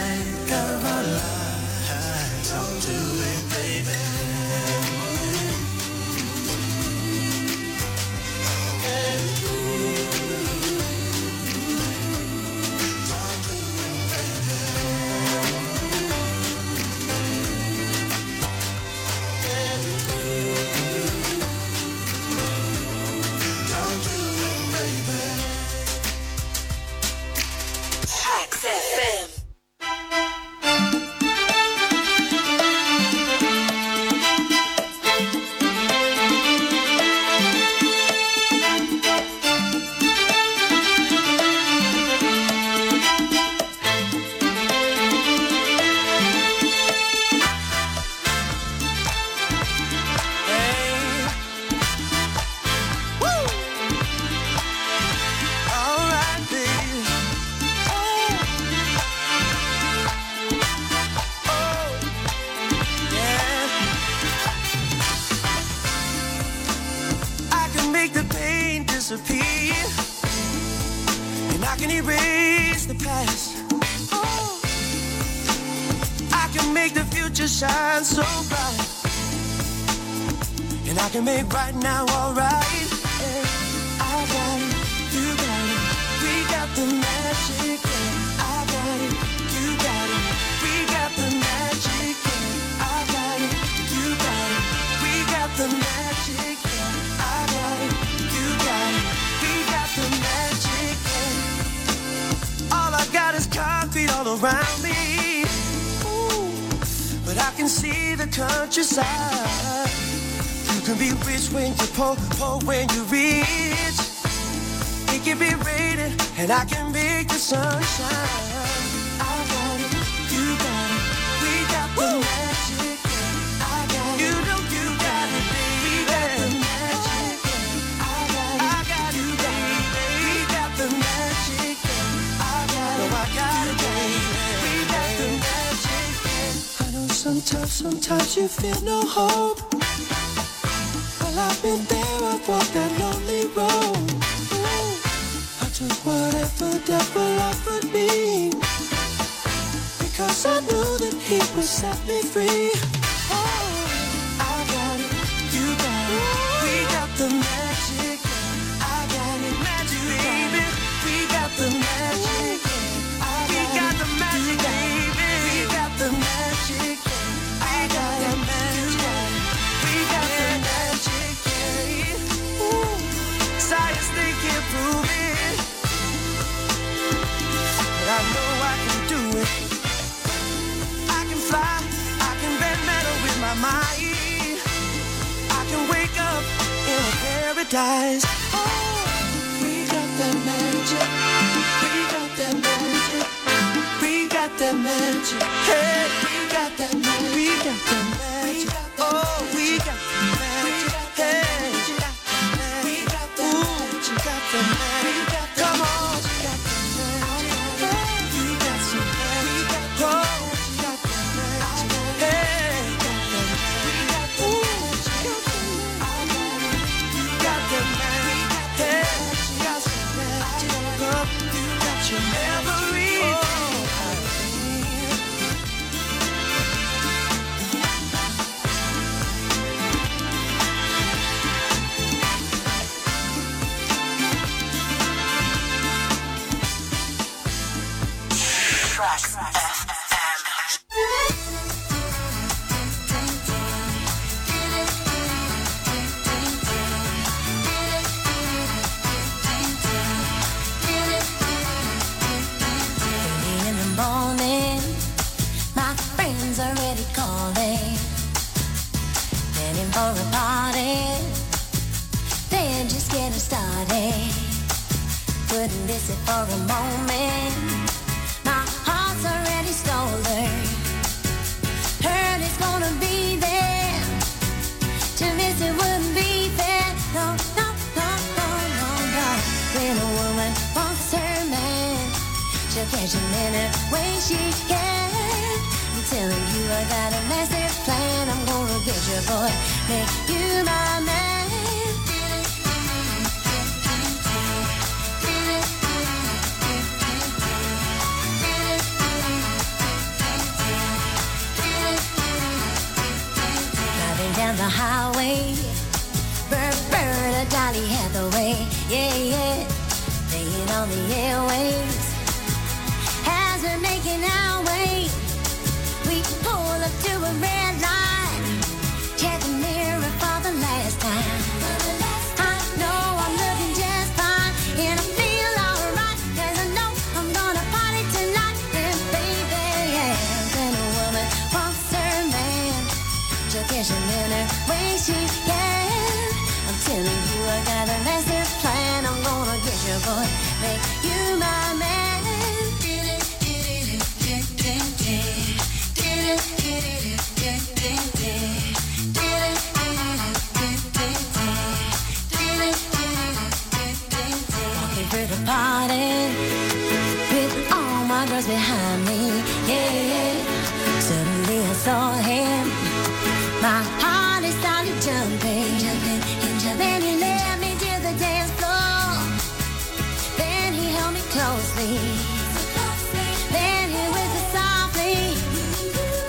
of our lives. I'll do it, baby. Hacks FM. I can make the pain disappear, and I can erase the past. Oh. I can make the future shine so bright, and I can make right now alright. Yeah. I got it, you got it, we got the magic. Yeah. I got it, you got it, we got the magic. Yeah. I got it, you got it, we got the magic. Yeah. I got it, you got it, we got the magic. Yeah. All I got is concrete all around me. Ooh. But I can see the countryside. You can be rich when you poor, poor when you rich. It can be raining, and I can make the sunshine. I got it, you got it, we got the magic. I got it, you know you got it, we got the magic. I got it, I got you got it, we got the magic. I got it, I got it, we got the magic. I know sometimes, sometimes you feel no hope. Well, I've been there, I've walked that lonely road. Ooh, I took whatever devil offered me. Because I knew that he would set me free. Oh, I got it, you got it, we got the magic. I got it, magic, baby. We got the magic. We Oh, got the magic, baby. We got the magic. I got the magic. We got the magic. Ooh, science they can't prove it, but I know I can do it. I can fly, I can bend metal with my mind. I can wake up in a paradise. Oh, we got that magic. We got that magic. We got that magic. Hey, we got that magic. We got that magic. Oh, we got that magic. Hey, we got that magic. We got that magic. Come on. You got some magic. Oh, hey. Tracks FM. Early in the morning, my friends are already calling. Heading for a party, they're just getting started. Couldn't miss it for a moment, my heart's already stolen. Heard it's gonna be there, to miss it wouldn't be fair. No, no, no, no, no, no. When a woman wants her man. She'll catch him in her way she can. I'm telling you, I got a massive plan. I'm gonna get your boy, make you my man. the highway. Roberta, Dolly Hathaway, yeah, yeah. Playing on the airwaves. As we're making our way, we pull up to a red light. Check the mirror for the last time. I know I'm looking just fine, and I feel alright, 'cause I know I'm gonna party tonight. And baby, yeah, when a woman wants her man, she'll kiss him in her way she can. I'm telling you, I got a master plan. I'm gonna get your boy, make you my man. Walking through the party with all my girls behind me, yeah, yeah. Suddenly I saw him. My heart is started jumping, jumping, and jumping. He led me to the dance floor. Then he held me closely. Then he whispered softly,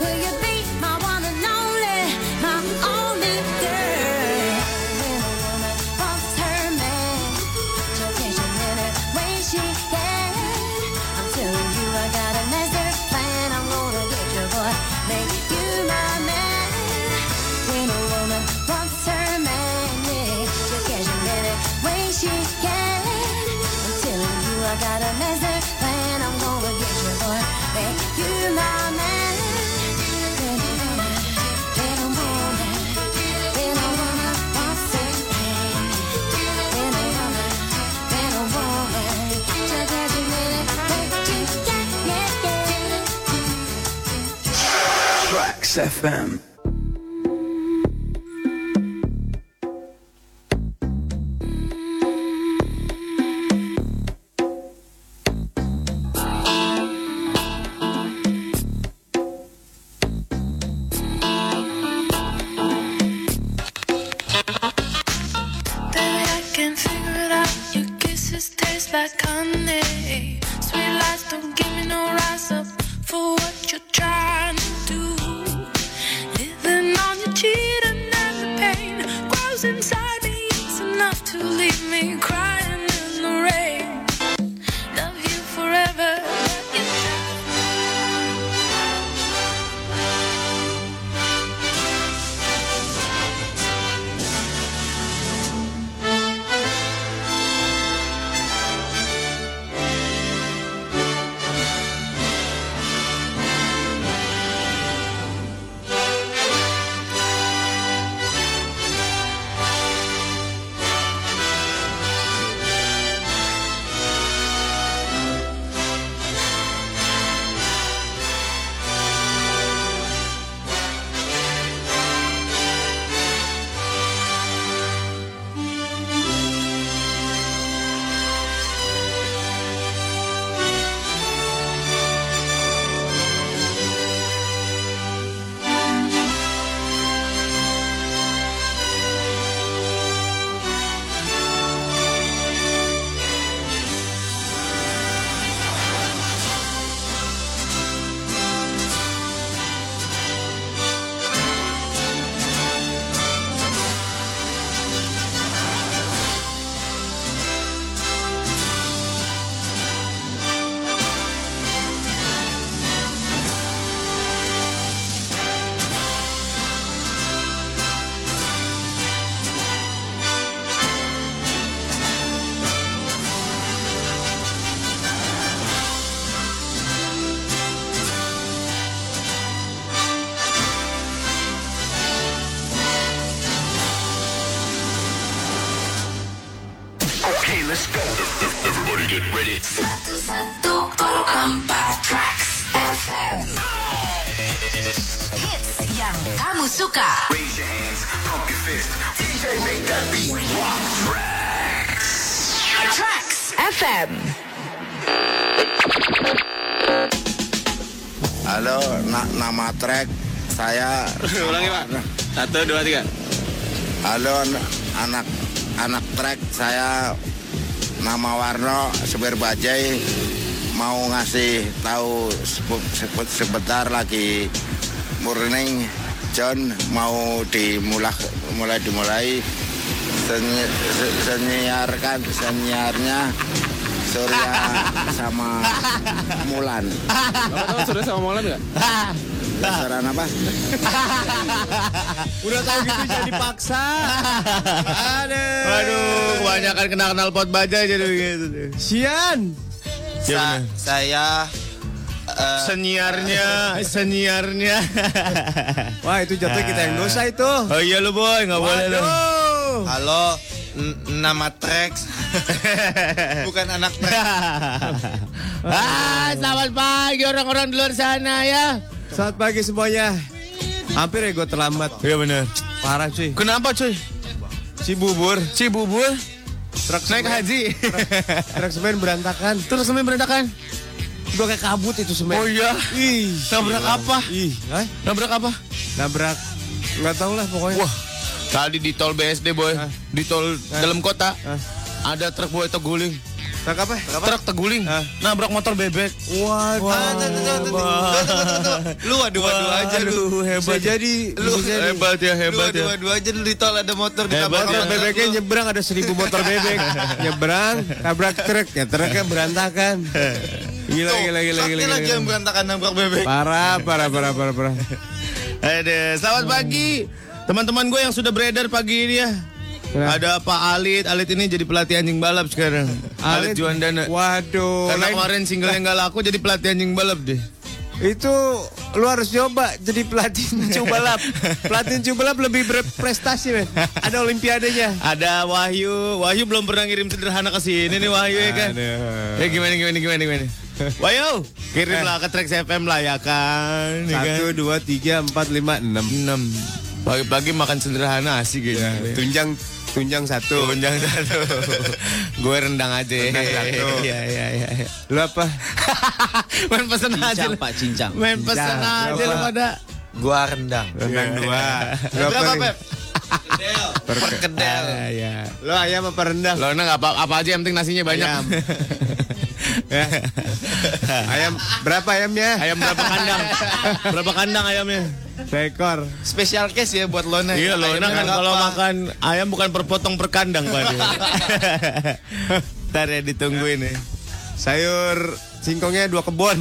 Will you be my one and only, my only girl? When a woman wants her man, she'll get you in her way she can. I'm telling you, I got a master plan. I'm gonna get your boy, make you my man. When a woman wants her man, yeah, she'll get you in her way she can. I'm telling you, I got a master plan. I'm gonna get your boy, make you my man. When a woman, when a woman, when a woman wants her man, when a woman. Been a woman, just graduated, but you got, yeah, yeah. Tracks FM. Baby, I can figure it out. Your kisses taste like honey. Sweet lies don't give me no rise up for what you're trying to do. Living on your cheating and the pain grows inside me. It's enough to leave me crying in the rain. Love you forever. but you drive Okay, let's go. Everybody get ready. Hits yang kamu suka. Raise your hands, pump your fist. DJ, make that beat. Rock tracks. Tracks FM. Halo, na- nama track saya. Ulangi pak Satu, dua, tiga Halo, n- anak anak track saya. Nama Warno, supir bajai. Mau ngasih tahu sepe- sepe- sebentar lagi morning John mau dimulai mulai dimulai senyi, se- senyiarkan senyiarnya Surya sama Mulan. Bapak tahu sudah sama Molan nggak? Saran apa? Udah tahu gitu jadi paksa. Aduh. Waduh, kebanyakan kan kenal-kenal pot baja jadi gitu. Sian. Sa- eh, saya seniarnya, seniarnya. Wah itu jatuh kita yang dosa itu. oh iya lu boy, nggak boleh lu. Aduh. halo n- nama tracks bukan anak tracks ah, selamat pagi orang-orang di luar sana ya. Selamat pagi semuanya. Hampir ya gue terlambat. Iya bener. Parah cuy. Kenapa cuy? Si bubur. Si bubur Truk naik semen- haji. Truk semen berantakan. Terus semen berantakan. Gue kayak kabut itu semen. Oh iya. Ih. Nabrak apa? Ih. eh? Hah? Nabrak apa? Nabrak. Gak tau lah pokoknya. Wah, tadi di tol BSD boy, Hah? di tol dalam kota. Hah? Ada truk boy teguling, Truk apa? Truk truk teguling, Hah? nabrak motor bebek. Waduh. lu waduh waduh aja lu Aduh hebat. eh, Bisa jadi. Lu- bisa jadi. Hebat ya, lu hebat wadunya ya. aja lu di tol ada motor di ya. Hebat Motor bebeknya nyebrang ada seribu motor bebek nyebrang tabrak truk ya truknya berantakan gila gila gila gila, gila, lagi yang gila. berantakan nabrak bebek parah parah parah parah parah Ada, Eh, selamat pagi teman-teman gue yang sudah beredar pagi ini ya. Kenapa? Ada Pak Alit, Alit ini jadi pelatih anjing balap sekarang. Alit, Juandana. waduh Karena lain- kemarin singlenya nggak laku jadi pelatih anjing balap deh. itu lu harus coba jadi pelatih coba lap pelatih coba lap lebih berprestasi men ada olimpiadenya Ada Wahyu, Wahyu belum pernah ngirim sederhana ke sini nih Wahyu ya kan. Aduh. Ya gimana gimana gimana gimana. Wahyu, kirimlah ke Trax FM lah ya kan. ya kan? satu dua tiga empat lima enam Ya, enam pagi-pagi makan sederhana asik gitu. tunjang tunjang satu Tunjang satu. Gue rendang aja. satu. Iya iya iya. lu apa Main pesan aja. cincang lu. pak cincang Main pesan Cincang, aja lu berapa? pada. Ya. gua rendang Renang dua Lu apa, berapa Rin? pep perkedel Iya iya. lu Ya, ayam apa rendang Lo enak apa apa aja yang penting nasinya banyak. Ayam. Ya. ayam berapa ayamnya? Ayam berapa kandang? Berapa kandang ayamnya? Seekor. special case ya buat Lona Iya lo enak kan kalau makan ayam bukan per potong per kandang Pak. dia. Ntar ya ditungguin ya. Sayur singkongnya dua kebon.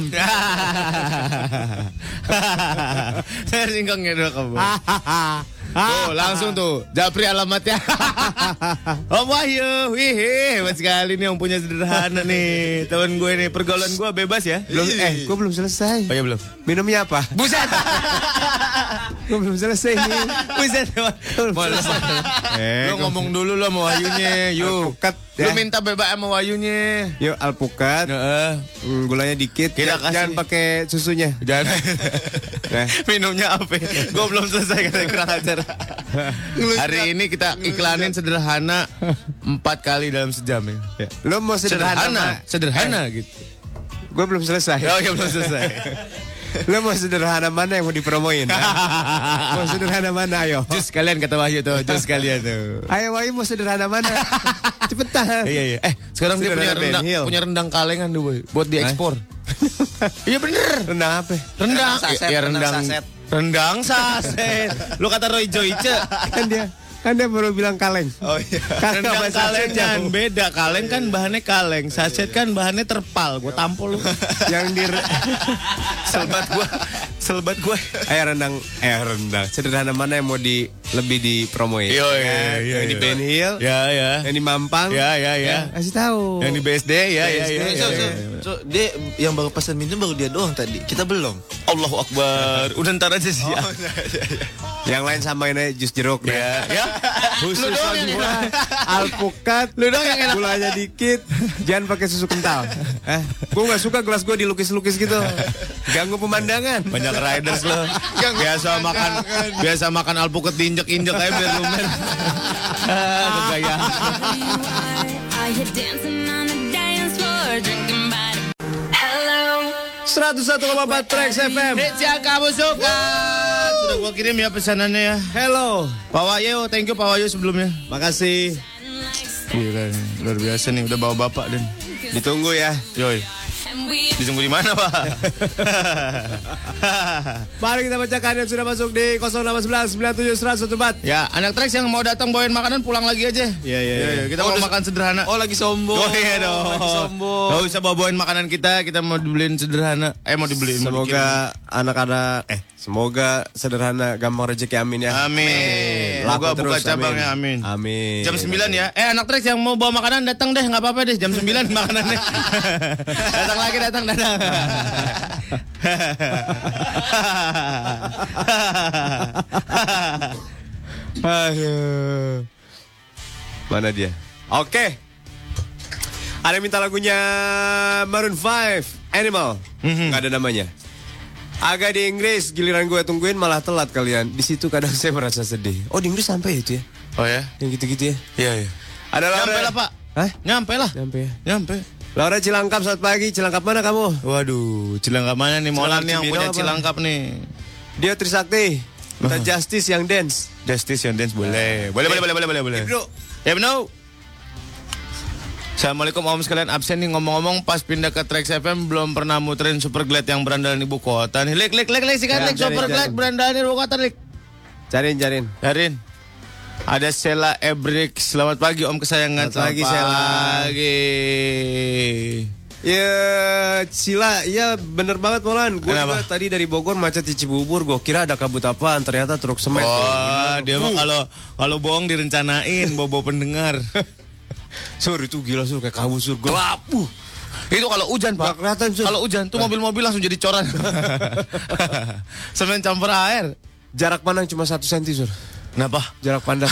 Saya singkongnya dua kebun. Oh, langsung tuh. Japri alamatnya. Om Wahyu, wih, hebat sekali nih yang punya sederhana nih. Temen gue nih, pergaulan gue bebas ya. belum eh, gue belum selesai. Oh iya belum. Minumnya apa? Buset. Gue belum selesai nih. Buset. Mau lepas. Eh, Lo ngomong dulu lo sama Wayunya, yuk. Alpukat, ya. Lo minta bebas sama Wayunya. Yuk alpukat, Heeh. mm, gulanya dikit. Jangan- Kita kasih. Jangan pakai susunya. Jangan. Eh. Nah. Minumnya apa? Gue belum selesai kata kurang ajar. Hari ini kita iklanin sederhana empat kali dalam sejam ya. Lo mau Sederhana, sederhana? sederhana gitu. Gue belum selesai. Oh ya belum selesai. Lo mau sederhana mana yang mau dipromoin? ha? mau sederhana mana ayo? Jus kalian kata Wahyu tuh, jus kalian tuh. Ayo Wahyu mau sederhana mana? Cepetan. Iya iya. Eh sekarang dia punya Sederhana Ben rendang, Hill. punya rendang kalengan tuh boy, buat diekspor. Iya bener. Rendang apa? Rendang, Rendang saset, ya, ya, rendang rendang, saset. rendang saset. Lu kata Roy Joyce, Kan dia kan dia baru bilang kaleng. oh iya Kan rendang bahasa kalengan Jawa. beda. Kaleng kan bahannya kaleng, saset kan bahannya terpal. Gue tampol lu. yang di selbat gue, selbat gue. eh rendang eh rendang sederhana mana yang mau di lebih dipromoin Iya, iya, Kan? iya, yang di iya. Ben Hill Ya ya, yang di Mampang ya ya ya. kasih tahu Yang di BSD ya ya Iya, ya. So, iya, ya, so, ya. so, dia yang baru pesan minum baru dia doang tadi. Kita belum. Allahu Akbar. Udah ntar aja sih ya. yang lain samain aja jus jeruk nah. dah. Ya, ya. Khusus Wah, alpukat lu dong yang enak gulanya dikit jangan pakai susu kental eh gue nggak suka gelas gue dilukis-lukis gitu ganggu pemandangan banyak riders lo biasa makan biasa makan alpukat diinjek-injek aja biar lumer Ah, kegayaan. Are you dancing on the dance floor, drinking by the 101,4 Trax FM Hits yang kamu suka. Sudah gua kirim ya pesanannya ya. hello Pak Wahyu, thank you Pak Wahyu sebelumnya. Iya, kan. makasih Gila, luar biasa nih udah bawa bapak dan. ditunggu ya Yoi. Disembunyi mana, Pak? Mari kita bacakan yang sudah masuk di 0811 97104. Ya, anak treks yang mau datang bawain makanan pulang lagi aja. Iya, iya, iya. Kita mau makan sederhana. Oh lagi sombong. Oh iya dong. Lagi sombong. Gak usah bawain makanan kita, kita mau dibeliin sederhana. Eh mau dibeliin. mau dikirim. Semoga anak-anak eh semoga sederhana gampang rezeki amin ya. Amin. Laku Semoga buka terus, cabangnya amin. Amin. Jam 9 ya. Eh anak treks yang mau bawa makanan datang deh, nggak apa-apa deh. Jam 9 makanannya. datang lagi, datang, datang. Aduh. Mana dia? Oke. Ada yang minta lagunya Maroon 5 Animal. Mhm. Nggak ada namanya. Agak di Inggris, giliran gue tungguin malah telat kalian. Di situ kadang saya merasa sedih. Oh, di Inggris sampai itu ya? Oh ya. Yang gitu-gitu ya? Iya, iya. Ada Laura. Nyampe lah, Pak. Hah? Nyampe lah. Nyampe ya? Nyampe. Laura Cilangkap, selamat pagi. Cilangkap mana kamu? Waduh, cilangkap mana nih? Cilangkap Molan nih yang Cibinong punya apa? cilangkap nih. Dia Trisakti. Minta Justice yang dance. Justice yang dance boleh. Boleh, boleh, boleh, boleh, boleh, boleh. Ah. Eh, Bro, Ya benar. Assalamualaikum om sekalian absen nih ngomong-ngomong pas pindah ke Trax FM belum pernah muterin Super Glad yang berandalan ibu kota nih. Lik lik lik lik sikat Ya, lik Super jadi, Glad jadi. berandalan ibu kota lik. cariin, cariin. Darin. Ada Sela Ebrik. Selamat pagi om kesayangan. Selamat pagi, Sheila. Pagi. Ya, Sila, ya bener banget Molan. Gue Kenapa? juga tadi dari Bogor macet di Cibubur. Gue kira ada kabut apaan, ternyata truk semen. Oh, dia Uh. mah kalau kalau bohong direncanain bobo pendengar. Sur itu gila sur kayak kabut sur gelap. Uh, Itu kalau hujan, Nggak Pak. kelihatan, Sur. Kalau hujan tuh mobil-mobil langsung jadi coran. Semen campur air. Jarak pandang cuma satu senti sur. Kenapa? Jarak pandang.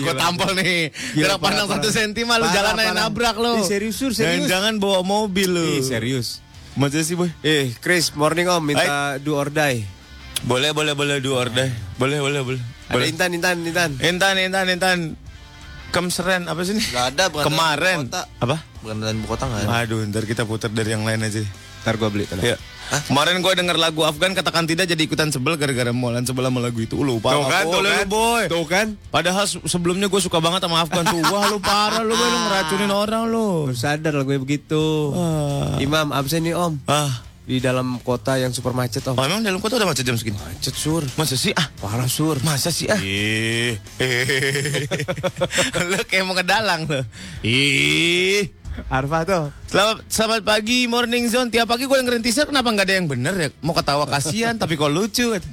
gue Gila. tampol nih. Gila, Jarak parah, pandang parah. satu senti mah lu Parah, jalan aja parah. nabrak lu. Ih, serius, Sur, serius. Jangan, jangan bawa mobil lu. Ih, serius. Maksudnya sih boy. Eh, Chris, morning om minta do or die. Boleh boleh boleh dua order. Boleh boleh boleh. Ada Boleh. Intan, Intan, Intan. Intan Intan Intan. Kemseren apa sih nih? Nggak ada, bukan Kemarin. ibu kota. Apa? Berandalan ibu kota nggak ada. Aduh, ntar kita putar dari yang lain aja. Ntar gue beli. tenang. Ya. Kemarin gue denger lagu Afgan katakan tidak jadi ikutan sebel gara-gara molan sebelah sama lagu itu. Lu lupa. Tuh kan, Nggak tuh boleh kan. lu, boy. Tuh kan. Padahal se- sebelumnya gue suka banget sama Afgan tuh. Wah lu parah lu, boy. lu ngeracunin orang lu. Baru sadar lah gue begitu. Imam absen nih om. Ah, Di dalam kota yang super macet om. oh, emang dalam kota udah macet jam segini? Macet sur. Masa sih ah? Parah sur. Masa sih ah? Ih. lu kayak mau ke dalang lu. Ih. Arfa tuh. Selamat, selamat pagi Morning Zone. Tiap pagi gue dengerin teaser kenapa nggak ada yang bener ya? Mau ketawa kasihan tapi kok lucu. gitu.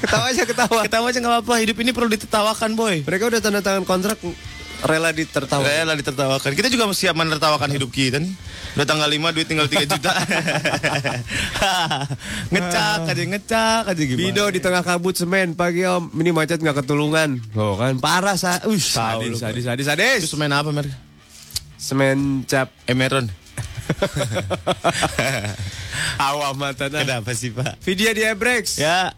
Ketawa aja ketawa. Ketawa aja nggak apa-apa. Hidup ini perlu ditertawakan boy. Mereka udah tanda tangan kontrak rela ditertawa. Rela ditertawakan. Kita juga siap menertawakan hidup kita nih. Udah tanggal 5 duit tinggal 3 juta. ngecak aja, ngecak aja gimana. Bido di tengah kabut semen pagi om ini macet nggak ketulungan. Oh kan parah sa. Ush, Tahu lu, sadis, sadis, sadis, sadis. Itu semen apa mer? Semen cap Emeron. awam mata. Kenapa sih pak? Video di Ebrex. Ya.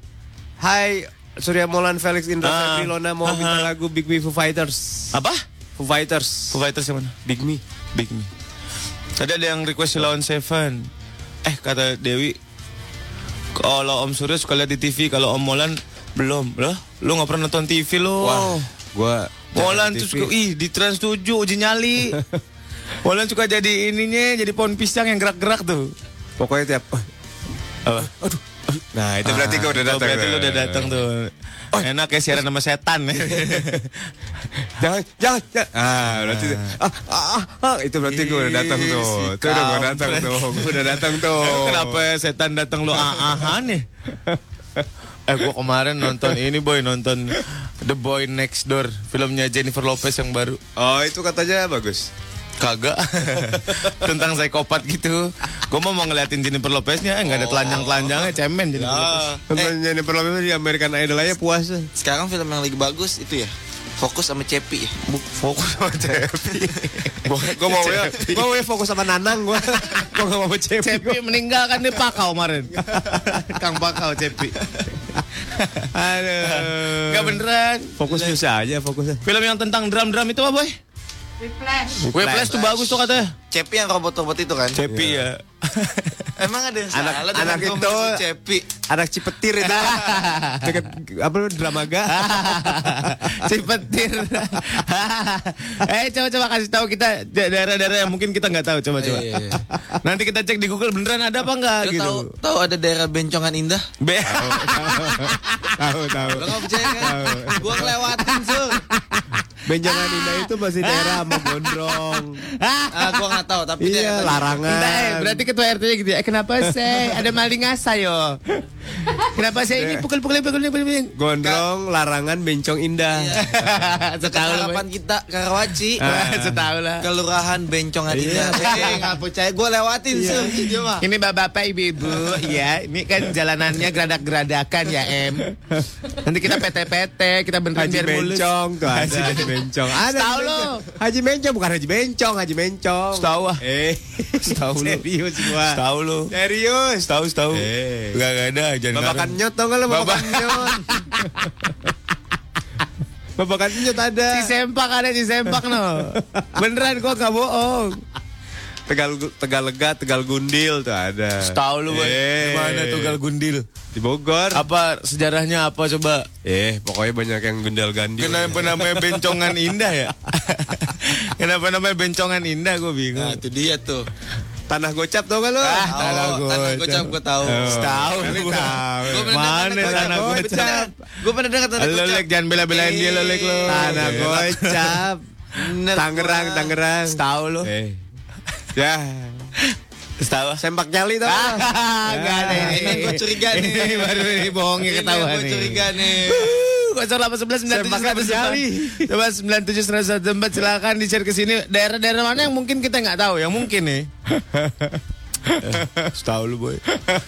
Hai Surya Molan Felix Indra Ah. Febri Lona mau minta Ah. lagu Big Me Foo Fighters. Apa? Foo Fighters. Foo Fighters yang mana? Big Me. Big Me. Tadi ada yang request Lawan Seven. Eh kata Dewi, kalau Om Surya suka lihat di TV, kalau Om Molan belum. Loh, lu nggak pernah nonton TV lo. Wah, gua Molan jangan tuh TV. suka, ih di Trans 7 uji nyali. Molan suka jadi ininya, jadi pohon pisang yang gerak-gerak tuh. Pokoknya tiap Oh, Apa? Nah, itu berarti gua udah Oh, datang. Berarti lu udah datang tuh. Enak ya siaran sama setan. jangan jangan, jangan. ah berarti ah, ah, ah, ah, itu berarti gue udah datang Ih, tuh si itu udah gue kampret. datang tuh gue udah datang tuh Kenapa setan datang lu ah-ahan ya? Eh gua kemarin nonton ini boy nonton The Boy Next Door filmnya Jennifer Lopez yang baru oh itu katanya bagus kagak tentang psikopat gitu gua mau mau ngeliatin Jennifer Lopeznya eh, nggak ada telanjang telanjangnya cemen Jennifer Lopez Temennya Jennifer Lopez di American Idol aja ya. puasa Sekarang film yang lagi bagus itu ya. Fokus sama Cepi ya. fokus sama Cepi gue mau ya gue mau ya fokus sama Nanang gue gue gak mau cewek Cepi meninggal kan dia pakau kemarin Kang pakau Cepi aduh Gak beneran fokus bisa aja fokusnya Film yang tentang drum-drum itu apa boy? Whiplash tuh bagus tuh katanya. Cepi yang robot-robot itu kan? Cepi ya. Emang ada yang Anak- salah dengan anak kamu itu- sebut Cepi. Anak cipetir itu. Deket apa lu, dramaga. Cipetir. eh coba-coba kasih tahu kita da- daerah-daerah yang mungkin kita nggak tahu coba-coba. Iya, iya. Nanti kita cek di Google beneran ada apa nggak Lo gitu. tahu tahu ada daerah Bencongan Indah? Be- tahu tahu. Lo nggak percaya kan? Gua ngelewatin sur. Benjangan Indah itu masih daerah sama Gondrong. Ah, gua nggak tahu tapi Iya, daerah- larangan. Entah, Nah. eh, berarti ketua RT-nya gitu ya. Eh, kenapa saya ada maling asa yo? Kenapa saya ini pukul-pukulin pukulin pukulin. Gondrong, larangan, bencong indah. Dekat Ah, Setahu lah. harapan kita Karawaci. Boy. Setahu lah. Kelurahan Bencongan Indah. Eh, nggak percaya gua lewatin sur. Iya, Dia mah. Ini bapak-bapak, ibu-ibu, ya. Ini kan jalanannya geradak-geradakan ya, Em. Nanti kita PT-PT, kita benerin Haji biar mulus. Bencong tuh ada Haji Bencong. Ada Setahu Haji lo. Bencong. Haji Bencong bukan Haji Bencong, Haji Bencong. Setahu ah. Eh, Setahu lo. Serius gua. Setahu lo. Serius. Setahu, setahu. Eh. Enggak enggak ada, jangan Babakan ngarang. nyot tau gak lo babakan nyot. Babakan nyot ada. Si sempak ada, si sempak no. Beneran gua enggak bohong. Tegal Tegal Lega, Tegal Gundil tuh ada. Eh. Gundil? Di Bogor. Apa sejarahnya apa coba? Eh, pokoknya banyak yang gendal gandil. Kenapa namanya bencongan indah ya? Kenapa namanya bencongan indah gue bingung. Nah, itu dia tuh. Tanah gocap tau gak lo? Ah, Tahu, tanah tanah gocap gocap. gua tahu. Tahu Tahu. Gua pernah Mana dengar tanah gocap? gocap? Gua pernah dengar tanah Lo gocap. lek jangan bela-belain dia lo Eh. lek lo. Tanah Iya. gocap. Bener, Tangerang, gua. Tangerang. Tahu lo. Eh. Ya. Tahu. Sempak nyali tau. Ah, Ya. Gak ada ini. Ini gua curiga nih. Ini baru ini bohongnya Ini ketahuan gua nih. curiga nih. Kosong delapan sebelas sembilan tujuh Sempaknya berjali. Coba sembilan tujuh silakan di share ke sini daerah-daerah mana yang mungkin kita nggak tahu yang mungkin nih. Eh, Tahu lu boy.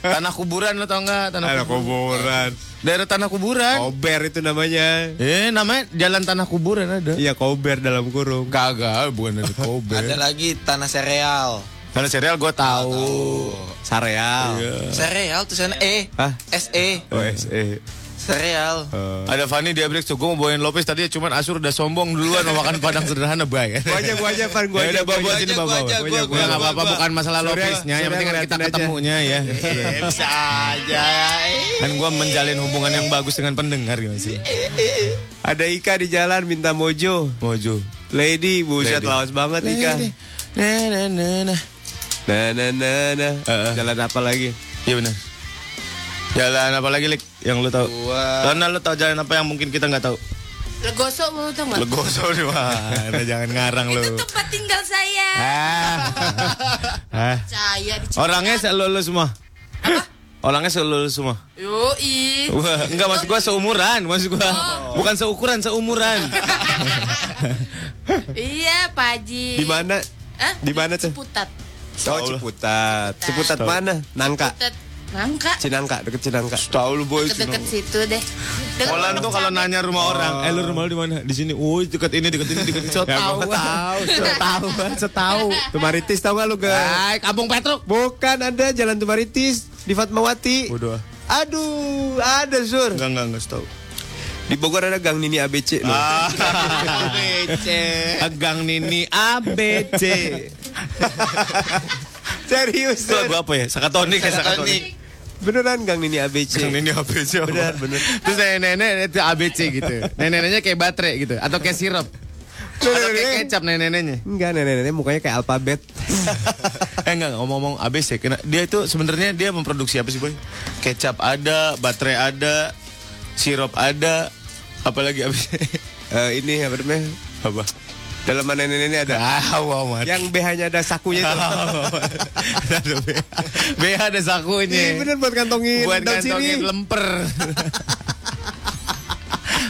Tanah kuburan lo tau nggak tanah Ada kuburan? kuburan. Daerah tanah kuburan. Kober itu namanya. Eh namanya jalan tanah kuburan ada. Iya kober dalam kurung. Kagak, bukan dari Kobe. Ada lagi tanah sereal. Karena serial gue tahu. Sareal. Sereal tulisannya E. Hah? SE. Oh, eh, OSE. Sereal. Eh. Ada Fanny dia break tuh gue mau bawain Lopez tadi cuman Asur udah sombong duluan mau makan padang sederhana bay. Gua aja, gua aja, Fan, gua aja. Udah Ya Gua bawa bawa aja, sini gua bawa bawa. aja, gua- Udah nggak apa-apa gua- bukan masalah Surya- Lopeznya, yang Surya penting kan kita ngeliatin aja. ketemunya ya. Eh, Bisa aja. Kan gue menjalin hubungan yang bagus dengan pendengar gimana sih? Ada Ika di jalan minta mojo. Mojo. Lady, buset Lady. lawas banget Ika. Nah, nah, nah, nah. Nah, nah, nah, nah. Eh, eh. Jalan apa lagi? Iya benar. Jalan apa lagi Lik yang lu tahu? Gua- Karena lu tahu jalan apa yang mungkin kita nggak tahu. Legosok mau tau nggak? Legoso nih mana jangan ngarang lu. Itu tempat tinggal saya. Ah. Ah. Saya di Orangnya selulus semua. Orangnya selulus semua. Yoi. Wah, enggak maksud gua seumuran, maksud gua Oh. bukan seukuran, seumuran. Iya, Pak Haji. Di mana? Hah? Di mana tuh? Ciputat. Oh, Ciputat. Ciputat mana? Nangka. Ciputat. Nangka. Cinangka, deket Cinangka. Tahu lu boy. Deket-deket situ deh. Deket Molan Pondok tuh kalau Cabe. nanya rumah orang, eh lu rumah lu di mana? Di sini. Oh, dekat ini, dekat ini, dekat ini. So Oh. Ya, tahu. gua tahu, tahu, tahu. Tumaritis tau gak lu, Ge? Baik, Abang Petruk. Bukan ada Jalan Tumaritis di Fatmawati. Bodoh. ah. Aduh, ada Sur. Enggak, enggak, enggak tahu. Di Bogor ada Gang Nini ABC loh. Ah. ABC. Gang Nini ABC. Serius. Itu Sur. lagu apa ya? Sakatonik ya, Sakatonik. Sakatonik. Beneran Gang Nini ABC. Yang ini ABC apa? ya, Benar, benar. Terus nenek-nenek itu ABC gitu. Nenek-neneknya kayak baterai gitu atau kayak sirup. Atau kayak kecap nenek-neneknya. Enggak, nenek-nenek mukanya kayak alfabet. eh enggak ngomong-ngomong ABC kena dia itu sebenarnya dia memproduksi apa sih boy? Kecap ada, baterai ada, sirup ada, apalagi ABC. Eh, ini apa namanya? apa? Dalaman nenek-nenek ada. Ah, wow, mat. Yang BH-nya ada sakunya itu. Aduh, BH. BH ada sakunya. Iya bener buat kantongin buat daun ngantongin sini. lemper.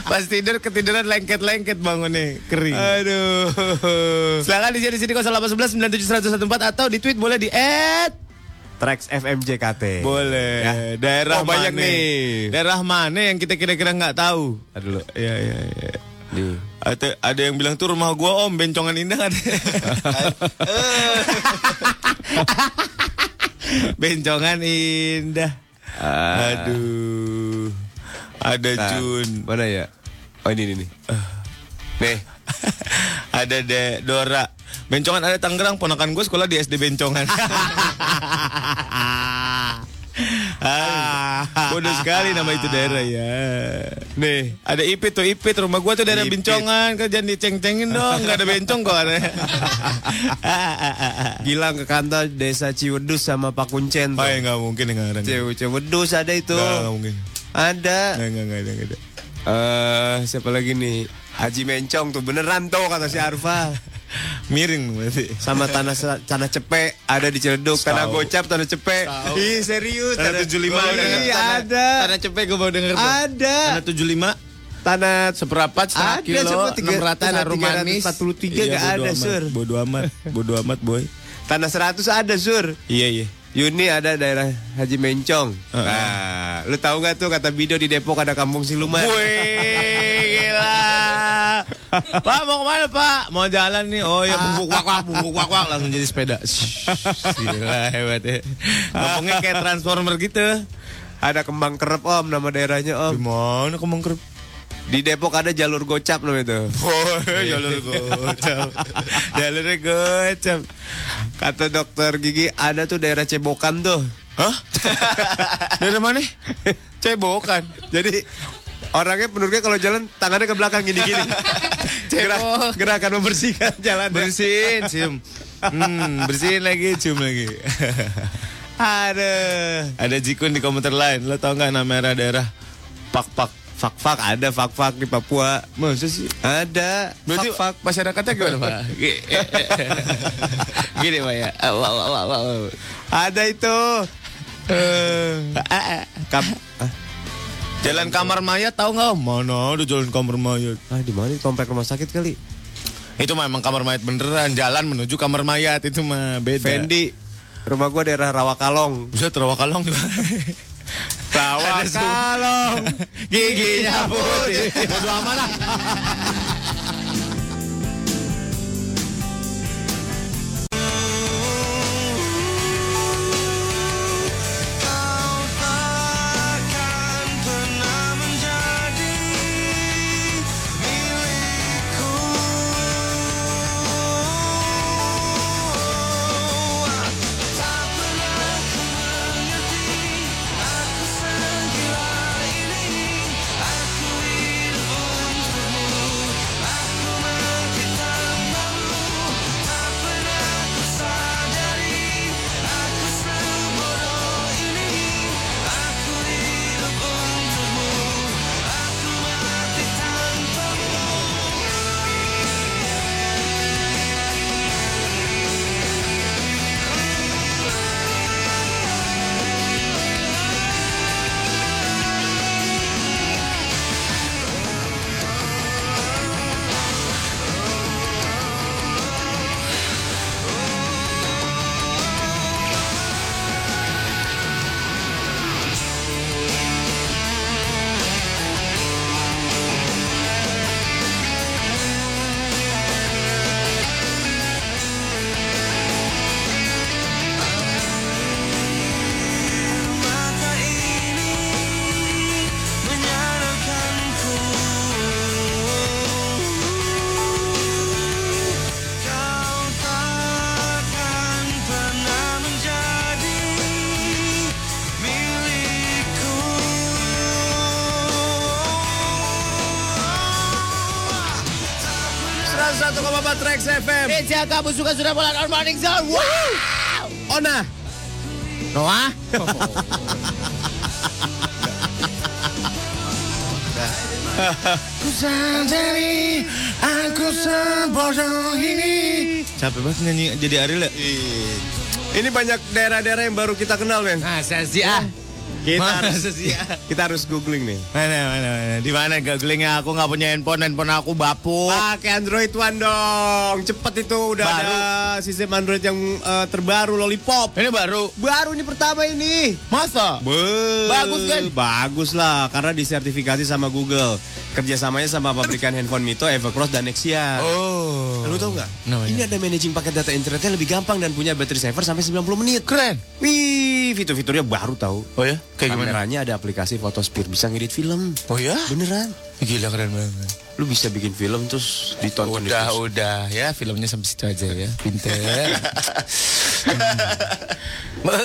Pas tidur ketiduran lengket-lengket bangunnya kering. Aduh. Silakan di share di sini 0811 97114 atau di tweet boleh di add. Trax FM JKT. Boleh. Ya. Daerah Oh, banyak mana? nih. Daerah mana yang kita kira-kira nggak tahu? Aduh. lu. Iya iya iya. Ada, ada yang bilang tuh rumah gua om bencongan indah kan? bencongan indah. Ah. Aduh. Ada Nah, Jun. Mana ya? Oh ini ini. nih. Nih. ada De Dora. Bencongan ada Tangerang, ponakan gue sekolah di SD Bencongan. Ah, bodoh sekali nama itu daerah ya. Nih, Eh, ada Ipit tuh, Ipit rumah gua tuh daerah Ipit. Bencongan, kerjaan diceng-cengin dong, nggak ada bencong kok. Gilang ke kantor desa Ciwedus sama Pak Kuncen. Pak Oh, iya, nggak mungkin nggak ada. Ciw- Ciwedus ada itu. Nggak, nggak mungkin. Ada. Nggak, nggak, nggak ada, nggak ada. Eh, siapa lagi nih? Haji Mencong tuh beneran tuh kata si Arfa. Miring berarti. Sama tanah tanah cepe ada di Ciledug, tanah Tahu. gocap, tanah cepe. Tahu. Ih, serius. Tanah 75 Iya, udah dengar. ada. Tanah cepet gue baru denger tuh. Ada. Tanah 75 Tanah seperapat setengah Iya, Gitu. Ada, kilo cuma tiga- 600 tanah harum manis 343 nggak bodo ada, Iya, amat. Sur. bodo amat bodo amat boy tanah 100 ada, Sur. Iya, iya. Yuni ada daerah Haji Mencong. Nah, lu tahu nggak tuh kata Bido di Depok ada kampung siluman. Wih, gila. Pak mau kemana Pak? Mau jalan nih. Oh iya, ya bubuk wak wak bubuk wak wak langsung jadi sepeda. Shhh, Gila hebat ya. Ngomongnya kayak transformer gitu. Ada kembang kerep Om nama daerahnya Om. Gimana kau mengkerut? Di Depok ada jalur gocap namanya itu. Oh, jalur gocap. Jalurnya gocap. Kata dokter gigi ada tuh daerah Cebokan tuh. Hah? Dari mana? Cebokan. Jadi orangnya penduduknya kalau jalan tangannya ke belakang gini-gini. Gerak, gerakan membersihkan jalan. Bersihin, cium. Hmm, bersihin lagi, cium lagi. Ada. Ada Jikun di komentar lain. Lo tau nggak nama daerah daerah? Pak Pak. Fak fak ada fak fak di Papua. Masa sih? Ada. Berarti Fak fak. masyarakatnya gimana pak? Gi- Gini pak ya. Wow, wow, wow, wow. Ada itu. Eh. Kap- Jalan kamar mayat tahu nggak? Mana ada jalan kamar mayat? ah di mana? Komplek rumah sakit kali. Itu mah emang kamar mayat beneran. Jalan menuju kamar mayat itu mah beda. Fendi. Rumah gua daerah Rawakalong. Bisa terawakalong juga. Rawakalong. Giginya putih. Bodo amat lah. Kau takkan pernah menjadi milikku. Tak pernah ku mengerti aku segila ini. Aku hidup untukmu. Aku makin tak malu. Tak pernah ku sadari aku sebodoh ini. Aku hidup untukmu. Aku mati tanpamu. Mata ini menyadarkanku Kau takkan pernah menjadi milikku Trax FM. Meja kamu suka sudah mulai on morning zone. Wow. Oh, Ona. nah. Noah. aku sadari aku sebodoh ini. Capek banget nyanyi jadi Ariel ya? Iya. Ini banyak daerah-daerah yang baru kita kenal, men. Masa sih ah. Kita Masa harus, sih ah. kita harus googling nih. Mana, mana, mana. Di mana gagelingnya aku nggak punya handphone, handphone aku bapuk. Ah. Pakai Android One dong. Cepet itu udah Oh. Baru. Eh. ada sistem Android yang eh, terbaru Lollipop. Ini baru. Baru ini pertama ini. Masa? Be- Bagus kan? Bagus lah karena disertifikasi sama Google. Kerjasamanya sama pabrikan handphone Mito, Evercross dan Nexia. Oh. Lu tau nggak? Namanya. Ini ada managing paket data internetnya lebih gampang dan punya battery saver sampai 90 menit. Keren. Wih, fitur-fiturnya baru tahu. Oh ya? Kayak gimana? Kameranya ada aplikasi Photospeed bisa ngedit film. Oh ya? Beneran. Gila keren banget. Lu bisa bikin film terus ditonton Udah, di udah ya filmnya sampai situ aja ya. Pinter.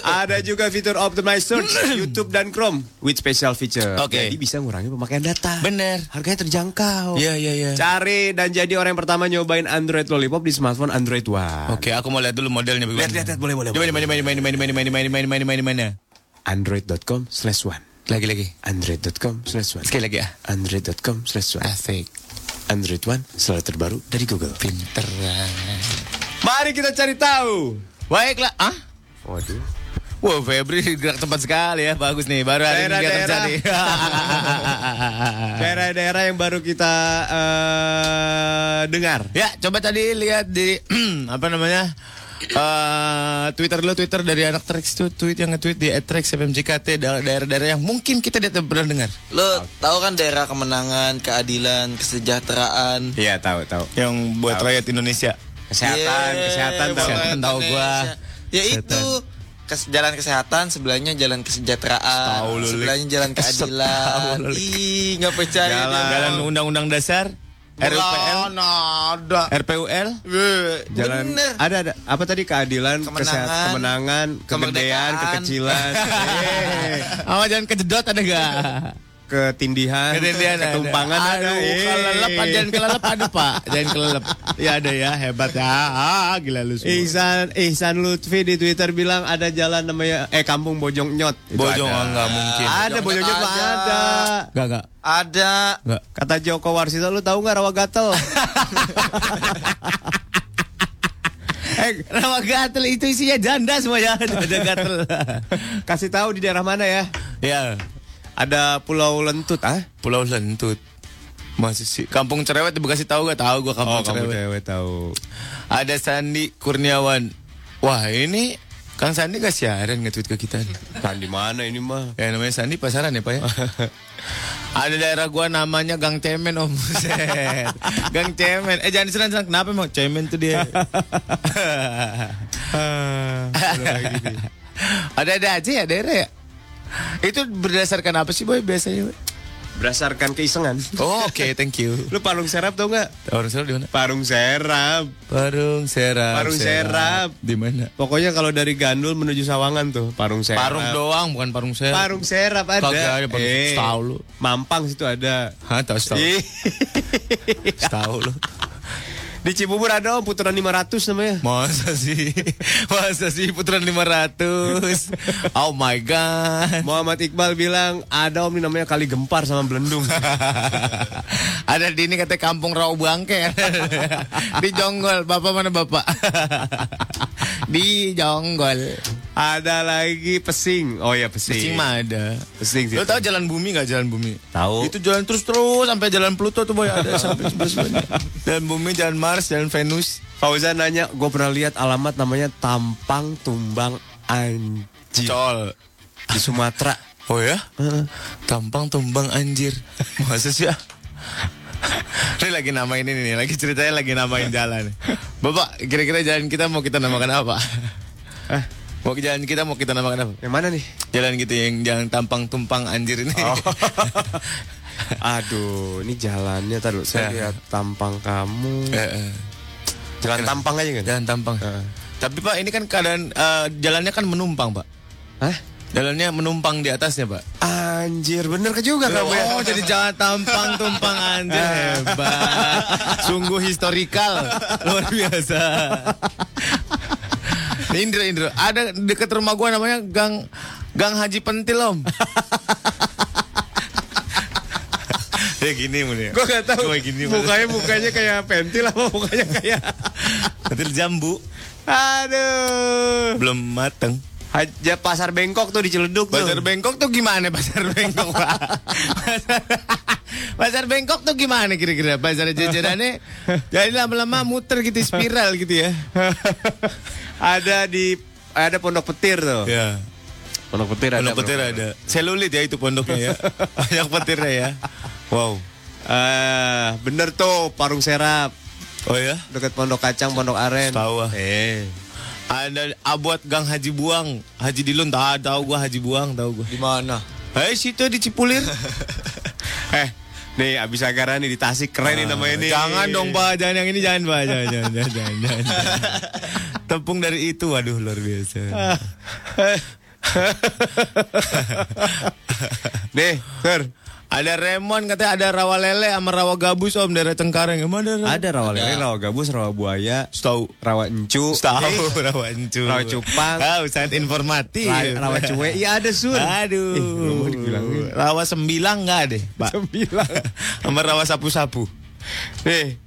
Ada juga fitur Optimize Search, YouTube dan Chrome with special feature. Hmm. Oke. Jadi bisa ngurangi pemakaian data. Bener. Harganya terjangkau. Iya, iya, iya. Cari dan jadi orang yang pertama nyobain Android Lollipop di smartphone Android One. Oke, aku mau lihat dulu modelnya bagaimana. Lihat, lihat, lihat. Boleh, boleh, Coba boleh. di mana mana mana mana mana mana mana mana mana mana mana. Android.com slash one. Lagi lagi. Android.com slash one. Sekali lagi ah. Android.com slash one. Asik. Android One, selalu terbaru dari Google. Pinter. Mari kita cari tahu. Baiklah, ah. Waduh. Wah, Febri gerak tempat sekali ya. Bagus nih. Baru hari ini dia Daerah-daerah. terjadi. Daerah-daerah yang baru kita eh, dengar. Ya, coba tadi lihat di apa namanya? eh Twitter dulu Twitter dari anak Trax itu tweet yang nge-tweet di @traxfmjkt da- daerah-daerah yang mungkin kita tidak pernah dengar. Lo tahu kan daerah kemenangan, keadilan, kesejahteraan. Iya, tahu, tahu. Yang buat rakyat Indonesia. Kesehatan, Yeah, kesehatan tahu. banget. banget tahu gua. Iya, Indonesia. Ya itu kes- jalan kesehatan sebelahnya jalan kesejahteraan, Tahu lu, Lik. sebelahnya jalan keadilan. lu, Lik. Ih, nggak percaya Jalan, dia. jalan Undang-Undang Dasar RUPL, nada. RPUL, Jalan Bener. ada ada apa tadi keadilan, Kemenangan. kesehatan, kemenangan, kegedean, Kemerdekaan. kekecilan, eh, sama jalan kejedot ada gak? ketindihan, Ketindihan ada. ketumpangan ada. Aduh, eh. kelelep, ah, jalan kelelep ada pak, jalan kelelep. Ya ada ya, hebat ya. Ah, gila lu semua. Ihsan Ihsan Lutfi di Twitter bilang ada jalan namanya eh kampung Bojong Nyot. Itu Bojong ada. ah, nggak mungkin. Ada Bojong Nyot mah ada. ada. Gak gak. Ada Kata Joko Warsito lu tahu nggak rawa gatel? Eh, rawa gatel itu isinya janda semua ya. Ada gatel. Kasih tahu di daerah mana ya? ya, Ada Pulau Lentut ah? Pulau Lentut. Masih sih. Kampung Cerewet di Bekasi tahu gak? Tahu gua Oh, Kampung Cerewet. tahu. Ada Sandi Kurniawan. Wah, ini Kang Sandi gak siaran nge-tweet ke kita nih. Kan di mana ini mah? Ya namanya Sandi pasaran ya Pak ya Ada daerah gua namanya Gang Cemen om Buset. Gang Cemen Eh jangan diserang serang Kenapa emang Cemen tuh dia Ada-ada aja ya daerah ya Itu berdasarkan apa sih boy biasanya boy? Berdasarkan keisengan. Oh oke thank you Lu parung serap tau nggak? Parung serap di mana? Parung serap. Parung serap Parung serap. Di mana? Pokoknya kalau dari Gandul menuju Sawangan tuh parung serap. Parung doang bukan parung serap Parung serap ada. Eh, Kagak ada parung- tahu lu. Mampang situ ada. Hah tahu tahu Ih. tahu lu Di Cibubur ada om putaran 500 namanya. Masa sih? Masa sih putaran 500? Oh my god. Muhammad Iqbal bilang ada om ini namanya kali gempar sama belendung. Ada di ini katanya kampung Rau Bangke. di Jonggol. Bapak mana bapak? di Jonggol. ada lagi pesing. Oh ya pesing. Pesing mah ada. Pesing sih. Lo tau Iya. jalan bumi gak jalan bumi? Tahu. Itu jalan terus terus sampai jalan Pluto tuh boy ada sampai sebelah sebelahnya. Jalan bumi, jalan Mars, jalan Venus. Fauzan nanya, gue pernah lihat alamat namanya Tampang Tumbang Anji Col. di Sumatera. Oh ya? Tampang tumbang anjir. Masa sih? ah? Ini lagi namain ini nih, lagi ceritanya lagi namain jalan. Bapak, kira-kira jalan kita mau kita namakan apa? Eh, Mau ke jalan kita mau kita namakan apa? yang mana nih? Jalan gitu yang jalan tampang tumpang anjir ini. Aduh, ini jalannya tadi saya Ya. lihat tampang kamu. Eh, eh. Jalan tampang aja kan? Jalan tampang. Eh. Tapi Pak, ini kan keadaan eh, jalannya kan menumpang, Pak. Hah? Jalannya menumpang di atasnya, Pak. Anjir, bener ke juga kamu ya? Oh, jadi jangan tampang tumpang anjir hebat. Sungguh historikal, luar biasa. Indro Indro, ada deket rumah gua namanya Gang Gang Haji Pentil om. ya gini mulai. Gue gak tahu. Gua gini Mun. mukanya mukanya kayak pentil apa mukanya kayak. Pentil jambu Aduh. belum mateng. Haja pasar Bengkok tuh di Ciledug tuh. Pasar Bengkok tuh gimana pasar Bengkok Pak? pasar, pasar Bengkok tuh gimana kira-kira pasar jajarannya? Jadi lama-lama muter gitu spiral gitu ya. ada di ada pondok petir tuh. Ya. Pondok petir ada. Pondok petir ada. Selulit ya itu pondoknya ya. Banyak petirnya ya. Wow. Eh, bener tuh parung serap Oh ya. deket pondok kacang, pondok aren. Tahu ah. Eh. Ada ah, buat Gang Haji Buang, Haji Dilun tahu tahu gua Haji Buang tahu gua. Di mana? Eh situ di Cipulir. eh, nih abis agara nih di Tasik keren nih namanya nih. Jangan dong pak, jangan yang ini jangan pak, jangan jangan jangan. jangan, jangan, jangan. Tepung dari itu, waduh luar biasa. Nih, Sir. Ada Remon katanya ada rawa lele sama rawa gabus om daerah Cengkareng. Emang ada? Ada rawa lele, rawa gabus, rawa buaya, Tahu. rawa encu, Tahu rawa encu. rawa cupang, Tahu sangat informatif. ra- rawa cuek. Iya ada Sur. Aduh. rawa sembilang enggak deh, Pak. Eh, Sembilan. Sama rawa sapu-sapu. Nih.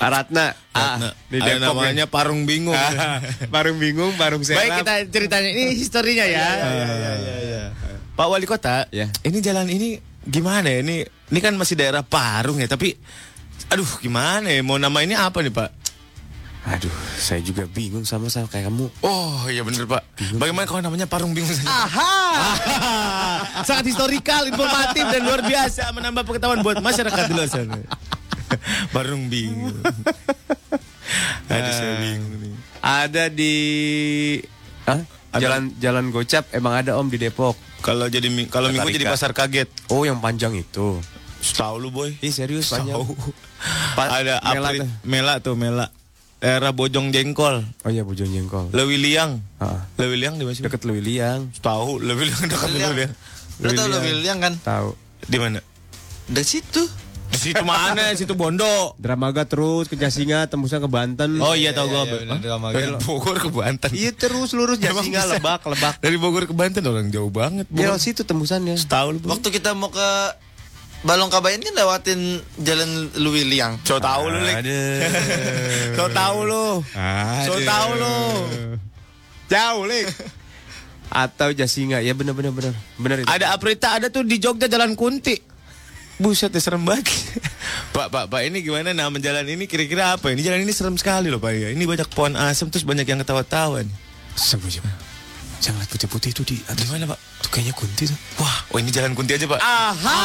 Ratna. Ah, di ada Depok namanya parung bingung. Ah, Barung bingung, barung serap. Baik kita ceritanya ini historinya ya. iya. Pak Wali Kota, Ya. ini jalan ini gimana ya? Ini ini kan masih daerah Parung ya, tapi aduh gimana ya? Mau nama ini apa nih Pak? Aduh, saya juga bingung sama sama kayak kamu. Oh iya bener Pak. Bagaimana kalau namanya Parung Bingung saja? Aha. Sangat historikal, informatif dan luar biasa menambah pengetahuan buat masyarakat di luar sana. Parung Bingung. Aduh saya bingung nih. Ada di Hah? Ada. Jalan Jalan Gocap emang ada Om di Depok. Kalau jadi mi- kalau minggu jadi Tarika. pasar kaget. Oh, yang panjang itu. Tahu lu boy? Ih, serius panjang. Tahu. Pa- Ada Mela Mela tuh. Mela tuh Mela. Era Bojong Jengkol, Oh iya Bojonegoro. Lewiliang. Heeh. Lewiliang di mana? Deket Lewiliang. Tahu, Lewiliang dekat Lewiliang. Lo tau lo William kan? Tahu. Di mana? Dari situ. Di situ mana? Situ Bondo. Dramaga terus ke Jasinga tembusnya ke Banten. Oh iya Iya, tahu gua. iya, benar, Hah? Dramaga. Dari Bogor ke Banten. Iya terus lurus Emang Jasinga bisa? Lebak Lebak. Dari Bogor ke Banten orang jauh banget. Ya Bogor. situ tembusannya. Tahu lu. Waktu kita mau ke Balong Kabayan kan lewatin jalan Luwiliang. So tahu lu, Lik. So tahu lu. So tahu lu. Jauh, Lik. Atau Jasinga. Ya benar benar benar. Benar itu. Ada Aprita, ada tuh di Jogja Jalan Kunti. Buset ya serem banget. pak, pak, pak, ini gimana nama jalan ini kira-kira apa? Ini jalan ini serem sekali loh, Pak. ya. Ini banyak pohon asem terus banyak yang ketawa-tawa nih. Sembunyi. Yang lihat putih-putih itu di atas mana, Pak? Itu kayaknya kunti tuh. Wah, oh ini jalan Kunti aja, Pak. Aha.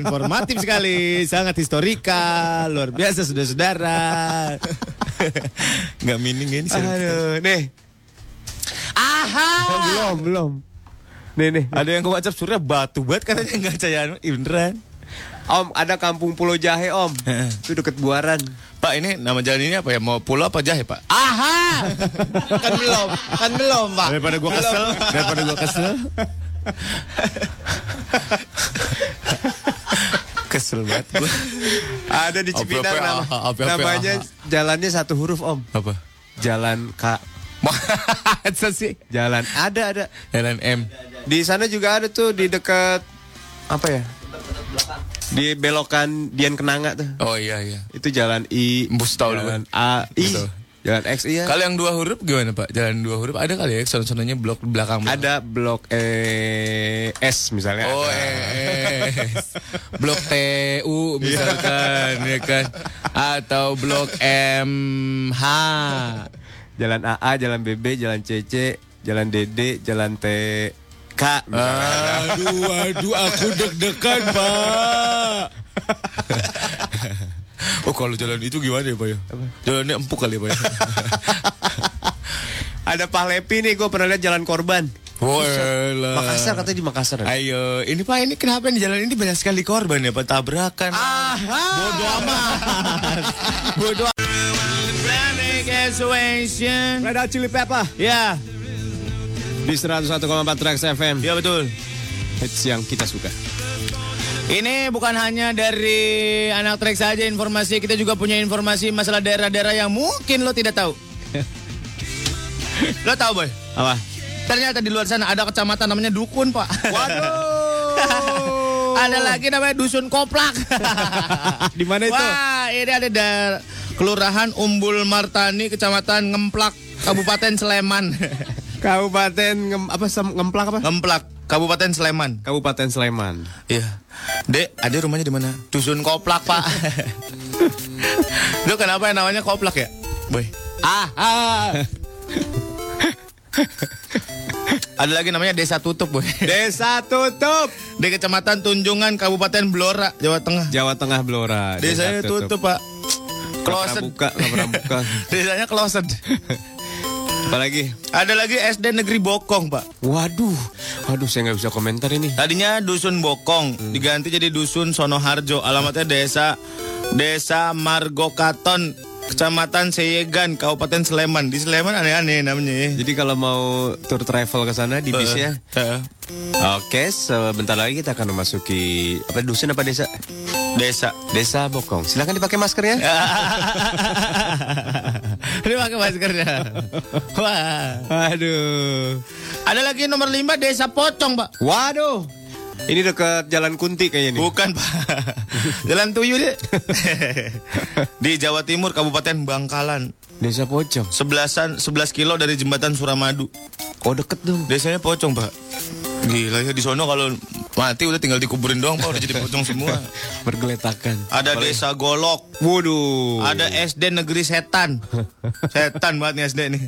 Informatif sekali, sangat historikal, luar biasa saudara-saudara. Nggak mining ya ini serem. Aduh, nih. Aha. belum, belum. Nih, nih. Ada yang ke WhatsApp surya batu banget katanya nggak percayaan. Ih, beneran. Om, ada kampung Pulau Jahe, Om. Heeh. itu deket Buaran. Pak, ini nama jalan ini apa ya? Mau pulau apa jahe, Pak? Aha! kan belum, kan belum, Pak. Daripada gua kesel, daripada gua kesel. kesel banget gua. Ada di Apa, Cipinang apa, nama- apa, apa, apa, namanya jalannya satu huruf, Om. Apa? Jalan K. Masa sih? Jalan ada ada. LNM. Di sana juga ada tuh di dekat apa ya? Di belokan Dian Kenanga tuh. Oh iya iya. Itu jalan I, Bus tahu lu, jalan A, I, Bus tahu. jalan X iya. Kalau yang dua huruf gimana Pak? Jalan dua huruf ada kali ya? Sono-sononya blok belakang. Ada blok E S misalnya. Oh ada. eh, eh. blok TU misalkan ya kan atau blok MH. Jalan AA, jalan BB, jalan CC, jalan DD, jalan T K. Aduh, aduh, aku deg-degan, Pak. Oh, kalau jalan itu gimana ya, Pak ya? Jalannya empuk kali ya, Pak ya? Ada Pahlepi nih, gue pernah lihat jalan korban. Walah. Makassar katanya di Makassar. ada. Ayo, ini Pak, ini kenapa di jalan ini banyak sekali korban ya, Pak? Tabrakan. Ah, bodoh amat. bodoh amat. Red Hot Chili Pepper Ya, di 101,4 Trax FM. ya betul. Hits yang kita suka. Ini bukan hanya dari anak trek saja informasi, kita juga punya informasi masalah daerah-daerah yang mungkin lo tidak tahu. lo tahu boy? Apa? Ternyata di luar sana ada kecamatan namanya Dukun pak. Waduh. ada lagi namanya Dusun Koplak. Di mana itu? Wah, ini ada dari Kelurahan Umbul Martani, Kecamatan Ngemplak, Kabupaten Sleman. Kabupaten ngem, apa Sem- ngemplak apa? Ngemplak, Kabupaten Sleman. Kabupaten Sleman. Iya. Dek, ada rumahnya di mana? Dusun Koplak, Pak. Lu kenapa yang namanya Koplak ya? Boy. Ah. ada lagi namanya Desa Tutup, Boy. Desa Tutup, Di Kecamatan Tunjungan, Kabupaten Blora, Jawa Tengah. Jawa Tengah Blora. Desanya tutup, Pak. Nggak pernah Closet. buka, nggak pernah buka. Desanya closet. Apalagi? Ada lagi SD Negeri Bokong, Pak. Waduh, waduh saya nggak bisa komentar ini. Tadinya Dusun Bokong Hmm. diganti jadi Dusun Sonoharjo. Alamatnya Desa Desa Margokaton, Kecamatan Seyegan, Kabupaten Sleman. Di Sleman aneh-aneh namanya. ya. Jadi ya? kalau mau tour travel ke sana di Eh, bisnya. eh. Oke, sebentar lagi kita akan memasuki apa dusun apa desa? Desa. Desa Bokong. Silakan dipakai ya. maskernya. Ini pakai maskernya. Wah. Aduh. Ada lagi nomor 5 Desa Pocong, Pak. Waduh. Ini dekat Jalan Kunti kayaknya nih. Bukan, Pak. Jalan Tuyul ya. Di Jawa Timur, Kabupaten Bangkalan. Desa Pocong. Sebelasan, 11 kilo dari jembatan Suramadu. Oh deket dong. Desanya Pocong, Pak. Gila ya di sono kalau mati udah tinggal dikuburin doang, Pak, udah jadi pocong semua. Bergeletakan. Ada Desa Golok, Waduh. ada SD Negeri Setan. Setan banget nih SD nih.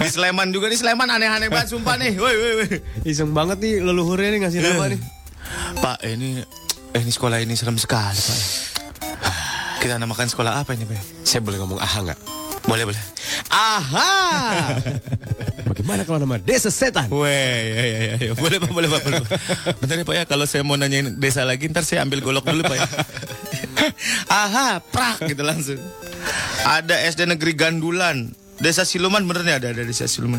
di Sleman juga di Sleman aneh-aneh banget sumpah nih. Woi, woi, woi. Iseng banget nih leluhurnya nih ngasih nama nih. Pak ini eh, ini sekolah ini serem sekali Pak. Kita namakan sekolah apa ini Pak? Saya boleh ngomong aha nggak? Boleh boleh. Aha. Bagaimana kalau nama desa setan? Weh, ya, ya, ya, ya. boleh Pak, boleh Pak, boleh Pak. Bentar ya Pak ya, kalau saya mau nanyain desa lagi, ntar saya ambil golok dulu Pak ya. Aha, prak gitu langsung. Ada SD Negeri Gandulan, Desa Siluman bener nih ada ada Desa Siluman.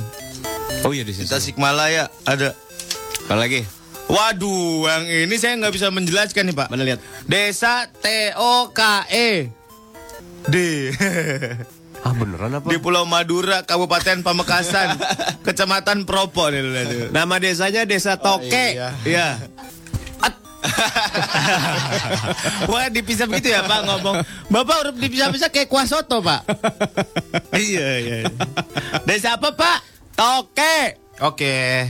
Oh iya desa. setan. Tasikmalaya ada. Apa lagi? Waduh, yang ini saya nggak bisa menjelaskan nih Pak. Mana lihat? Desa T O K E D. Ah beneran apa? di Pulau Madura, Kabupaten Pamekasan, Kecamatan Propo nih lu lihat tuh. Nama desanya Desa Toke. Iya. Iya. At. Wah dipisah begitu ya Pak ngomong. Bapak huruf dipisah-pisah kayak kuah soto Pak. iya iya. iya. Desa apa Pak? Toke. Oke.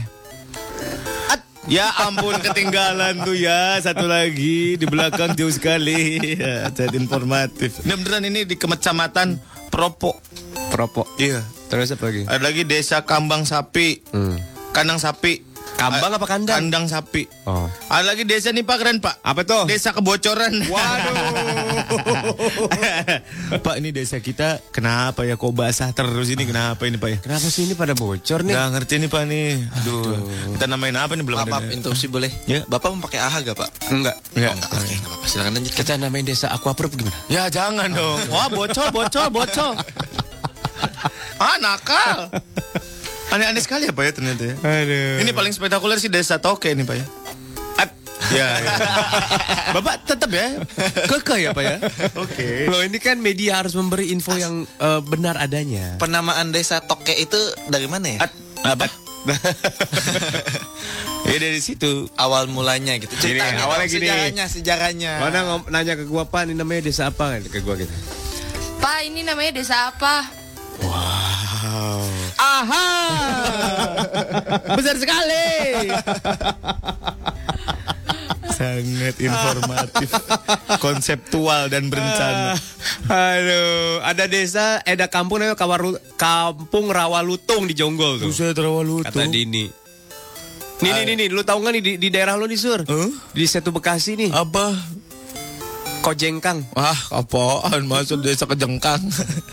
At. Ya ampun ketinggalan tuh ya satu lagi di belakang jauh sekali. Ya, Jadi informatif. Ini beneran ini di kecamatan Propo. Propo. Iya. Terus apa lagi? Ada lagi desa Kambang Sapi. Kandang sapi. Kambang A- apa kandang? Kandang sapi. Oh. Ada lagi desa nih Pak keren Pak. Apa tuh? Desa kebocoran. Waduh. Pak ini desa kita kenapa ya kok basah terus ini kenapa ini Pak ya? Kenapa sih ini pada bocor nih? Nggak ngerti nih Pak nih. Aduh. Kita namain apa nih belum Maaf, ada. maaf, interupsi boleh. Ya. Bapak mau pakai aha gak, Pak? Enggak. Ya. Oh, enggak. Oke, enggak apa-apa. Silakan lanjut. Kita namain desa Aquaprop gimana? Ya jangan dong. Wah bocor bocor bocor. ah nakal. Aneh-aneh sekali ya Pak ya ternyata ya. Aduh. Ini paling spektakuler sih desa Toke ini Pak ya. At. Ya, ya. Bapak tetap ya. Kekeh ya Pak ya. Oke. Loh ini kan media harus memberi info yang eh, benar adanya. Penamaan desa Toke itu dari mana ya? At. Apa? ya dari situ. Awal mulanya gitu. Gini, Ceritanya dong, awalnya gini. Sejarahnya, sejarahnya. Mana ngom- nanya ke gua apa ini namanya desa apa ke gua gitu. Pak ini namanya desa apa? Aha. Besar sekali. Sangat informatif, konseptual dan berencana. Aduh, ada desa eh, ada kampung namanya Kawaru- Kampung Rawalutung di Jonggol tuh. Buset terlalu Kata Dini. Nih, nih, nih, nih, lu tau gak nih di, di daerah lu Oh. nih Sur? Huh? Di Setu Bekasi nih, Apa? Kojengkang. Wah, apaan masuk desa kejengkang.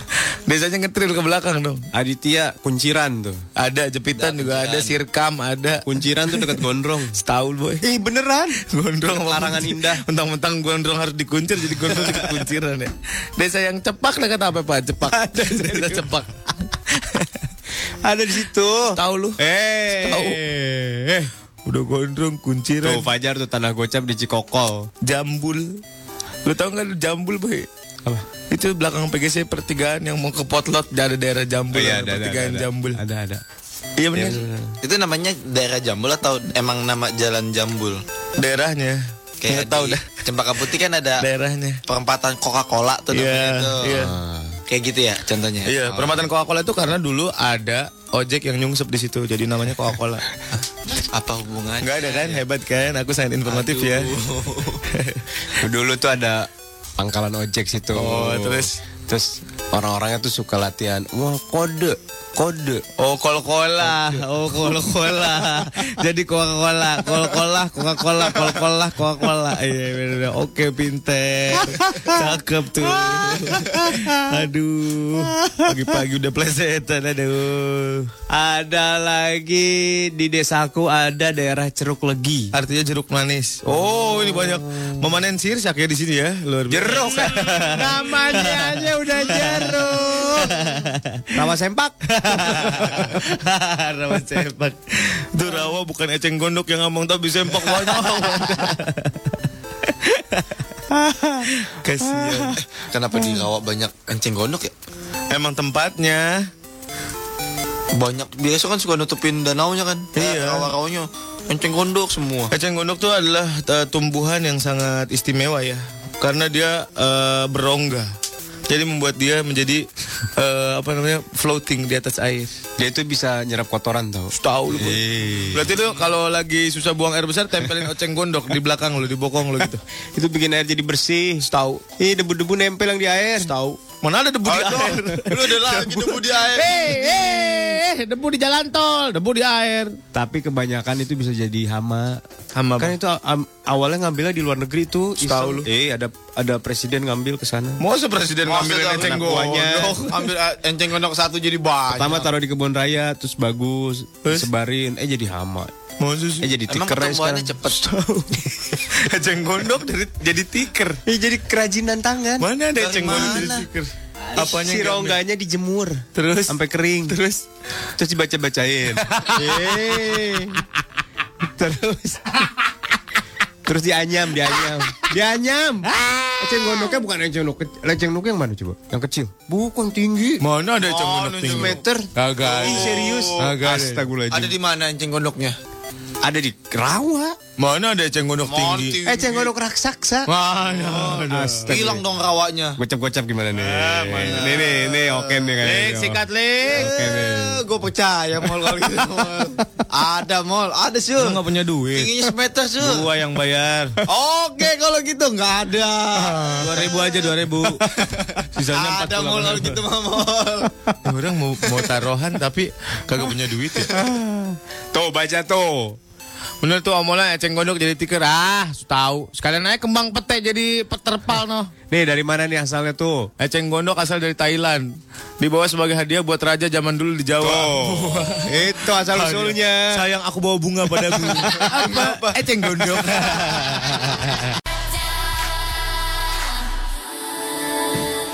Desanya ngetril ke belakang dong. Aditya, Kunciran tuh. Ada jepitan juga ada, sirkam ada. Kunciran tuh dekat Gondrong. Setahul boy. Ih beneran? Gondrong apa Larangan kunci- indah. Mentang-mentang gondrong harus dikuncir jadi gondrong dikunciran ya. Desa yang cepak lah kata apa Pak? Cepak. Desa cepak. Ada di situ. Tahu lu? Eh. Tahu. Eh. Udah gondrong kunciran. Tuh Fajar tuh tanah gocap di Cikokol. Jambul. Lu tahu nggak lu jambul boy? Apa? Itu belakang PGC pertigaan yang mau ke Potlot ada daerah Oh, Jambul, ada pertigaan Jambul. iya, Ada ada. Iya benar. Itu namanya daerah Jambul atau emang nama jalan Jambul? Daerahnya. Kayak Kayak tahu di dah Cempaka Putih kan ada daerahnya. perempatan Coca-Cola tuh namanya Iya, tuh. iya. Kayak gitu ya contohnya. Iya, Oh. perempatan Coca-Cola itu karena dulu ada ojek yang nyungsep di situ, jadi namanya Coca-Cola. Apa hubungannya? Enggak ada kan? Hebat kan? Aku sangat informatif ya. Dulu tuh ada pangkalan ojek situ. Oh, terus? terus orang-orangnya tuh suka latihan. Wah kode Kode. Oh, kol-kola. Oh, kol-kola. Jadi Coca-Cola, kol-kola, Coca-Cola, kol-kola, Coca-Cola. Iya, bener, bener. Oke, pinter. Cakep tuh. Aduh. Pagi-pagi udah plesetan, aduh. Ada lagi di desaku ada daerah Ceruk Legi. Artinya jeruk manis. Oh, ini banyak memanen sirsak ya di sini ya. Luar biasa. Jeruk. Namanya aja udah jeruk. Rawa sempak. rawa sempak. Itu rawa bukan eceng gondok yang ngomong tapi sempak wanyong. Kasihan. Kenapa Hmm. di Lawak banyak enceng gondok ya? Emang tempatnya Banyak biasa kan suka nutupin danaunya kan. Iya. Rawa-rawanya enceng gondok semua. Eceng gondok tuh adalah eh, tumbuhan yang sangat istimewa ya, karena dia eh, berongga. Jadi membuat dia menjadi eh, apa namanya floating di atas air. Dia itu bisa nyerap kotoran tau. Tahu lu. Bro. Berarti tuh kalau lagi susah buang air besar tempelin eceng gondok di belakang lu, di bokong lu gitu. itu bikin air jadi bersih. Tahu. Ih debu-debu nempel yang di air. Tahu. Mana ada debu di Aduh, air? Lu ada lagi debu di air. Eh, debu di jalan tol, debu di air. Tapi kebanyakan itu bisa jadi hama. Hama Kan itu am- awalnya ngambilnya di luar negeri tuh. Setahu lu. iseng. Eh ada ada presiden ngambil ke sana. Mau presiden Maksud ngambilin aku, eceng anak gondoknya. gondok. Ambil eh, enceng gondok satu jadi banyak. Pertama taruh di kebun raya, terus bagus, sebarin, eh jadi hama. Eh jadi Emang tikernya pertumbuhannya sekarang. cepet. eceng gondok dari jadi tiker. Eh jadi kerajinan tangan. Mana ada Dari eceng gondok jadi mana? tiker? Apanya si yang diambil? rongganya dijemur. Terus Sampai kering. Terus terus dibaca-bacain. Eh. terus terus dianyam, dianyam. Ah. Dianyam. Eceng gondoknya bukan eceng gondok. kecil. Eceng gondok yang mana coba? Yang kecil. Bukan tinggi. Mana ada eceng gondok Tujuh tinggi? meter. Kagak ada. Ih, serius. Kagak ada. Ada di mana enceng gondoknya? Ada di rawa. Mana ada eceng gondok Monti. tinggi? Eceng gondok raksasa. Mana Ah, ada? Hilang dong rawanya. Gocap-gocap gimana nih? nih, nih, nih, oke nih kayaknya. Ling, sikat ling. Oke nih. gue percaya mall kalau gitu mall. ada mall ada sih Lu nggak punya duit. tingginya semeter sih Gua yang bayar. oke kalau gitu nggak ada Dua ribu aja dua ribu. Ah. Sisanya empat ada mall kalau gitu mah mall Orang mau, mau taruhan tapi kagak punya duit ya. Tuh, baca tuh. Bener tuh omolan eceng gondok jadi tiker ah, tahu. Sekalian aja kembang pete jadi peterpal noh. Nih, dari mana nih asalnya tuh? Eceng gondok asal dari Thailand. Dibawa sebagai hadiah buat raja zaman dulu di Jawa. Oh. Tuh. Itu asal usulnya. Sayang aku bawa bunga padamu. Apa? Eceng gondok.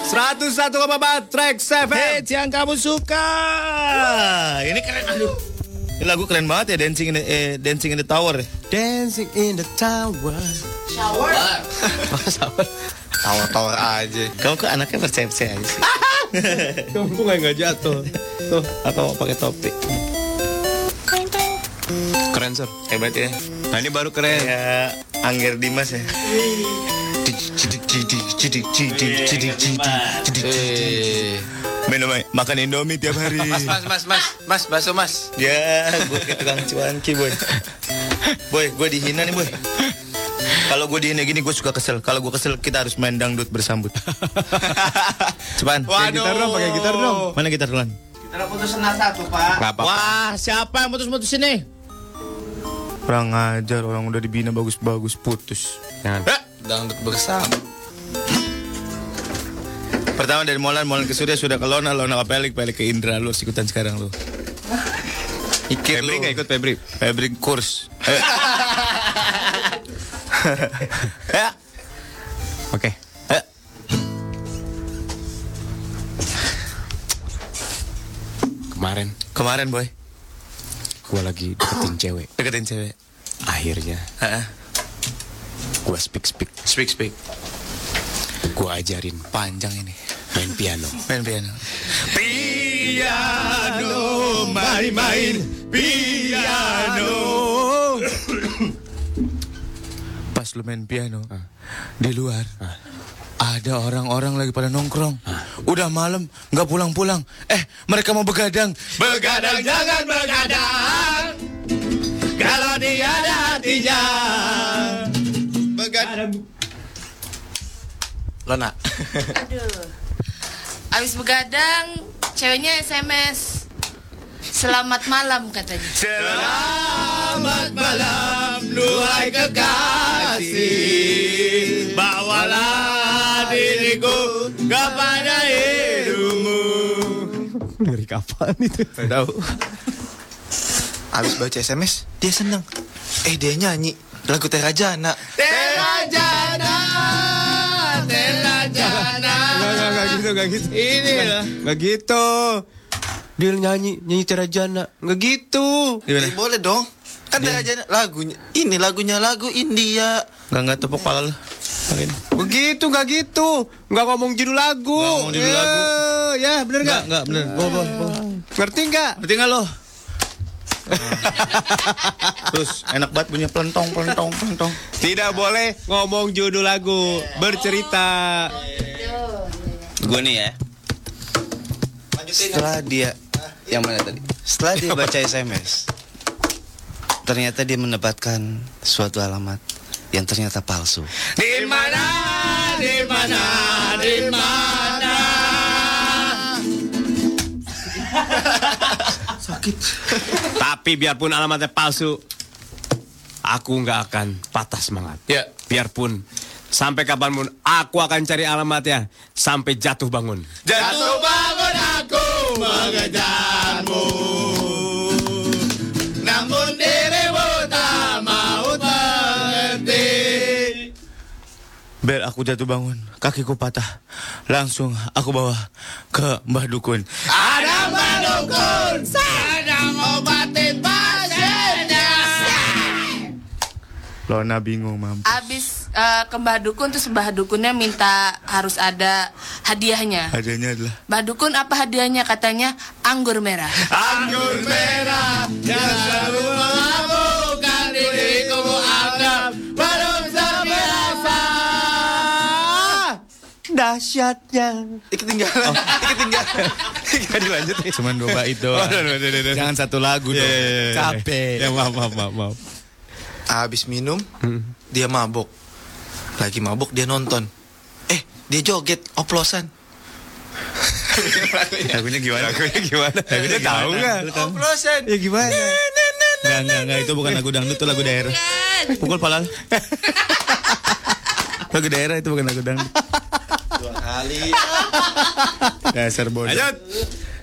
Seratus satu koma empat track seven. Hits yang kamu suka. Ini keren aduh. Ini lagu keren banget ya Dancing in the, eh, Dancing in the Tower. ya. Dancing in the tower. tawar-tawar aja Kamu kok anaknya persepsi aja sih. Kamu nggak nggak jatuh. Tuh, atau pakai topi. Keren sir. Hebat ya. Nah ini baru keren. Ya, Angger Dimas ya. Iya, Minum aja, makan Indomie tiap hari. Eh. mas mas mas mas bakso mas ya, gue ke tukang cuanki boy. Boy, gue dihina nih boy. Kalau gue dihina gini gue suka kesel. Kalau gue kesel kita harus main dangdut bersambut. Cepetan. Pakai gitar dong, pakai gitar dong. Mana gitar duluan? Gak apa-apa. siapa yang mutus-mutus ini? Kurang ajar orang udah dibina bagus-bagus putus. Jangan. dangdut bersama Pertama dari Molan, Molan ke Surya sudah ke Lona, Lona ke Pelik, Pelik ke Indra lu harus ikutan sekarang lu. Ikir Febri nggak ikut Febri. Febri kurs. Eh. Eh, Oke. eh. Kemarin Kemarin boy gue lagi deketin cewek. deketin cewek. Eh, Akhirnya Heeh. gue speak speak. Speak speak. Gue ajarin Panjang ini. main piano. Main piano. Piano main-main piano. Pas lu main piano di luar ada orang-orang lagi pada nongkrong. Udah malam nggak pulang-pulang. Eh mereka mau begadang. Begadang jangan begadang. Kalau dia ada hatinya. Begadang. Lona Abis begadang, ceweknya SMS. Selamat malam katanya. Selamat malam Duhai kekasih Bawalah diriku Kepada hidupmu Lirik kapan itu? Tahu. Abis baca SMS, dia seneng. Eh dia nyanyi lagu Terajana. Terajana Terajana Enggak, enggak, enggak gitu, enggak gitu. Ini lah. Enggak gitu. Dia nyanyi, nyanyi Terajana. Enggak gitu. Eh, boleh dong. Kan Terajana lagunya ini lagunya lagu India. Gak nggak tepuk pala lu Begitu, enggak gitu. Enggak ngomong judul lagu. Enggak ngomong judul lagu. Ya, bener enggak? Enggak, enggak bener Bawa, bawa, bawa. Ngerti enggak? Ngerti nggak lo? Terus enak banget punya pelentong, pelentong, pelentong Tidak boleh ngomong judul lagu, bercerita. Gue nih ya. Setelah dia Ah, iya. yang mana tadi? Setelah dia baca SMS, ternyata dia mendapatkan suatu alamat yang ternyata palsu. Di mana, di mana, di mana? Tapi biarpun alamatnya palsu, aku nggak akan patah semangat. Ya. Biarpun sampai kapanpun aku akan cari alamatnya sampai jatuh bangun. Jatuh bangun aku mengejarmu Namun dirimu tak mau berhenti Bel aku jatuh bangun, kakiku patah Langsung aku bawa ke Mbah Dukun Ada Mbah Dukun sedang obatin pasiennya Lona bingung mam Abis eh, ke Mbah Dukun terus Mbah Dukunnya minta harus ada hadiahnya. Adanya adalah Mbah Dukun apa hadiahnya katanya anggur merah. Anggur merah yang selalu melabuhkan diriku Anda belum seberapa. Dahsyatnya. Ketinggalan, ketinggalan. Gak dilanjut nih. Cuman dua bait doang. Jangan satu lagu dong. Capek. Ya maaf maaf maaf. maaf. Habis minum, Hmm. dia mabok. Lagi mabok dia nonton. Eh, dia joget oplosan. Lagunya gimana? Lagunya gimana? Lagunya Lu tahu nggak? Oplosan. Ya gimana? Enggak, enggak, enggak. Itu bukan lagu dangdut, itu lagu daerah. Pukul palal. lagu daerah itu bukan lagu dangdut. Dua kali. Dasar bodoh. Lanjut.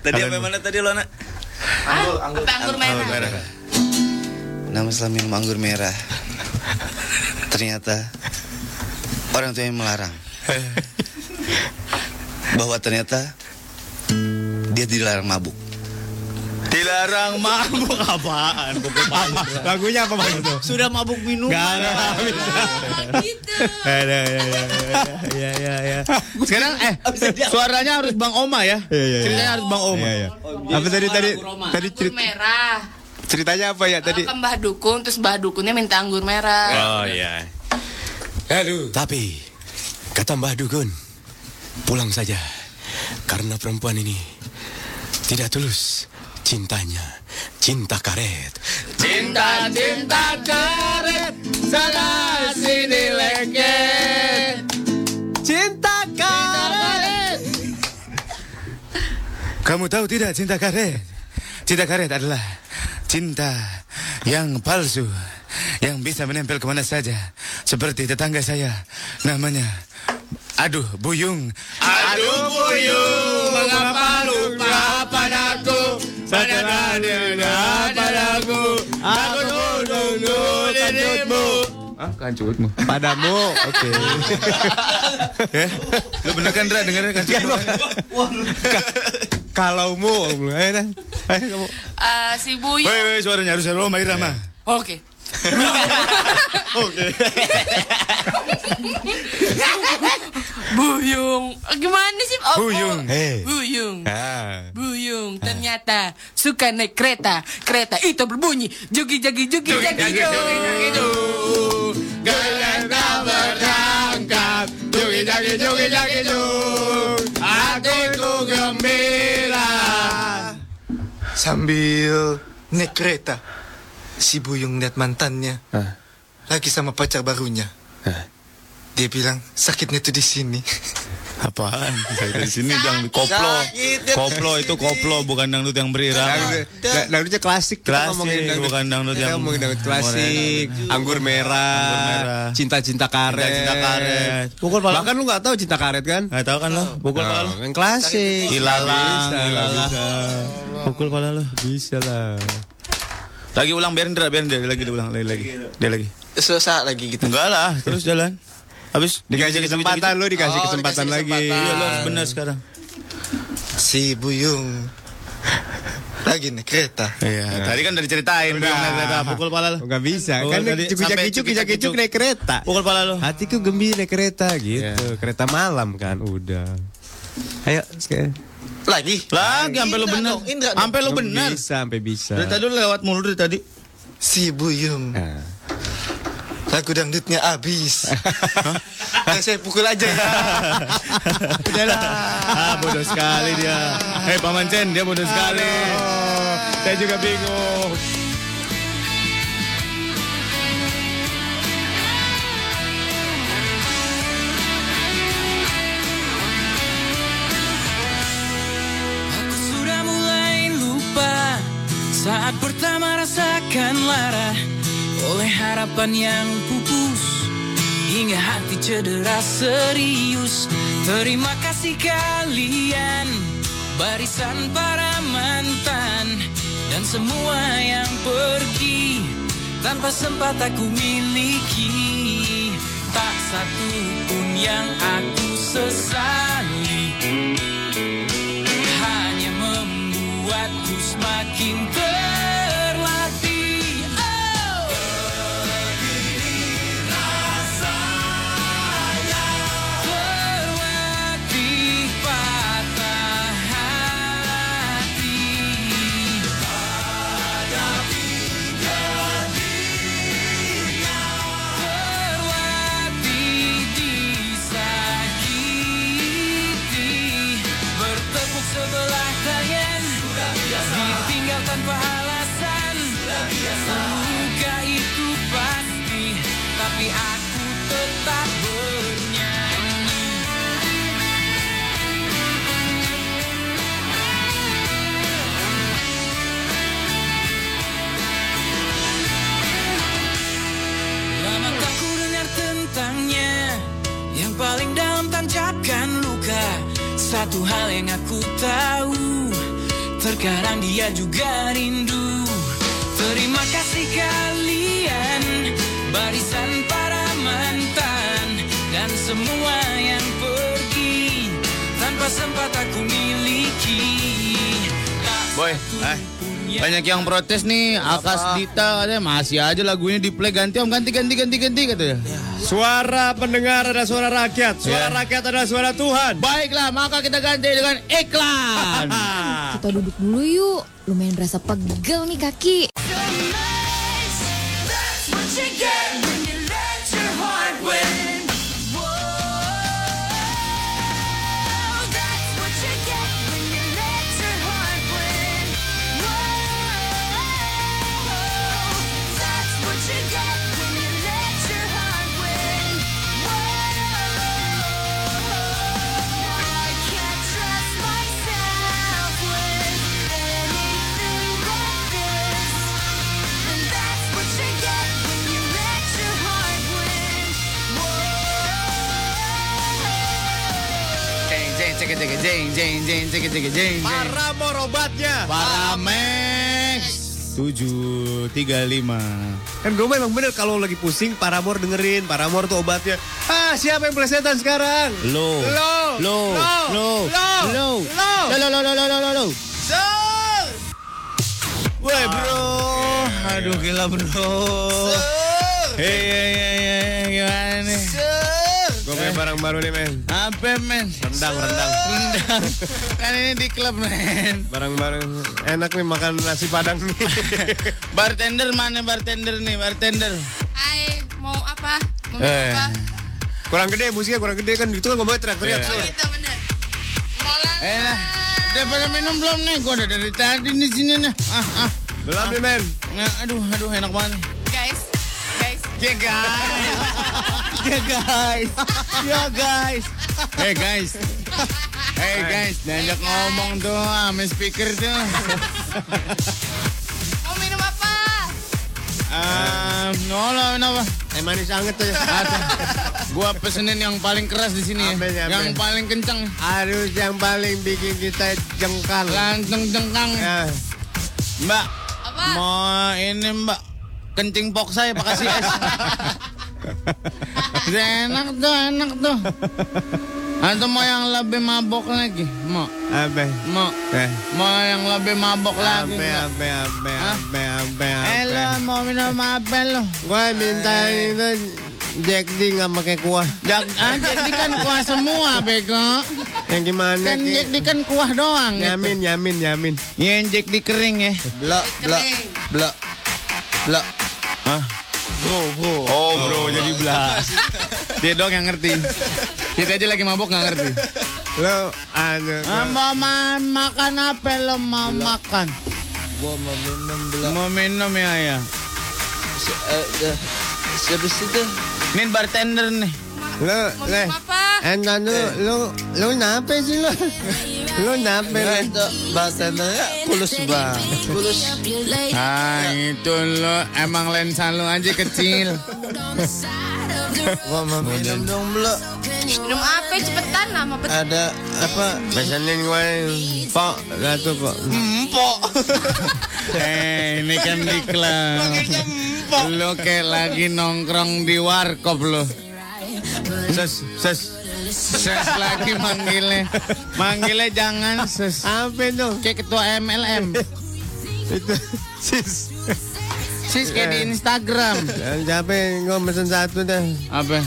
Tadi Kalian- apa mana tadi Lona? Anggur, anggur. Apa anggur merah. Nama setelah minum anggur merah. Ternyata orang tuanya melarang. Bahwa ternyata dia dilarang mabuk. Dilarang mabuk apaan? Pukul palal. Lagunya apa Bang? Sudah mabuk minum. gitu. Ya, ya, ya, ya, Iya, ya, ya, ya. Sekarang eh suaranya harus Bang Oma ya. iya. Ceritanya harus Bang Oma. Iya, Oh, iya. Apa tadi tadi tadi Anggur cerit- merah. ceritanya apa ya tadi? Ke Mbah Dukun terus Mbah Dukunnya minta anggur merah. Oh iya. Aduh. Tapi kata Mbah Dugun, pulang saja karena perempuan ini tidak tulus cintanya, cinta karet. Cinta cinta karet sana sini leket. Cinta karet. Kamu tahu tidak cinta karet? Cinta karet adalah cinta yang palsu yang bisa menempel kemana saja seperti tetangga saya namanya aduh buyung aduh buyung mengapa lupa padaku sadarlah padaku aku menunggu dirimu Padamu, oke. Eh, lu bener kan Dra dengerin kan Kalau mu, eh, nah. Eh, kamu. Eh, si Buya. Woi, woi, suaranya harus Roma Irama. Oke. Oke. Buyung. Gimana sih? Oh, Buyung. oh. Buyung. Ah. Buyung. Ternyata suka naik kereta. Kereta itu berbunyi jogi jogi jogi jogi jogi. Gelenda berangkat Jogi jogi jogi jogi jog Hatiku gembira Sambil naik kereta, si Buyung lihat mantannya. Lagi sama pacar barunya. Dia bilang sakitnya tuh di sini. Apaan? Saya dari sini dang koplo. Sakit. Koplo itu koplo bukan dangdut yang berirama. Dangdut- dangdutnya klasik. Kita Klasik, ngomongin dangdut- bukan dangdut kita yang ngomongin dangdut klasik, anggur merah, cinta-cinta karet. Cinta-cinta karet. Pukul Bahkan lu nggak tahu cinta karet kan? Nggak tahu kan lo? Pukul pala. Yang klasik. Ilalang, Nggak bisa, nggak ilalang. bisa. Pukul pala lo. Bisa lah. Lagi ulang biarin Dra, biarin dia lagi dia ulang lagi lagi. Dia lagi. Susah lagi gitu. Enggak lah, terus jalan. Habis Dikasih gitu-gitu, kesempatan, gitu-gitu. lu dikasih Oh, kesempatan dikasih lagi. kesempatan. Iya, lu harus benar sekarang. Si Buyung. Lagi nih kereta. Iya, tadi kan udah diceritain Buyung naik kereta pukul pala lo. Enggak bisa. Oh, kan tadi sampai cuci-cuci cuci cuci-cuci. Oh. naik kereta. Pukul pala lo. Hatiku gembira naik kereta gitu. Iya. Kereta malam kan udah. Ayo, sekarang. Lagi. Lagi sampai lu Indra benar. dong, Indra dong. Sampai lu benar. Bisa, sampai bisa. Dari tadi lu lewat mulu dari tadi. Si Buyung. Nah. Lagu dangdutnya abis. Yang saya pukul aja ya. Udah lah. Ah, bodoh sekali dia. Hei Paman Chen, dia bodoh sekali. Saya juga bingung. Aku sudah mulai lupa saat pertama rasakan lara oleh harapan yang pupus hingga hati cedera serius. Terima kasih kalian barisan para mantan dan semua yang pergi tanpa sempat aku miliki tak satu pun yang aku sesali hanya membuatku semakin terlatih. Oh. rasanya terlatih patah hati. Terlatih disakiti bertepuk sebelah tangan ditinggal tanpa alasan luka itu pasti tapi aku tetap bernyanyi lama tak ku dengar tentangnya yang paling dalam tancapkan luka Satu hal yang aku tahu Terkadang dia juga rindu Terima kasih kalian Barisan para mantan Dan semua yang pergi Tanpa sempat aku miliki Boy, eh, banyak yang protes nih. Akas Dita katanya masih aja lagunya di play ganti om ganti ganti ganti ganti katanya. Suara pendengar ada suara rakyat. Suara rakyat adalah suara Tuhan. Baiklah, maka kita ganti dengan iklan. Ah. Kita duduk dulu yuk. Lumayan berasa pegel nih kaki. That's what you get when you let your heart win. Whoa, that's what you get when you let your heart win. Whoa, that's what you get when you let your heart win. Whoa, I can't trust myself with anything like this. And that's what you get when you let your heart win. Jeng jeng jeng jeng jeng jeng jeng jeng jeng jeng jeng. Paramor obatnya. Paramex. Tujuh tiga lima. Kan gue memang bener kalau lagi pusing Paramor dengerin Paramor tuh obatnya Ah siapa yang plesetan sekarang? Lo. Lo Lo. Lo. Lo. Lo. Lo. Lo. Lo. Lo. Lo. Lo. Woi bro. Aduh gila bro. Hei hei hei hei gimana nih? Gue punya barang baru nih men Apa men? Rendang rendang Rendang. Kan ini di klub men. Barang baru Enak nih makan nasi padang nih Bartender mana bartender nih bartender? Hai, mau apa? Mau minum Eh. apa? Kurang gede musiknya kurang gede kan Itu kan ngomongnya teriak-teriak Iya. Sur. Kita bener. Eh lah, udah pada minum belum nih? Gua udah dari tadi di sini nih. Ah ah. Belum nih men Nah, aduh aduh enak banget. Guys, guys. Ya guys, ya guys, ya guys, Hey guys. Hey guys, diajak ngomong tuh ah, sama speaker tuh. Mau minum apa? Um, nolong apa? Teh Eh, manis anget tuh. ya. Gua pesenin yang paling keras di sini ya. Yang paling kencang. Harus yang paling bikin kita jengkal. Langsung jengkang. Mbak. Mau Eh, ini Mbak kencing box saya pakai kasih es. enak tuh, enak tuh. Atau mau yang lebih mabok lagi? Mau. Abe. Mau. Mau yang lebih mabok lagi? Abe, nggak? abe, abe, Hah? abe, abe, Eh abe. lo mau minum apa lo? Gue minta itu Jack D nggak pakai kuah. Jack, ah, Jack D kan kuah semua bego. Yang gimana? Kan Ki? Jack D kan kuah doang. Nyamin, nyamin, nyamin. Yang Jack D kering ya. Blok, blok, blok, blok. Hah? Bro, bro. Oh bro, jadi belah. Dia dong yang ngerti. Kita aja lagi mabok nggak ngerti. Lo, aduh. mau ma- makan apa lo mau makan? Gua mau minum blok. Mau minum ya ya. Se- eh, eh, Sebes itu. Ini bartender nih. Lo, le. Entar lu, lu, lu nape sih lo? Lu nape lo? Bartendernya ya? kulus banget. Kulus. Ah itu lo emang lensa lo aja kecil. Gua mau minum dong blok. Minum apa? Cepetan lah, mau bet- Ada apa? Pesenin gue pok satu pok. Hmm. Empok. Eh, ini kan diklat. Lo kayak lagi nongkrong di warkop lo. Ses, ses. Ses lagi manggilnya. Manggilnya jangan ses. Apa dong? Kayak ketua MLM. Itu sis. Eh. Sis kayak di Instagram. Capek, gue pesen satu deh. Apa?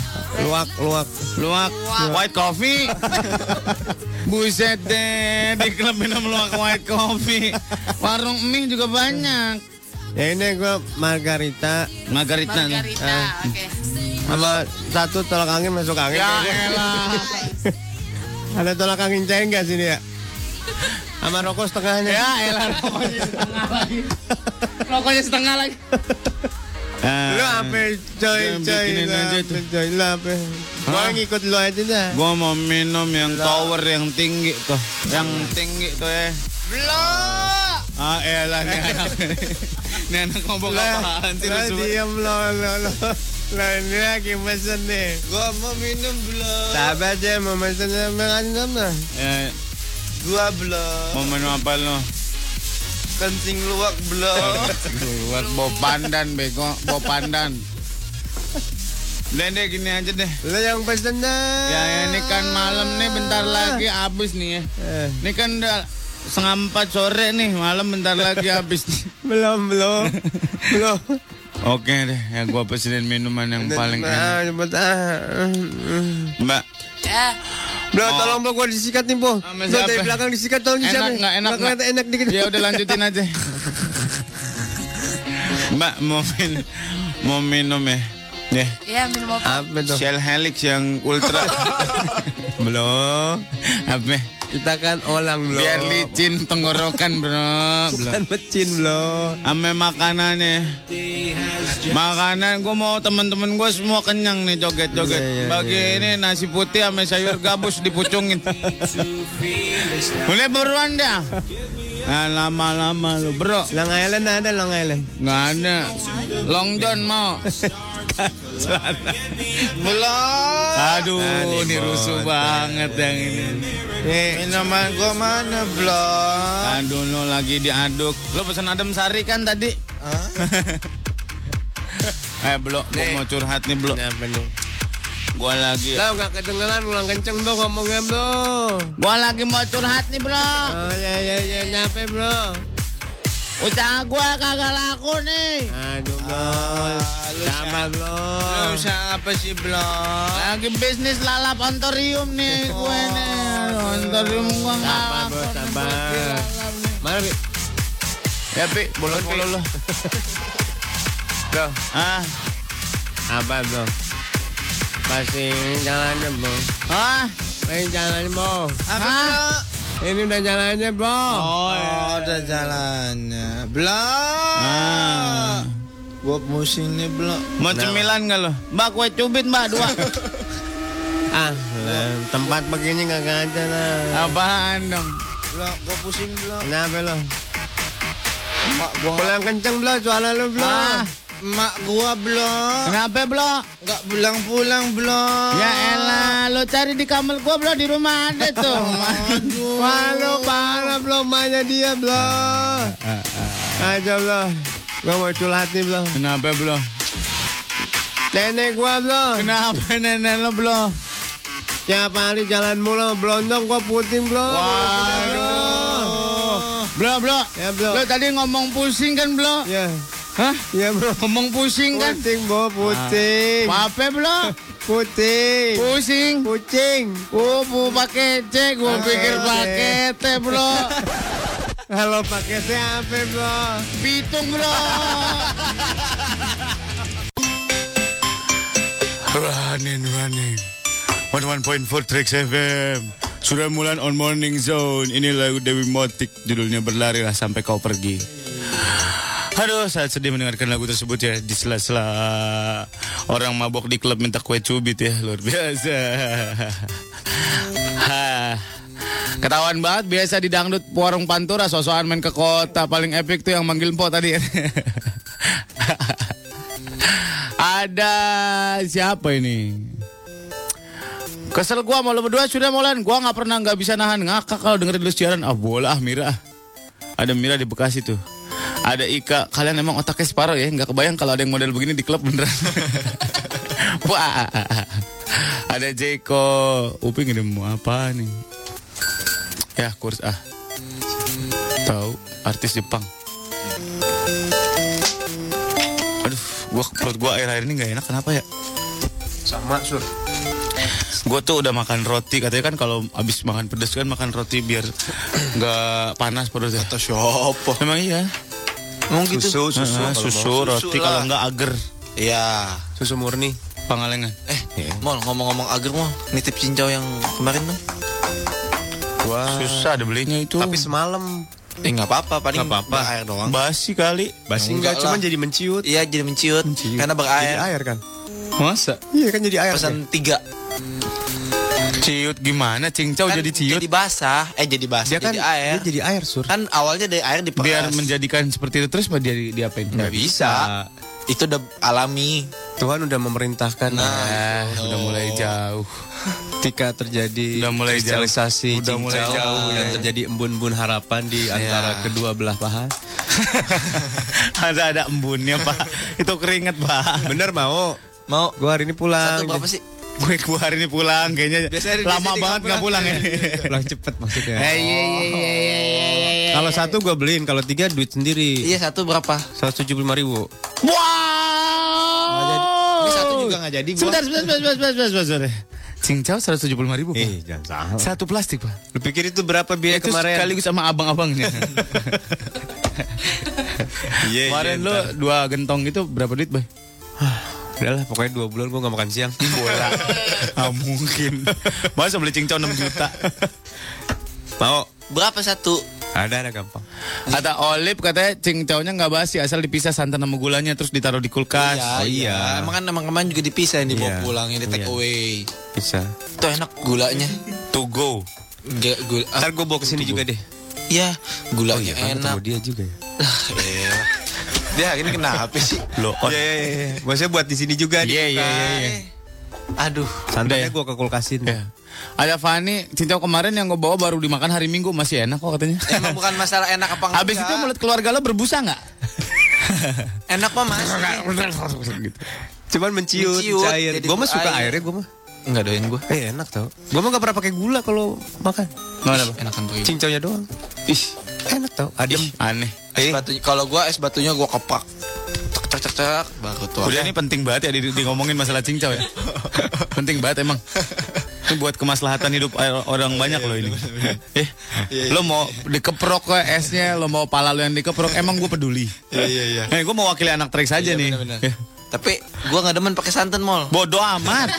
Luak, luak. Luak. White coffee. Buset deh, di klub minum luak white coffee. Warung mie juga banyak. Ya ini gue margarita. Margarita. Margarita, Eh, oke. Sama satu tolak angin masuk angin. Ya kayaknya. elah. Ada tolak angin cair nggak sini ya? Sama rokok setengahnya. Ya elah rokoknya setengah lagi. Rokoknya setengah lagi. Lu apa coy Jangan coy bikinin lu aja apa coy lu apa? Gua Hah? ngikut lu aja dah. Gua mau minum yang tower yang tinggi tuh. Yang tinggi tuh ya. Blok. Ah elah nih anak. Nih anak ngomong apaan sih lu Lah semua? diam lo lo lo. Lah ini lagi pesen nih. Gua mau minum blok. Sabar aja mau pesen sama kan sama. Ya, Gua blok. mau minum apa lu? Kencing luwak blok. Buat bau pandan bego, bau pandan. Udah deh gini aja deh. Lu yang pesen dah. Ya ini kan malam nih bentar lagi habis nih ya. Ini kan udah setengah empat sore nih malam bentar lagi habis nih. Belum belum. Belum. Oke deh, ya gua pesenin minuman yang paling enak. Ah, cepet ah. Mbak, Ya. Bro, Oh. tolong bro, gua disikat nih, bro. Sama Bro, dari siapa? belakang disikat, tolong disikat. enak nggak enak Belakang nggak? enak dikit. Ya udah lanjutin aja. Mbak mau minum, mau minum ya? Ya. Ya, minum apa? Apa tuh? Shell Helix yang ultra. Belum. Apa? Kita kan olang, bro. Biar licin tenggorokan, Bro. Belum. Kan pecin, bro. Ame makanannya. Makanan gue mau teman-teman gue semua kenyang nih joget-joget. Iya, iya, Bagi ini nasi putih sama sayur gabus dipucungin. Boleh buruan dah. Nah, lama-lama lu bro. Long Island ada, Long Island. Nggak ada. Long John mau. Belum. Aduh, ini rusuh banget yang ini. Minuman gua mana blok? Aduh, lo lagi diaduk. Lo pesan Adem Sari kan tadi? eh, belum. Gua mau curhat nih, Nah. belum. Gua lagi. Lo nggak kedengeran, ulang kenceng, bro, ngomongnya, bro. Gua lagi mau curhat nih, bro. Oh, ya, ya, ya, nyampe, bro. Usaha gua kagak laku nih. Ah, Aduh, bro. lu Sama, bro. Lu usaha apa sih blok? Lagi bisnis lalap ontorium nih gue nih. Aduh, Ontorium gua nggak Sabar, laku. bro, sabar. Mana, Bi? Ya, Pi, bolong mulu lo. Bro, Ah, apa, bro? Masih jalannya, bro. ah, Masih jalannya, bro. ah. Ini udah jalannya, bro. Oh, udah jalannya. Blok. Ah. Gua pusing nih blok. Mau cemilan nggak lo? Mbak kue cubit mbak dua. Ah, lah, tempat begini kagak ada lah. Apaan dong? Belum, gue pusing belum. Kenapa lo? Mak gua pulang kenceng belum, suara lo belum. Ah, mak gua belum. Kenapa belum? Nggak pulang-pulang belum. Ya elah, lo cari di kamar gua belum di rumah ada tuh. Wah, lo parah Ah, belum mainnya dia belum. Aja belum. Gua mau cul hati belum. ah. Kenapa belum? Nenek gua belum. Kenapa nenek lo belum? Tiap hari jalan mulu, blondong gua puting belum. Waduh. Bro, bro. Ya, bro. Lo tadi ngomong pusing kan, bro? Ya. Hah? Ya, bro. Ngomong pusing kan? Ah, Pusing, bro. Pusing. Apa, bro? Puting. Pusing. Kucing. Oh, bu, pakai C. Gua pikir pakai T, bro. Halo, pakai T apa, bro? Pitung, bro. Running, running. 11.4 Trax FM. Sudah mulai on morning zone. Ini lagu Dewi Motik judulnya berlarilah sampai kau pergi. Aduh, saat sedih mendengarkan lagu tersebut ya di sela-sela orang mabok di klub minta kue cubit ya luar biasa. Hah. Ketahuan banget biasa di dangdut warung pantura sosokan main ke kota paling epic tuh yang manggil po tadi. Ada siapa ini? Kesel gua mau lo berdua sudah molan. Gua nggak pernah nggak bisa nahan ngakak kalau dengerin lu siaran. Ah bola ah Mira. Ada Mira di Bekasi tuh. Ada Ika. Kalian emang otaknya separuh ya. Nggak kebayang kalau ada yang model begini di klub beneran. Wah. Ada Jeko. Upi ngirim mau apa nih? Ya kurs ah. Tahu artis Jepang. Aduh, gua perut gua air-air ini nggak enak kenapa ya? Sama sur. Gue tuh udah makan roti katanya kan kalau abis makan pedas kan makan roti biar nggak panas perutnya. Atau siapa? Emang iya. Emang gitu? Susu, susu, Ah, kalau Nah, susu, mau. roti, Susu kalau lah. nggak agar. Iya. Susu murni. Pangalengan. Eh, Mol ngomong-ngomong agar Mol, nitip cincau yang kemarin dong. Wah. Susah ada belinya Ya itu. Tapi semalam. Eh nggak apa-apa, paling Nggak apa-apa. berair doang. Basi kali. Basi Enggak nggak, lah. cuman jadi menciut. Iya jadi menciut, karena berair. Jadi air kan. Masa? Iya kan jadi ya. air. Pesan tiga. Ciut gimana? Oh, Cincau jadi ciut. Kan Jadi basah, eh jadi basah. Dia kan- jadi air. dia jadi air sur. Kan awalnya dari air diperas. Biar menjadikan seperti itu terus mau dia diapain? Nggak bisa. Itu udah alami. Tuhan udah memerintahkan. Nah, udah mulai jauh. Ketika terjadi Udah mulai jauh. kristalisasi Udah mulai cincau jauh, dan ya. terjadi embun-embun harapan di Iya. antara kedua belah paha. ada ada embunnya pak. Itu keringet pak. Bener mau? Mau. Gua hari ini pulang. Ah, Satu berapa sih? Gue gua hari ini pulang kayaknya Biasanya- lama biasanya banget nggak pulang ya. Pulang cepet maksudnya. Eh, iya, iya, iya, iya, iya, iya. Kalau satu gue beliin, kalau tiga duit sendiri. Iya satu berapa? 175 ribu. Wow. Ini Oh. satu juga nggak jadi, gua. Sebentar, sebentar, sebentar, sebentar, sebentar, sebentar. Cincau 175 ribu, Pak. Iya. Satu plastik, Pak. Eh, Lu pikir itu berapa biaya Itu kemarin? sekaligus sama abang-abangnya. Iya, Kemarin iya, lo dua gentong itu berapa duit, Bay? Udah lah, pokoknya dua bulan gue gak makan siang. Iya. Bola. Ah, mungkin. Masa beli cincau 6 juta. Mau? Berapa satu? Ada, ada gampang. Kata Olive katanya cincaunya nggak basi asal dipisah santan sama gulanya terus ditaruh di kulkas. Iya, Emang kan emang kemarin juga dipisah yang dibawa Iya. pulang ini take away. Bisa. Itu enak gulanya. To go. Gak gula. Ntar gue bawa kesini juga deh. Iya, gulanya kan enak. Iya. ketemu dia juga ya. Elah. Dia ini kenapa sih? Lo on. Iya, iya, iya. Maksudnya buat di sini juga Iya, iya, iya, iya. Aduh. Santai gue ke kulkasin. Ada Fani, cincau kemarin yang gue bawa baru dimakan hari Minggu masih enak kok katanya. Emang bukan masalah enak apa enggak. Habis itu mulut keluarga lo berbusa nggak? enak mah mas. gitu. Cuman menciut, Menciut, cair. jadi Gue mah suka air. airnya gue mah. Enggak doain gue. Eh enak tau. Gue mah gak pernah pakai gula kalau makan. Mana Enakan tuh. Cincaunya doang. Ih, enak tau. Adem. aneh. Es batunya kalau gua es batunya gua kepak. Cek cek cek cek baru tuh. Udah ini penting banget ya di, di ngomongin masalah cincau ya. penting banget emang. Ini buat kemaslahatan hidup or- orang Iya, banyak loh ini. Eh, Lo mau dikeprok ke esnya, lo mau pala lo yang dikeprok, emang gue peduli. Iya iya iya. Eh, gue mau wakili anak trek saja nih. Ya. Tapi gua nggak demen pakai santan mall. Bodoh amat.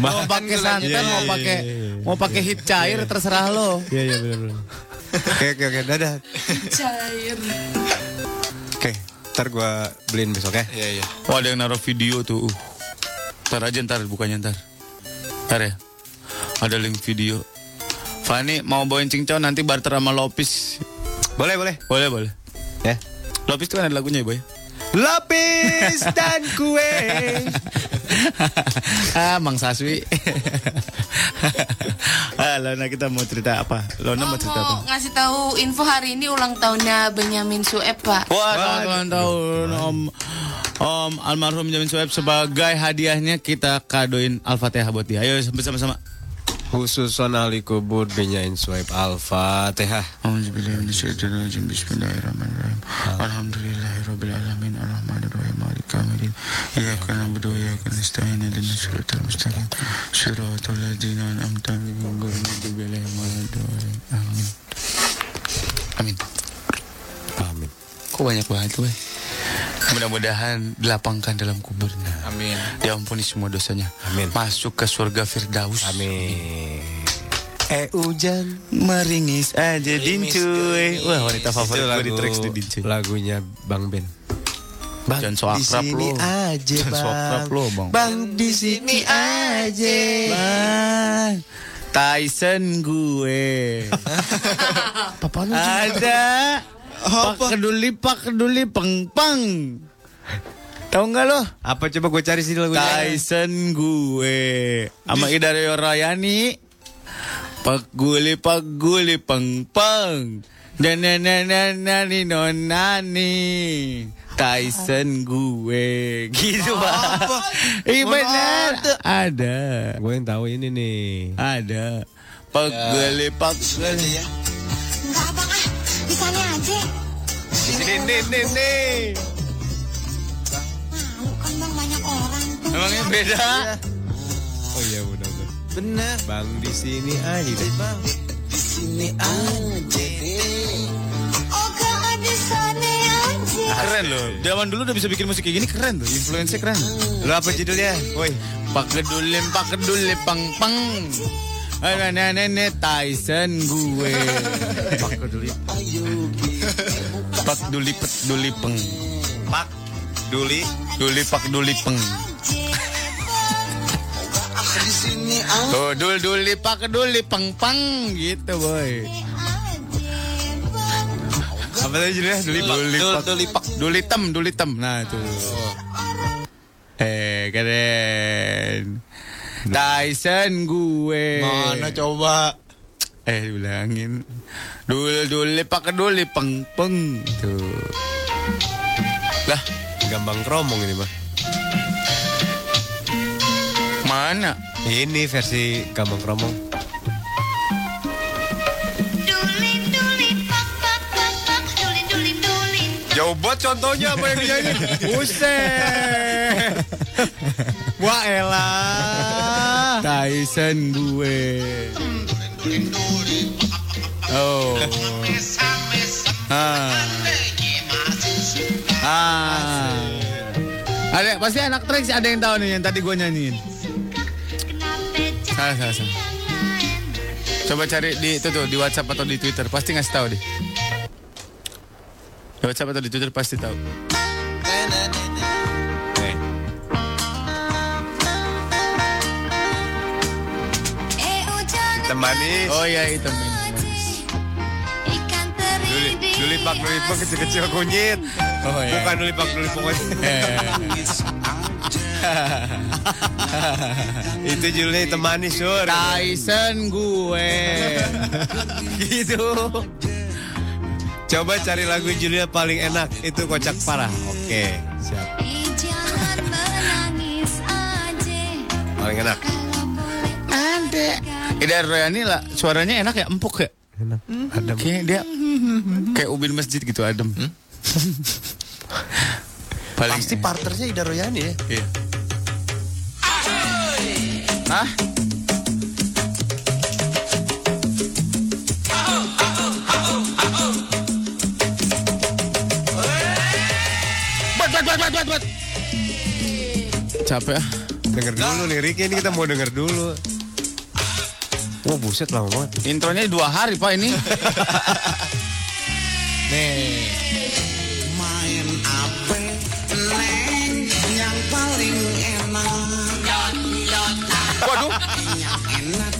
mau Bahkan pakai gulanya. santan, Iya, mau iya, pakai iya, mau pakai hit cair terserah lo. Iya, iya bener-bener. Oke, oke, oke. Dadah. Cair. Oke, ntar gue beliin besok ya. Iya iya. Oh ada yang naruh video tuh. Uh. Ntar aja ntar bukannya ntar. Ntar ya. Ada link video. Fani mau bawain cincau nanti barter sama Lopis. Boleh, boleh. Boleh, boleh. Ya. Lopis tuh kan ada lagunya ya, Boy. Lapis dan kue. Eh. ah, Mang Saswi. ah, Lona kita mau cerita apa? Lona mau cerita apa? Mau ngasih tahu info hari ini ulang tahunnya Benyamin Sueb, Oh. Pak. Wah, tahun tahun Om Om almarhum Jamin Sueb sebagai hadiahnya kita kadoin Al-Fatihah buat dia. Ayo sama-sama. Khususon ahli kubur binyain swipe ah, alfa TH. Bismillahirrahmanirrahim. Bismillahirrahmanirrahim. Alhamdulillahirabbil alamin arrahmanirrahim maliki yaumiddin iyyaka na'budu wa iyyaka nasta'in ihdinas siratal mustaqim siratal ladzina an'amta 'alaihim ghairil maghdubi 'alaihim waladdallin amin Amin. Amin. Kok banyak banget weh. Mudah-mudahan dilapangkan dalam kuburnya. Amin. Diampuni semua dosanya. Amin. Masuk ke surga Firdaus. Amin. Eh hujan meringis aja din cuy. Wah wanita favorit gue di tracks di din cuy. Lagunya Bang Ben. Bang, Jangan so Di akrab sini lo. aja Jangan so akrab bang. lo bang. Bang di sini aja. Bang. Tyson gue. Papa lu Ada. Pak keduli, pak keduli, peng peng. Tahu nggak lo? Apa coba gue cari sini lagunya? Tyson gue sama Idario Royani. Pak guli, pak guli, peng peng. Dan nani nani nani. Tyson gue gitu pak. Iya benar. Ada. Gue yang tahu ini nih. Ada. Pegeli pegeli. Enggak abang ah, di sana aja. Sini, nih, nih, nih. Malu kan bang banyak orang tuh. Emangnya beda? Oh iya udah udah. Bener. Bang di sini aja. deh. Di sini aja. Oke, di sana aja. Keren loh. Zaman dulu udah bisa bikin musik kayak gini keren tuh. Influence keren. Lo apa judulnya? Woi. Pak kedulim, pak kedulim, pang pang. Ada nenek Tyson gue. Pak kedulim. Pak duli pet duli peng. Pak duli duli pak duli peng. Di sini Tuh dul duli pak duli peng peng gitu boy. Apa tadi judulnya? Duli pak duli pak duli pak duli tem duli tem. Nah itu. Eh keren. Tyson gue. Mana coba? Eh bilangin. Dul duli pak duli peng peng. Tuh. Lah, gampang keromong ini mah. Mana? Ini versi gampang keromong. Jauh banget contohnya apa yang dinyanyi. Buset. Wah elah. Tyson gue. Oh. Ah. Ah. Ada pasti anak Trax ada yang tahu nih yang tadi gue nyanyiin. Salah salah salah. Coba cari di itu tuh di WhatsApp atau di Twitter pasti ngasih tahu deh. Di WhatsApp atau di Twitter pasti tahu. Eh, hujan Temani. Oh iya itu. ikan Duli, teri. duli pak, duli pak kecil-kecil kunyit. Oh iya. Bukan duli pak, duli pak kunyit. Itu judulnya temani sur. Tyson gue. gitu. Coba cari lagu judulnya paling enak. Itu kocak parah. Oke, siap. Eh, jangan menangis aja. Paling enak. Ada. Ida Royani lah suaranya enak ya empuk ya. Enak. Adem. Kayak dia kayak ubin masjid gitu adem. Paling Pasti parternya Ida Royani ya. Iya. Hah? Buat, buat, buat, buat, buat, buat. Capek ah. Denger dulu liriknya ini kita mau denger dulu. Wah buset lama banget. Intronya dua hari pak ini. Nih. Main apa neng yang paling enak. Waduh. Yang enak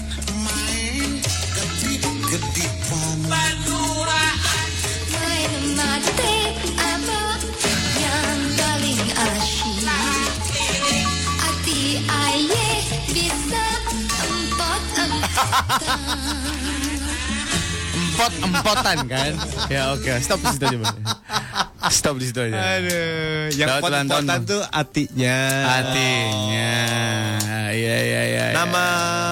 Empot empotan kan? ya oke, stop di situ aja. Bang. Stop di situ aja. Aduh, yang Lewat ulang tahun pot-potan dong. tuh atinya. Atinya. Iya iya iya. Nama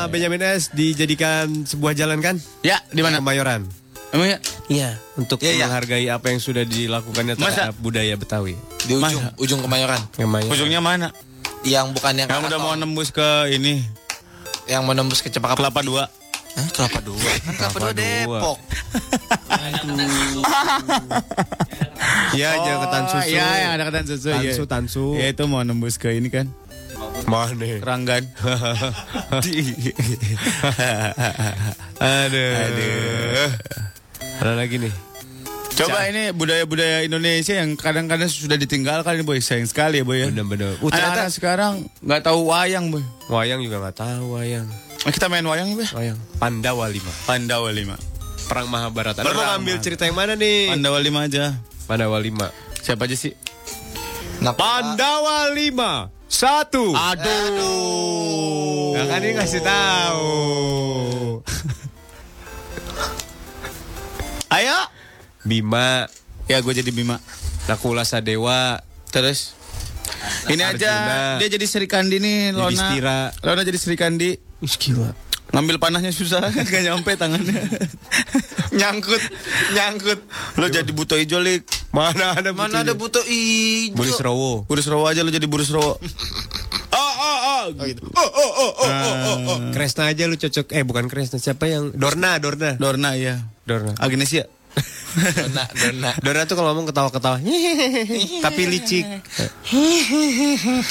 Benjamin S dijadikan sebuah jalan kan? Ya, di mana? Kemayoran. Emang ya? Iya, untuk Iya, iya. menghargai apa yang sudah dilakukannya Masa? terhadap budaya Betawi. Di ujung, ujung Kemayoran. Kemayoran. Ujungnya mana? Yang bukan yang Yang udah mau nembus ke ini. Yang mau nembus ke Cempaka Kelapa Dua. Hah, Kelapa Dua. Kan Kelapa Dua Depok. Iya, Oh, deketan susu. iya, yang ada ketan susu, iya. Tansu, tansu. Ya itu mau nembus ke ini kan. Mana? Keranggan. Di- Aduh. Ada lagi nih. Coba ini budaya-budaya Indonesia yang kadang-kadang sudah ditinggalkan ini boy, sayang sekali ya boy ya. Bener-bener. Uh, Anak-anak sekarang nggak tahu wayang boy. Wayang juga nggak tahu wayang. Kita main wayang ya boy. Wayang. Pandawa 5. Pandawa 5. Perang Mahabharata. Baru Lu ngambil cerita yang mana nih? Pandawa 5 aja. Pandawa 5. Siapa aja sih? Pandawa 5. Satu. Aduh. Nah, kan ini ngasih tahu. Ayo. Bima. Ya gue jadi Bima. Nakula Sadewa. Terus. Ini aja Arjuna. dia Nah, jadi Sri Kandi nih Lona. Yudhistira. Lona jadi Sri Kandi. Gila. Ngambil panahnya susah, gak nyampe tangannya. nyangkut, nyangkut. Lo jadi buto ijo, Lik. Mana ada Mana ada butuh ijo. Burisrowo. Burisrowo aja lo jadi Burisrowo. Oh, oh, oh. gitu. Oh, oh, oh, oh, oh, oh, oh. Kresna aja lu cocok. Eh bukan Kresna, siapa yang Dorna, Dorna. Dorna iya. Dorna. Agnesia. Dona, Dona. Dorna tuh kalau ngomong ketawa-ketawa. Tapi licik.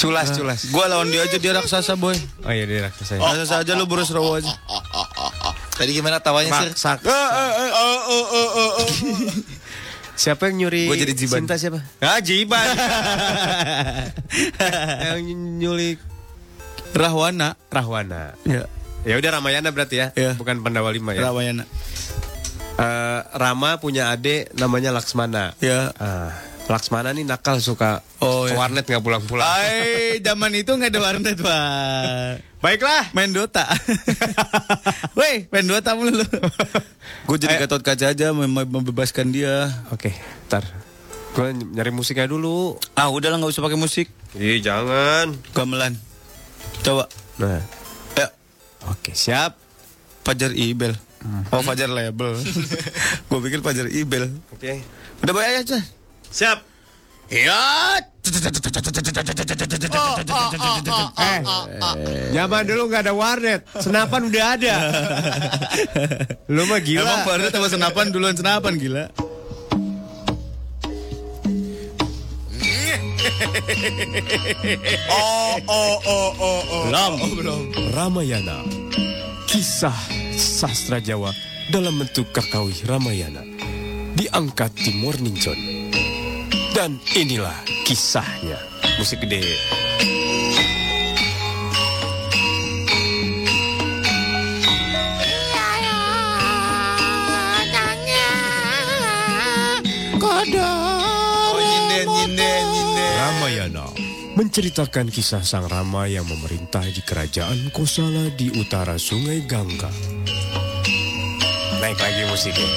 Culas, culas. Ah. Gua lawan dia aja dia raksasa, boy. Oh iya dia raksasa. Oh, raksasa aja lu Burisrowo aja. Tadi gimana tawanya sih? Sak. Oh, Siapa yang nyuri Gua jadi Jiban. Sinta siapa? Ah, Jiban. yang nyulik Rahwana. Rahwana. Ya. Ya udah Ramayana berarti ya, bukan Pandawa 5 ya. Rahwana. Eh, Rama punya adik namanya Laksmana. Ya. Ah, Laksmana nih nakal suka Oh, ke iya. warnet nggak pulang-pulang. Hai, zaman itu nggak ada warnet, Pak. Baiklah. Main Dota. Woi, main Dota mulu Eh. lu. Gue jadi Gatot Kaca aja mem- membebaskan dia. Oke, ntar. Gue nyari musiknya dulu. Ah, udahlah nggak usah pakai musik. Ih, jangan. Gamelan. Coba. Nah. Ya. Oke, siap. Fajar Ibel. Oh, Fajar Label. Gue pikir Fajar Ibel. Oke. Udah bayar aja. Siap. Ya. oh, Eh, zaman dulu nggak ada warnet, senapan udah ada. Lu mah gila. Iya. Emang baru sama senapan duluan senapan gila. Oh, oh, oh, oh, oh. Ram. Ramayana. Kisah sastra Jawa dalam bentuk kakawi Ramayana. Diangkat di Morning John. Dan inilah kisahnya. Musik gede. Oh, nyinden, nyinden, nyinden. Ramayana menceritakan kisah sang Rama yang memerintah di kerajaan Kosala di utara sungai Gangga. Naik lagi musiknya.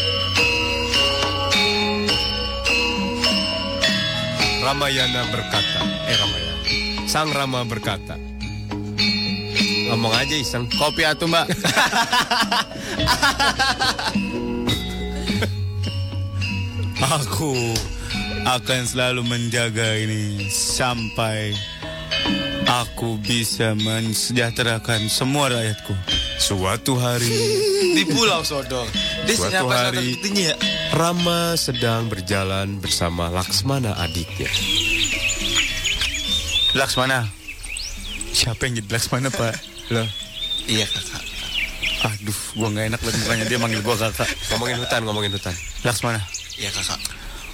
Ramayana berkata, eh Ramayana, sang Rama berkata, ngomong aja iseng. Kopi atuh, Mbak. Aku akan selalu menjaga ini sampai aku bisa mensejahterakan semua rakyatku. Suatu hari, Di Pulau Sodor. Dia Suatu sinyal pas hari. tinggi ya. Rama sedang berjalan bersama Laksmana adiknya. Laksmana. Siapa yang jadi Laksmana, Pak? Loh, Iya kakak. Aduh, gua nggak enak liat mukanya dia manggil gua kakak. ngomongin hutan, ngomongin hutan. Laksmana. Iya kakak.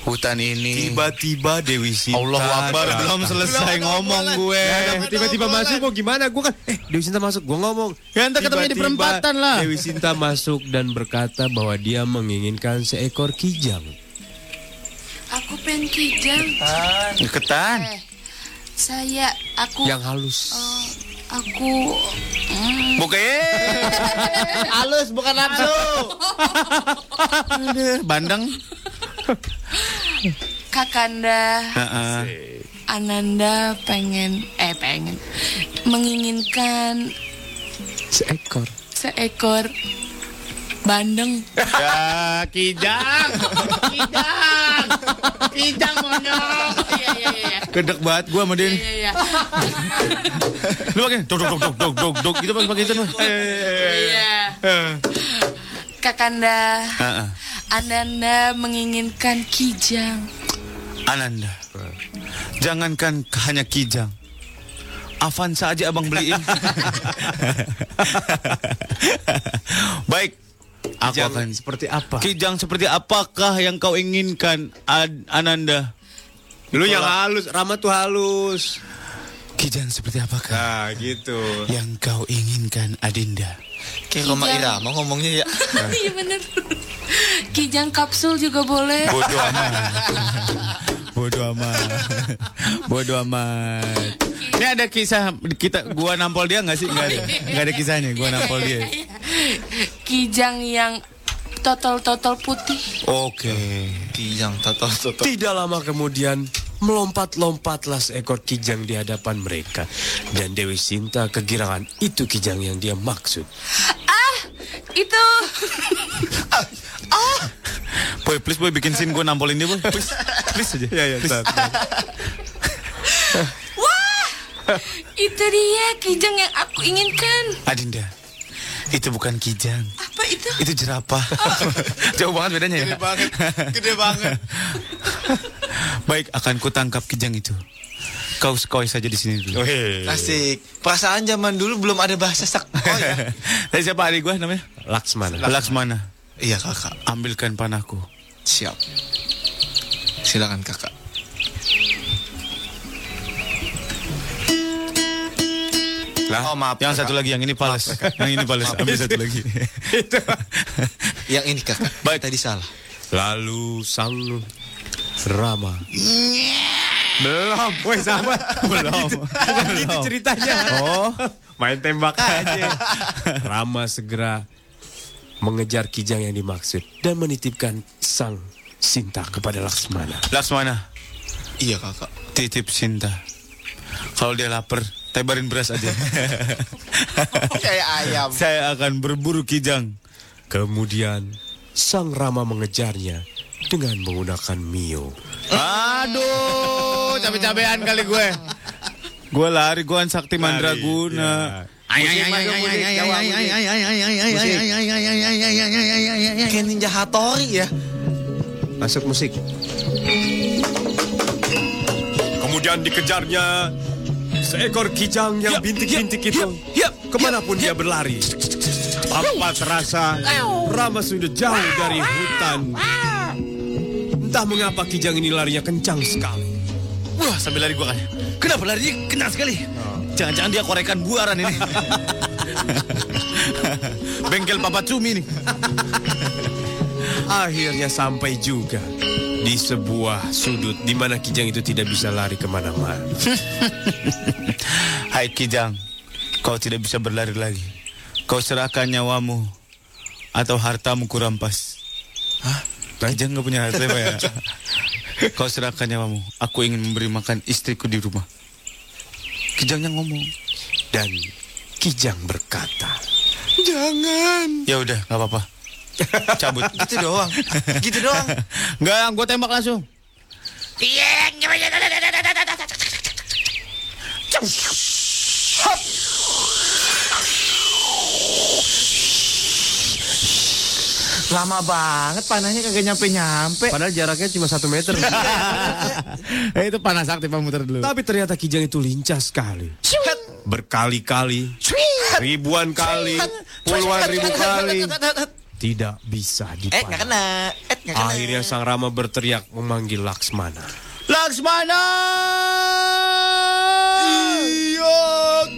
Hutan ini Tiba-tiba Dewi Sinta. Allah Akbar belum selesai ngomong gue. Eh, tiba-tiba masuk mau gimana? Gue kan, eh Dewi Sinta masuk, gue ngomong. Ya, ntar ketemunya di Tiba-tiba perempatan lah. Dewi Sinta masuk dan berkata bahwa dia menginginkan seekor kijang. Aku pengen kijang. Ketan. Iya. Eh, saya aku Yang halus. Oh, aku mm, Halus bukan nafsu. Aduh, bandeng. Kakanda Ananda pengen eh pengen menginginkan Seekor. seekor bandeng. Ya, kijang. Kijang. Kijang monyong. Iya iya iya. Gedek banget gua sama Din. Iya iya. Lu pakai dok dok dok dok dok dok gitu pakai pakai itu. Mas. Iya. Kakanda Heeh. Ananda menginginkan kijang. Ananda. Jangankan hanya kijang. Avanza aja abang beliin. Baik. Aku Kijang akan seperti apa? Kijang seperti apakah yang kau inginkan Ad- Ananda? Lu yang halus, Rama tuh halus. Kijang seperti apakah? Nah, gitu. Yang kau inginkan Adinda. Kayak Roma Kijang. Irama ngomongnya ya. Iya bener. Kijang kapsul juga boleh. Bodoh amat. Bodoh amat. Bodoh amat. Ini ada kisah kita gua nampol dia nggak sih? Nggak ada. Nggak ada kisahnya gua nampol dia. Kijang yang totol-totol putih. Oke. Kijang totol totol. Tidak lama kemudian melompat-lompatlah seekor kijang di hadapan mereka dan Dewi Sinta kegirangan itu kijang yang dia maksud. Ah, itu. ah, Boy, please boy bikin scene gua nampolin dia, boy. Please. Please aja. Ya, ya, bentar, bentar. wah, itu dia kijang yang aku inginkan. Adinda. Itu bukan kijang. Apa itu? Itu jerapah. Jauh banget bedanya ya. Gede banget. Gede banget. Baik, akan ku tangkap kijang itu. Kau sekoi saja di sini dulu. Asik. Perasaan zaman dulu belum ada bahasa sak. Oh ya. Tadi iya. siapa adik gue namanya? Laksmana. Laksmana. Iya kakak. Ambilkan panahku. Siap. Silakan kakak. Lah, oh, maaf. Yang satu lagi, yang ini pales. yang ini pales. Ambil satu lagi. Yang ini kakak. Baik tadi salah. Lalu sang Rama belum, woi sahabat belum. Itu ceritanya. Oh, main tembak aja. Rama segera mengejar kijang yang dimaksud dan menitipkan sang Sinta kepada Laksmana. Laksmana, Iya kakak. titip Sinta. Kalau dia lapar, tebarin beras aja. Kayak ayam. Saya akan berburu kijang. Kemudian sang Rama mengejarnya dengan menggunakan Mio. Aduh, cabe-cabean kali gue. Gue lari, iya. gue kan sakti mandraguna. Kayak ninja Hattori ya. Masuk musik. Kemudian dikejarnya seekor kijang yang bintik-bintik itu. Kemanapun dia berlari. Tanpa terasa, Rama sudah jauh dari hutan. Entah mengapa kijang ini larinya kencang sekali. Wah, sambil lari gue kan. Kenapa larinya kencang sekali? Jangan-jangan dia korekan buaran ini. Bengkel Papa Cumi nih. Akhirnya sampai juga di sebuah sudut di mana kijang itu tidak bisa lari kemana-mana. Hai Kijang, kau tidak bisa berlari lagi. Kau serahkan nyawamu atau hartamu kurampas. Hah? Kijang nggak punya harta apa ya? kau serahkan nyawamu. Aku ingin memberi makan istriku di rumah. Kijangnya ngomong. Dan kijang berkata, Jangan. Ya udah, nggak apa-apa. Cabut. Gitu doang. Gitu doang. Nggak, gue tembak langsung. Lama banget panahnya kagak nyampe-nyampe. Padahal jaraknya cuma satu meter. Eh, itu panas aktif muter dulu. Tapi ternyata kijang itu lincah sekali. Berkali-kali, ribuan kali, puluhan ribu kali. Tidak bisa Eh nggak dipanen. kena. Eh nggak kena. Akhirnya sang Rama berteriak memanggil Laksmana. Laksmana! Iya,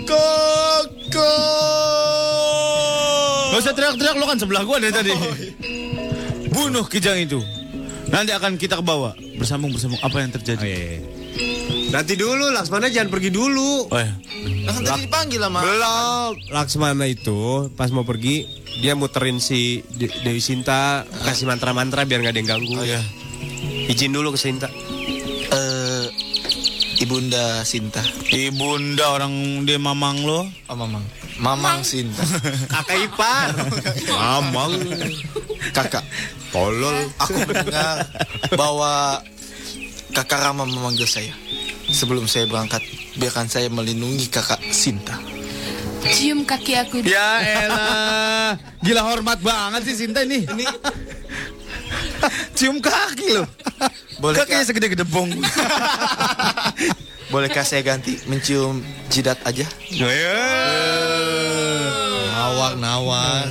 kakak! Gak usah teriak-teriak, lo kan sebelah gua dari tadi. Bunuh kijang itu. Nanti akan kita ke bawah. Oh, iya, Bersambung-bersambung, apa yang terjadi? Nanti dulu, Laksmana jangan pergi dulu. Oh, iya. Kan tadi dipanggil sama Belum. Laksmana itu pas mau pergi dia muterin si De- Dewi Sinta kasih mantra-mantra biar nggak ada yang ganggu. ya. Izin dulu ke Sinta. Eh, Ibunda Sinta. Ibunda orang dia mamang lo. Oh, mamang. Mamang Sinta. Kakak ipar. Mamang. Kakak. Tolol. Aku mendengar bahwa kakak Rama memanggil saya. Sebelum saya berangkat, biarkan saya melindungi kakak Sinta. Cium kaki aku. Ya elah. Gila hormat banget sih Sinta ini. Ini cium kaki loh. Boleh, Kakinya segede-gede bong. Bolehkah saya ganti mencium jidat aja? Nawar, nawar.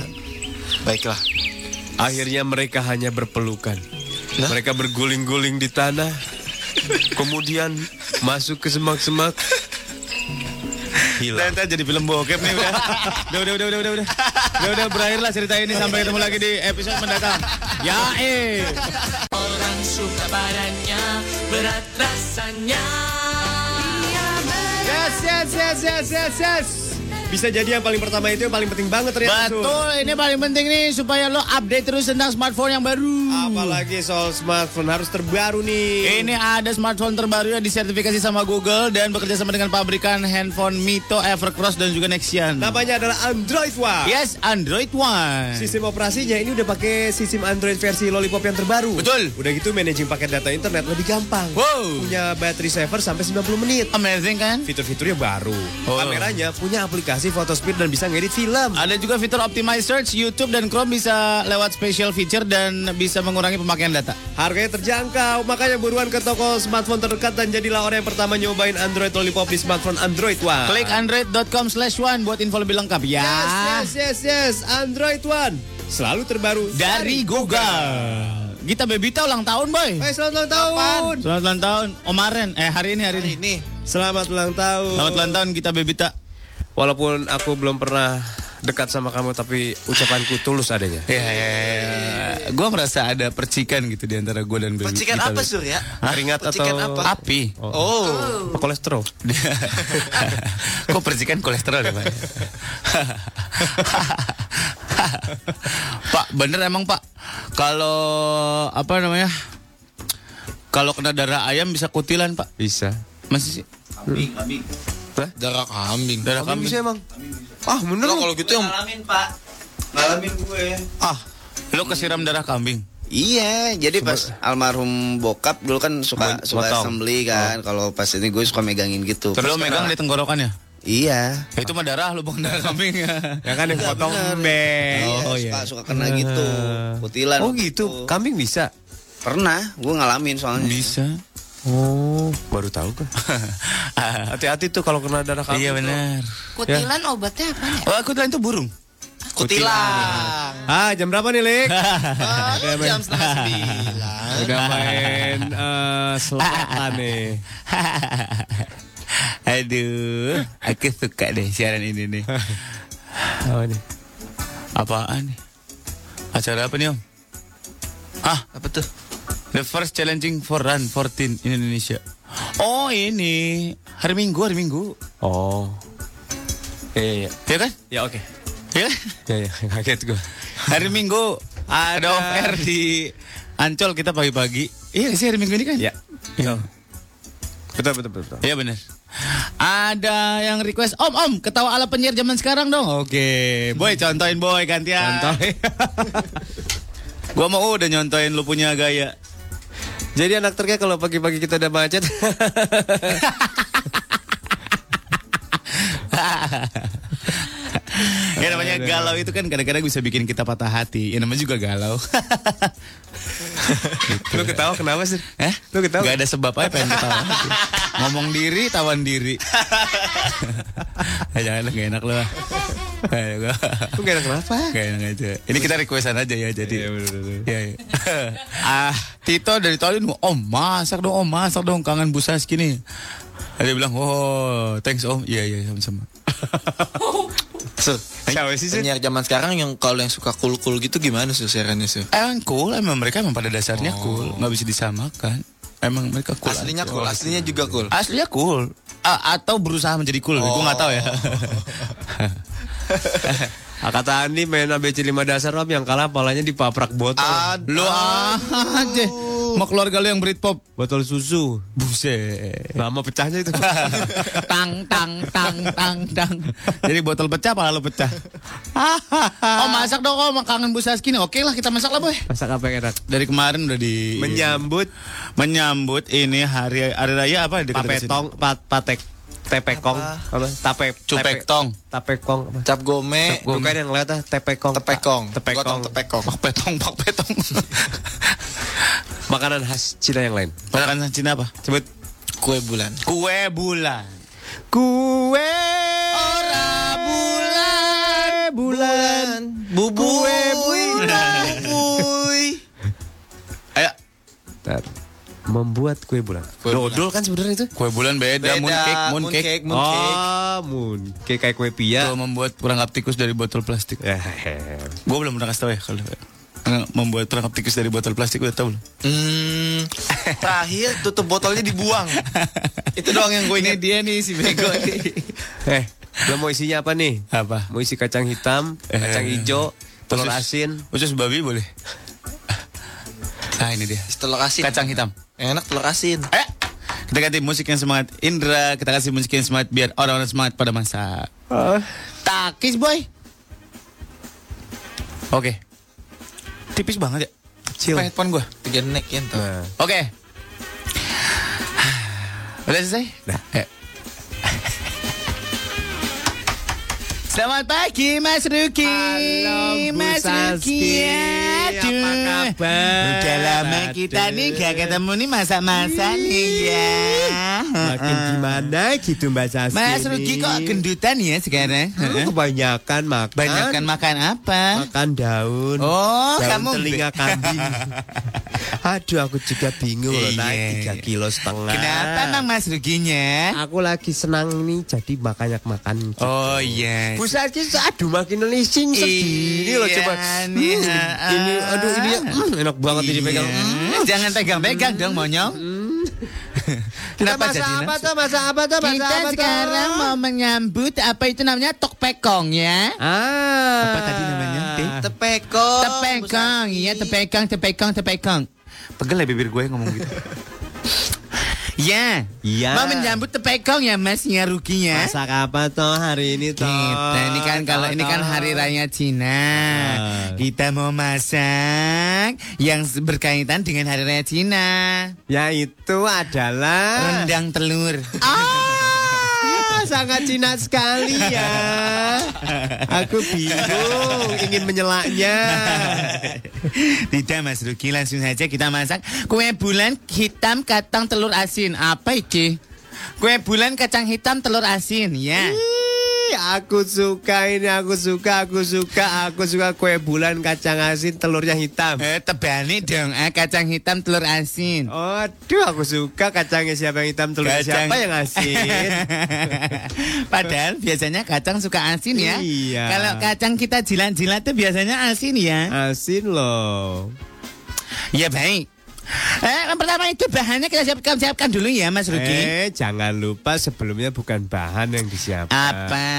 Baiklah. Akhirnya mereka hanya berpelukan. Mereka berguling-guling di tanah. Kemudian masuk ke semak-semak. Hilang. Ntar jadi film bokep nih udah. Udah udah udah udah udah. Udah udah, udah berakhir lah cerita ini sampai ketemu lagi di episode mendatang. Ya eh. Orang suka badannya, berat rasanya. Iya, Yes, yes, yes, yes, yes, yes. Bisa jadi yang paling pertama itu yang paling penting banget ternyata. Su. Betul, ini paling penting nih supaya lo update terus tentang smartphone yang baru. Apalagi soal smartphone harus terbaru nih. Ini ada smartphone terbaru yang disertifikasi sama Google dan bekerja sama dengan pabrikan handphone Mito, Evercross dan juga Nexian. Namanya adalah Android One. Yes, Android One. Sistem operasinya ini udah pakai sistem Android versi Lollipop yang terbaru. Betul. Udah gitu managing paket data internet lebih gampang. Wow. Punya battery saver sampai 90 menit. Amazing kan? Fitur-fiturnya baru. Kameranya punya aplikasi photo speed dan bisa ngedit film. Ada juga fitur Optimize Search, YouTube dan Chrome bisa lewat special feature dan bisa mengurangi pemakaian data. Harganya terjangkau, makanya buruan ke toko smartphone terdekat dan jadilah orang yang pertama nyobain Android Lollipop di smartphone Android One. Ah. Klik android.com slash one buat info lebih lengkap ya. Yes, yes, yes, yes. Android One. Selalu terbaru. Dari Google. Gita Bebita ulang tahun, Boy. Eh, selamat ulang tahun. Selamat ulang tahun. Omaren. Eh, hari ini, hari, ini. Selamat ulang tahun. Selamat ulang tahun, Gita Bebita. Walaupun aku belum pernah dekat sama kamu tapi ucapanku tulus adanya. Ya, ya, ya. Gue merasa ada percikan gitu di antara gue dan Baby. Percikan Gita apa, Bebita. Sur, ya? Hah? Keringat Percikan apa? atau Api. Oh. Apa kolesterol? Kok percikan kolesterol ya, Pak? Pak, bener emang Pak. Kalau apa namanya? Kalau kena darah ayam bisa kutilan, Pak. Bisa. Masih sih? Kambing, kambing. Darah kambing. Darah Kamu kambing. bisa emang? Ah, bener Lah, lu. kalau gitu yang Ngalamin, Pak. Ngalamin gue. Ah, lo kesiram darah kambing. Iya, jadi pas almarhum bokap dulu kan suka Mo- suka motong. assembly kan. Kalau pas ini gue suka megangin gitu. Terus lo megang di tenggorokannya. Iya. Ya, itu mah darah lo bukan darah kambing ya. Ya kan yang potong Beng. Oh, Oh, iya, iya. Suka, suka kena gitu. Kutilan. Oh gitu, kambing bisa. Pernah, gue ngalamin soalnya. Bisa. Oh, baru tahu kan. Hati-hati tuh kalau kena darah kambing. Iya tuh. benar. Kutilan obatnya apa ya? Oh, aku itu burung. Kutilang. Ah, jam berapa nih, Lik? Oh, jam setengah sembilan. Udah main eh, selatan nih. Aduh, aku suka deh siaran ini nih. Apa nih? Apaan nih? Acara apa nih, Om? Ah, Apa tuh? The first challenging for run 14 in Indonesia. Oh, ini hari Minggu, hari Minggu. Oh. Iya, iya. Ya kan? Ya oke. Ya. Ya, ya, kaget gue. Hari Minggu ada off air di Ancol kita pagi-pagi. Iya sih hari Minggu ini kan? Ya. Iya. Betul, betul, betul. betul. Iya benar. Ada yang request Om Om ketawa ala penyiar zaman sekarang dong. Oke, boy contohin boy gantian. Contohin. Gua mau udah nyontoin lu punya gaya. Jadi anak terkaya kalau pagi-pagi kita udah macet. ya namanya galau itu kan kadang-kadang bisa bikin kita patah hati. Ya namanya juga galau. Lu ketawa kenapa sih? Eh? Lu ketawa? Gak ada sebab aja pengen ketawa. Ngomong diri, tawan diri. Eh, Jangan lah, gak enak loh. Eh, gua- Lu gak ada kenapa? Gak enak aja. Ini kita requestan aja ya, jadi. Iya, bener-bener. Iya, iya. ah, Tito dari tadi ngomong, om masak dong, om masak dong, kangen busa segini. Dia bilang, oh, thanks om. Iya, iya, sama-sama. Sur, Siapa sih, Sur? penyiar zaman sekarang yang kalau yang suka cool-cool gitu gimana sih siarannya sih? Emang cool, emang mereka emang pada dasarnya cool. Gak bisa disamakan. Emang mereka cool. Aslinya aja. Oh, cool, aslinya juga cool. Aslinya cool. a- atau berusaha menjadi cool. Gue nggak tahu ya. Oh. Ah, Kata Andi main ABC 5 dasar Om yang kalah palanya dipaprak botol. Lu aja. Mau keluarga lu yang Britpop. Botol susu. Buset. Lama pecahnya itu. tang tang tang tang tang. Jadi botol pecah, pala lu pecah. oh masak dong, oh kangen Bu Saski nih. Oke lah kita masak lah boy. Masak apa yang enak? Dari kemarin udah di... Menyambut. Menyambut ini hari, hari raya apa? Papetong, pat, patek. Tepekong apa? Tape Cupektong. Tapekong apa? Cap gome. ya, Bukan yang lihat ah, tepekong. Tepekong. Tepekong. Tepekong. Petong, pak petong. Makanan khas Cina yang lain. Makanan khas Cina apa? Sebut kue bulan. Kue bulan. Kue ora bulan bulan bubui bubui. Ayo. Bentar. Membuat kue bulan. Dodol kan sebenarnya itu. Kue bulan beda, Beda, mooncake, mooncake. mooncake, mooncake. Ya. Oh, mooncake kayak kue pia. Gua membuat perangkap tikus dari botol plastik. Ya. Gua belum pernah kasih tau ya kalau membuat perangkap tikus dari botol plastik udah tau belum? Hmm, terakhir tutup botolnya dibuang. Itu doang yang gue ingat. dia nih si bego Eh, lo mau isinya apa nih? Apa? Eh. Mau isi kacang hitam, kacang hijau, telur Usus- asin. Usus Oh, babi boleh. Nah ini dia. Telur asin. Kacang hitam. Enak telur asin. Eh, kita ganti musik yang semangat. Indra, kita kasih musik yang semangat biar orang-orang semangat pada masa. Takis boy. Oke. Tipis banget ya. Chill. Apa headphone gua? Tiga neck ya entar. Oke. Udah selesai? Eh. Selamat pagi Mas Ruki. Halo Bu Mas Ruki. Saski. Aduh. Apa kabar? Udah lama kita nih gak ketemu nih masa-masa nih ya. Iya. Makin gimana gitu Mbak Sasi? Mas Ruki kok gendutan ya sekarang? Lu kebanyakan makan. Banyakan makan apa? Makan daun. eh? Oh, daun kamu telinga kambing. Aduh, aku juga bingung loh naik Iya. 3 kilo setengah. Kenapa Bang Mas Ruginya? Aku lagi senang nih jadi banyak makan. Gitu. Oh iya. Bu Sarki, aduh makin lising segini Iya loh coba. nih, Hmm, ah. ini aduh ini ya, hmm, enak banget ini Hmm, Iya. pegang. Jangan pegang-pegang dong monyong. Kenapa jadi nafsu? tuh? Masa apa tuh? Kita sekarang mau menyambut apa itu namanya tok pekong ya. Ah. Apa tadi namanya? Teh? Tepekong. Tepekong, iya tepekong, tepekong, tepekong. Pegel ya bibir gue ngomong gitu. Ya. Iya. Mau menyambut tepekong ya Mas ya ruginya. Masak apa toh hari ini toh? Kita ini kan kalau ini kan hari raya Cina. Kita mau masak yang berkaitan dengan hari raya Cina. Yaitu adalah Rendang telur. Ah, sangat Cina sekali ya. Aku bingung ingin menyelaknya. Tidak Mas Ruki, langsung saja kita masak kue bulan hitam kacang telur asin. Apa iki? Kue bulan kacang hitam telur asin, ya. Hmm. Ih, Aku suka ini, aku suka, aku suka, aku suka kue bulan kacang asin telurnya hitam. Eh, tebani dong, eh, kacang hitam telur asin. Aduh, aku suka kacangnya siapa yang hitam, telurnya Kacang. siapa yang asin. Padahal biasanya kacang suka asin ya. Iya. Kalau kacang kita jilat-jilat tuh biasanya asin ya. Asin loh. Iya, Ya baik. Eh, yang pertama itu bahannya kita siapkan siapkan dulu ya Mas Ruki. Eh, jangan lupa sebelumnya bukan bahan yang disiapkan. Apa?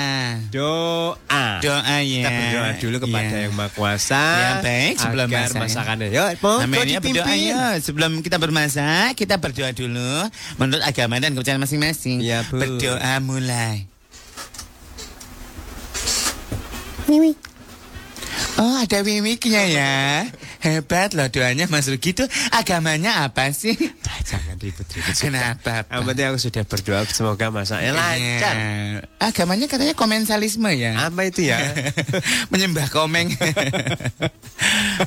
Doa. Doa ya. Kita berdoa dulu kepada Iya. yang maha kuasa. Ya baik sebelum agar masak. masakannya. Yo, monggo Amin ya Oh, dipimpin. berdoa ya. Sebelum kita bermasak, kita berdoa dulu menurut agama dan kepercayaan masing-masing. Ya, Bu. Berdoa mulai. Oh ada mimiknya ya Hebat loh doanya Mas Ruki tuh Agamanya apa sih? Jangan ribut-ribut. Kenapa? Yang penting aku sudah berdoa semoga masaknya lancar. Iya. Agamanya katanya komensalisme ya. Apa itu ya? Menyembah komeng.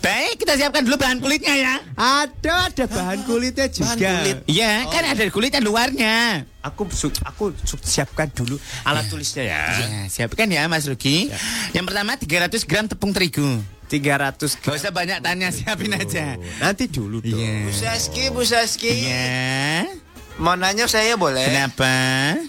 Baik, kita siapkan dulu bahan kulitnya ya. ada ada bahan kulitnya Ya juga. Iya, kan ada kulitnya luarnya. Aku su- aku su- siapkan dulu alat tulisnya ya. Ya, siapkan ya Mas Ruki. Yang pertama 300 gram tepung terigu. 300 Gak usah banyak tanya, siapin eh, aja. Nanti dulu dong. Bu Saski, Bu Saski. Iya. Mau nanya saya boleh? Kenapa?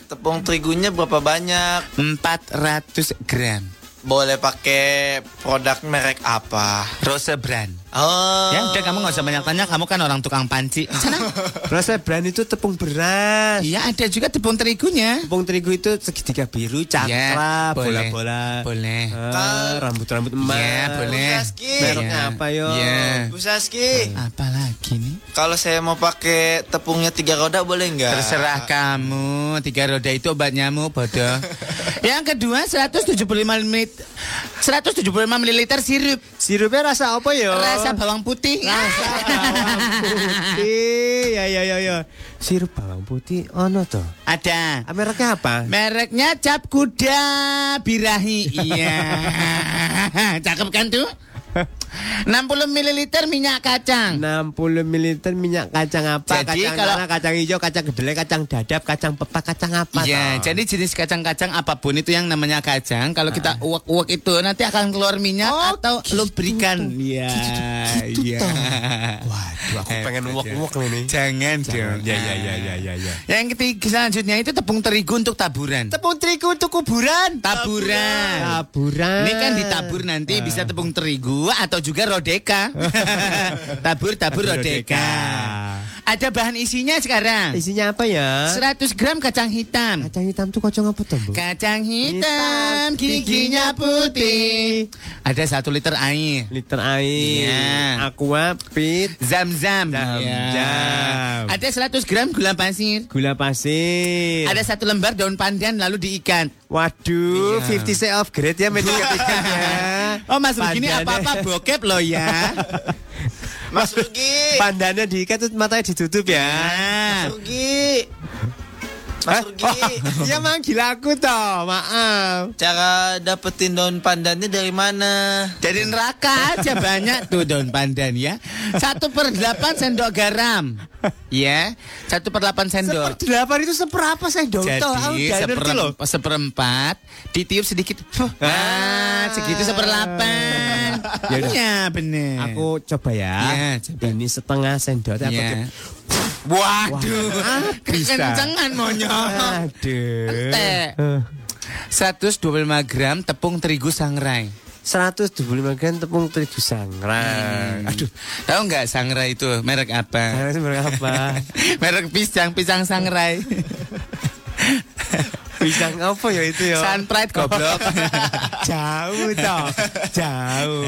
Tepung terigunya berapa banyak? 400 gram Boleh pakai produk merek apa? Rose Brand. Oh. Ya udah kamu nggak usah banyak tanya, kamu kan orang tukang panci. Sana. Rasa brand itu tepung beras. Iya, ada juga tepung terigunya. Tepung terigu itu segitiga biru, Ya, cakra, boleh. bola-bola. Boleh. Ah, rambut-rambut emas. Ya, boleh. Iya. Busaski. Mereknya Ya. apa yo? Ya. Busaski. Apalagi nih? Kalau saya mau pakai tepungnya tiga roda boleh nggak? Ah. Terserah kamu, tiga roda itu obat nyamuk, bodoh. Yang kedua 175 ml 175 ml sirup. Sirupnya rasa apa ya? yo? Rasa bawang putih. Rasa putih. Ya ya ya ya. Sirup bawang putih ono toh. Ada. Mereknya apa? Mereknya cap kuda birahi. Iya. Cakep kan tuh? 60 ml minyak kacang. 60 ml minyak kacang apa? Jadi kacang kalau- tanah, kacang hijau, kacang kedelai, kacang dadap, kacang pepak, kacang apa? Eh, Iya, toh? jadi jenis kacang-kacang apapun itu yang namanya kacang, kalau kita Ah. uak-uak itu nanti akan keluar minyak Oh, atau gitu, lubrikan. Iya, iya. ya. Waduh, aku pengen uak-uak nih. Jangan, Jangan. dong. Iya, Ya ya ya ya ya ya. Yang ketiga selanjutnya itu tepung terigu untuk taburan. Tepung terigu untuk kuburan. Taburan. Taburan. Ini kan ditabur Ah. nanti bisa tepung terigu atau juga rodeka. tabur tabur rodeka. Ada bahan isinya sekarang. Isinya apa ya? 100 gram kacang hitam. Kacang hitam tuh kacang apa tuh, Bu? Kacang hitam, giginya putih. Ada satu liter air. Liter air. Iya. Aqua pit. Zam-zam. Zam-zam. Iya. Ada 100 gram gula pasir. Gula pasir. Ada satu lembar daun pandan lalu diikat. Waduh, Iya. 50 cent off grade ya menu ketiga ya. Oh Mas begini Pandannya. apa-apa bokep loh ya. Mas Rugi. Pandannya diikat terus matanya ditutup ya. Nah, Rugi. Mas Rugi. Ya manggil aku toh, maaf. Cara dapetin daun pandannya dari mana? dari neraka aja banyak tuh daun pandan ya. Satu per delapan sendok garam. Ya, satu per delapan sendok. Delapan itu seberapa saya dong toh? Aku Jadi nggak ngerti seperem- loh. seperempat ditiup sedikit. Fuh, Ah, segitu seperlapan. Ya udah. Iya bener. Aku coba ya. Iya, Ini setengah sendok aku Iya. ke- Waduh, bisa. kencengan monyong. Aduh. Entek. 125 gram tepung terigu sangrai. 125 gram tepung terigu sangrai. Aduh, tahu nggak sangrai itu merek apa? Sangrai itu berapa? merek pisang, pisang sangrai. Pisang apa ya itu ya? Sunpride goblok. Jauh toh. Jauh.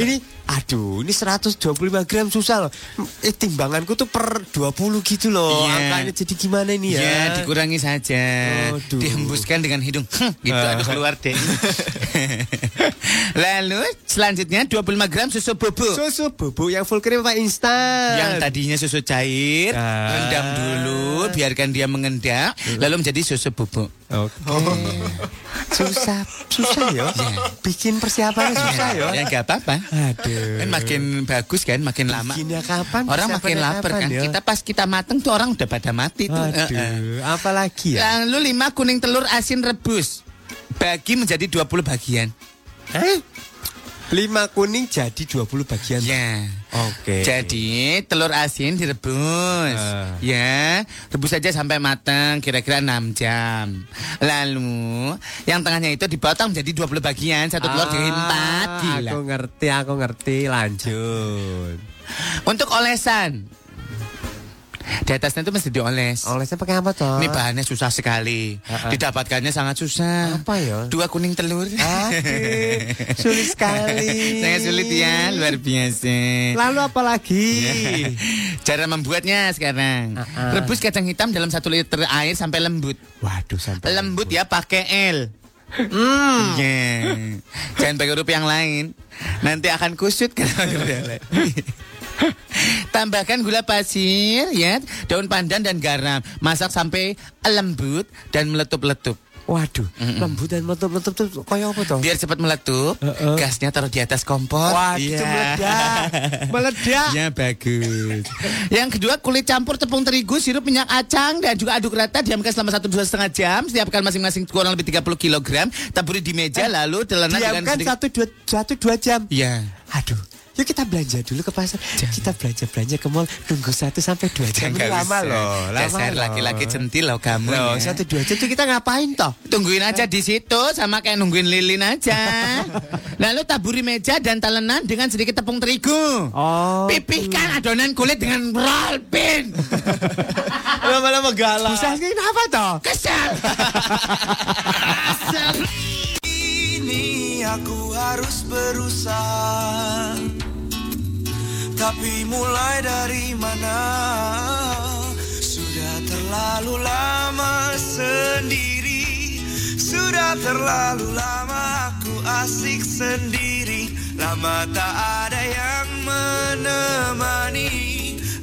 Ini aduh, ini 125 gram susah loh. Eh, timbanganku tuh per 20 gitu loh. Iya. Angkanya jadi gimana ini ya? Ya, dikurangi saja. Aduh. Dihembuskan dengan hidung. gitu Ah. aduh keluar deh. Lalu selanjutnya 25 gram susu bubuk. Susu bubuk yang full cream apa instan? yang tadinya susu cair Ah. Iya. rendam dulu biarkan dia mengendap lalu menjadi susu bubuk Oke. Oh. susah, susah Iya. ya. Bikin persiapannya susah ya. ya nggak apa-apa Aduh. kan makin bagus kan makin lama Bikinnya kapan? orang Persiapannya makin lapar kapan kan ya? kita pas kita mateng tuh orang udah pada mati tuh Eh, eh. Aduh, apalagi ya? lalu lima kuning telur asin rebus bagi menjadi 20 bagian Ya. Hah? Eh, Lima kuning jadi 20 bagian. ya Oke. Jadi telur asin direbus, Ah. ya, rebus aja sampai matang, kira-kira 6 jam. Lalu yang tengahnya itu dipotong menjadi 20 bagian, satu telur jadi empat. Ah, Gila. Aku ngerti, aku ngerti. Lanjut. Untuk olesan, di atasnya itu mesti dioles. Olesnya pakai apa toh? Ini bahannya susah sekali, Ah, ah. didapatkannya sangat susah. Apa ya? Dua kuning telur. Aduh, sulit sekali. Sangat sulit ya, luar biasa. Lalu apa lagi? Cara membuatnya sekarang. Ah-ah. Rebus kacang hitam dalam satu liter air sampai lembut. Waduh sampai Hmm. Lembut ya pakai L. Yeah. Jangan pakai huruf yang lain. Nanti akan kusut kalau pakai huruf yang lain. Tambahkan gula pasir, ya, daun pandan dan garam. Masak sampai lembut dan meletup-letup. Waduh, lembut dan meletup-letup tuh kayak apa toh? Biar cepat meletup, Uh-uh. gasnya taruh di atas kompor. Waduh, Iya. meledak. Meledak. Ya bagus. Yang kedua kulit campur tepung terigu, sirup minyak acang dan juga aduk rata diamkan selama satu dua setengah jam. Siapkan masing-masing kurang lebih 30 kg. Taburi di meja lalu telana Eh, dengan Diamkan sedikit. satu dua, satu dua jam. Iya. Aduh, Yuk kita belanja dulu ke pasar. Kita belanja-belanja ke mall nunggu 1 sampai 2 jam. Ini Nggak lama bisa. loh, lama. Dasar loh. laki-laki centil loh kamu. Loh, ya. satu dua jam tuh kita ngapain toh? Tungguin aja di situ sama kayak nungguin lilin aja. Lalu taburi meja dan talenan dengan sedikit tepung terigu. Oh. Pipihkan adonan kulit dengan roll pin. Lama-lama galak. Bisa sih apa toh? Kesel. Ini aku harus berusaha Tapi mulai dari mana Sudah terlalu lama sendiri Sudah terlalu lama aku asik sendiri Lama tak ada yang menemani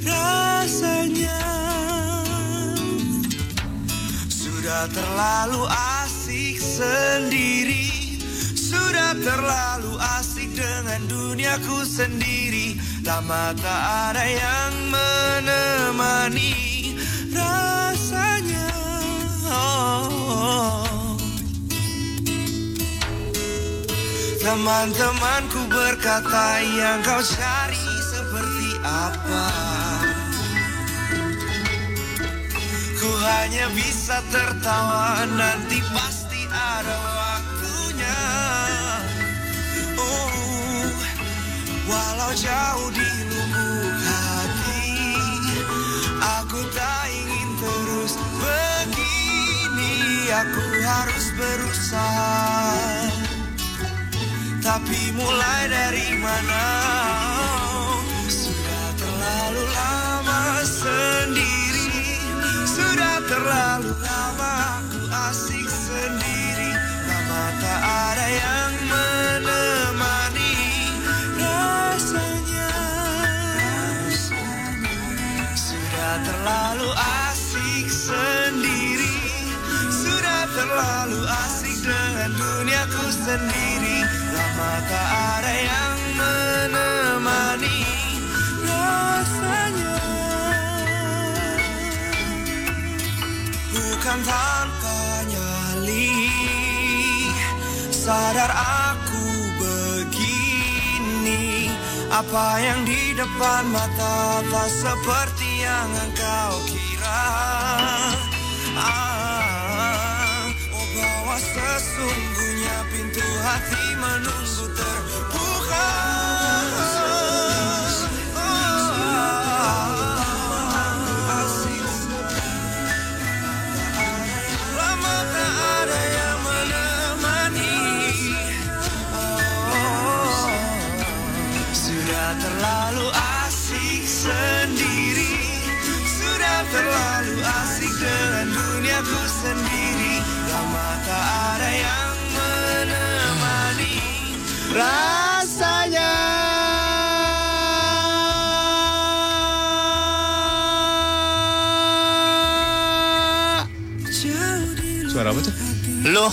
Rasanya Sudah terlalu asik sendiri Sudah terlalu asik dengan duniaku sendiri Lama tak ada yang menemani Rasanya oh. Teman-temanku berkata yang kau cari seperti apa Ku hanya bisa tertawa Nanti pasti ada waktunya Oh, Walau jauh di lubuk hati Aku tak ingin terus begini Aku harus berusaha Tapi mulai dari mana Sudah terlalu lama sendiri sudah terlalu lama aku asik sendiri Lama tak ada yang menemani rasanya Sudah terlalu asik sendiri Sudah terlalu asik dengan duniaku sendiri Lama tak ada yang menemani rasanya bukan tanpa nyali Sadar aku begini Apa yang di depan mata tak seperti yang engkau kira ah, Oh bahwa sesungguhnya pintu hati menunggu terbuka Ah, asik Lama tak ada yang menemani Oh, Sudah terlalu asik sendiri Sudah terlalu asik dengan duniaku sendiri Lama tak ada yang menemani Rasanya Suara apa tuh? Lo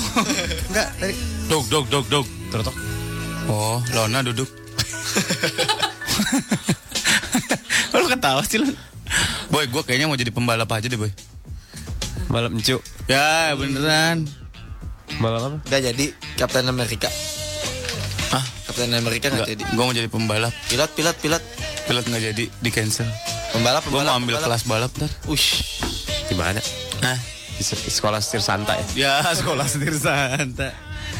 Enggak tadi Dog, dog, dog, dog. Tertok. Oh, Lona duduk. Lo ketawa sih lo. Boy, gue kayaknya mau jadi pembalap aja deh, Boy. Malam encuk. Ya, beneran. Malam apa? Gak jadi Captain America. Hah? Captain America nggak jadi. Gue mau jadi pembalap. Pilot, pilot, pilot. Pilot nggak jadi, di cancel. Pembalap, Gue pembalap, mau ambil pembalap. kelas balap ntar. Ush. Di mana? Hah? Di se- sekolah setir santai. Ya, sekolah sendiri santai.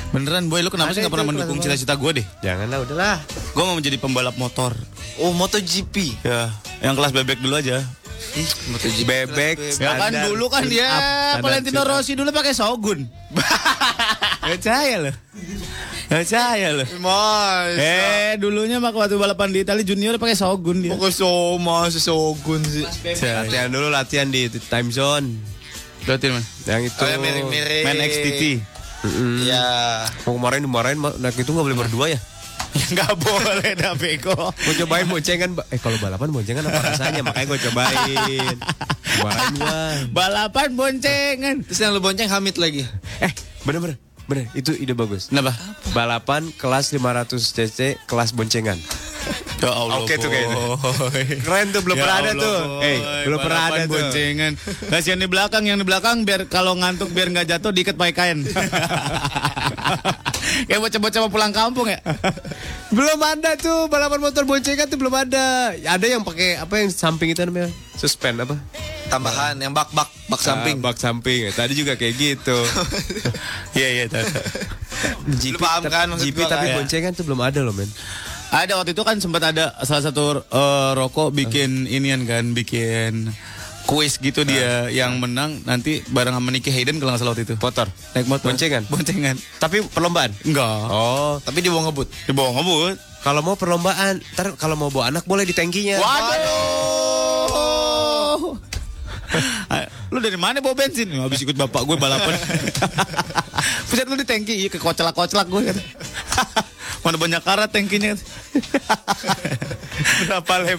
Beneran, Boy, lo kenapa sih Ada nggak pernah itu kelas mendukung balap. cita-cita gue deh? Janganlah, udahlah. Gue mau menjadi pembalap motor. Oh, MotoGP. Ya, yang kelas bebek dulu aja. Ih, MotoGP. Bebek. Ya kan dulu kan dia Valentino Rossi dulu pakai Shogun. Ya Gak percaya loh. Gak percaya loh. Eh, dulunya mak- waktu balapan di Italia junior pakai Shogun dia. Kok so mas sogun sih. Latihan dulu latihan di di time zone. Latihan Yang itu. Oh, yang mirip-mirip. Main XTT. Iya. Ya. Mau kemarin dimarahin ma- nah itu nggak boleh berdua ya? Gak boleh dah beko. Mau cobain boncengan Ba- eh kalau balapan boncengan apa rasanya makanya gue cobain. Cobain gua. Balapan boncengan. Terus yang lu bonceng Hamid lagi. Eh bener-bener bener itu ide bagus. Kenapa? Balapan kelas 500 cc kelas boncengan. Ya Allah. Oke tuh kayaknya. Boy. Keren tuh belum Ya pernah ada Allah, tuh. Boy. Eh belum pernah Balapan ada tuh. boncengan. Kasihan di belakang yang di belakang biar kalau ngantuk biar nggak jatuh diikat pakai kain. Kayak bocah-bocah mau pulang kampung ya. belum ada tuh balapan motor boncengan tuh belum ada. Ada yang pakai apa yang samping itu namanya? Suspend apa? Ah, Tambahan yang bak bak bak Ah, samping. bak samping. Tadi juga kayak gitu. Iya iya. tahu, tahu. Lu paham tap- kan maksud GP gua tapi kan? boncengan tuh belum ada loh men. Ada waktu itu kan sempat ada salah satu eh, rokok bikin inian kan, bikin kuis gitu dia yang menang nanti bareng sama Nicky Hayden kalau nggak salah waktu itu. Motor. Naik motor. Boncengan? Boncengan. Tapi perlombaan? Enggak. Oh. Tapi di bawah ngebut. Di bawah ngebut. Kalau mau perlombaan, ntar kalau mau bawa anak boleh di tangkinya. Waduh. lu dari mana bawa bensin? Habis ikut bapak gue balapan. Pusat lu di tangki, iya ke kocelak-kocelak gue kata. mana banyak karat tangkinya. kata. Berapa lem?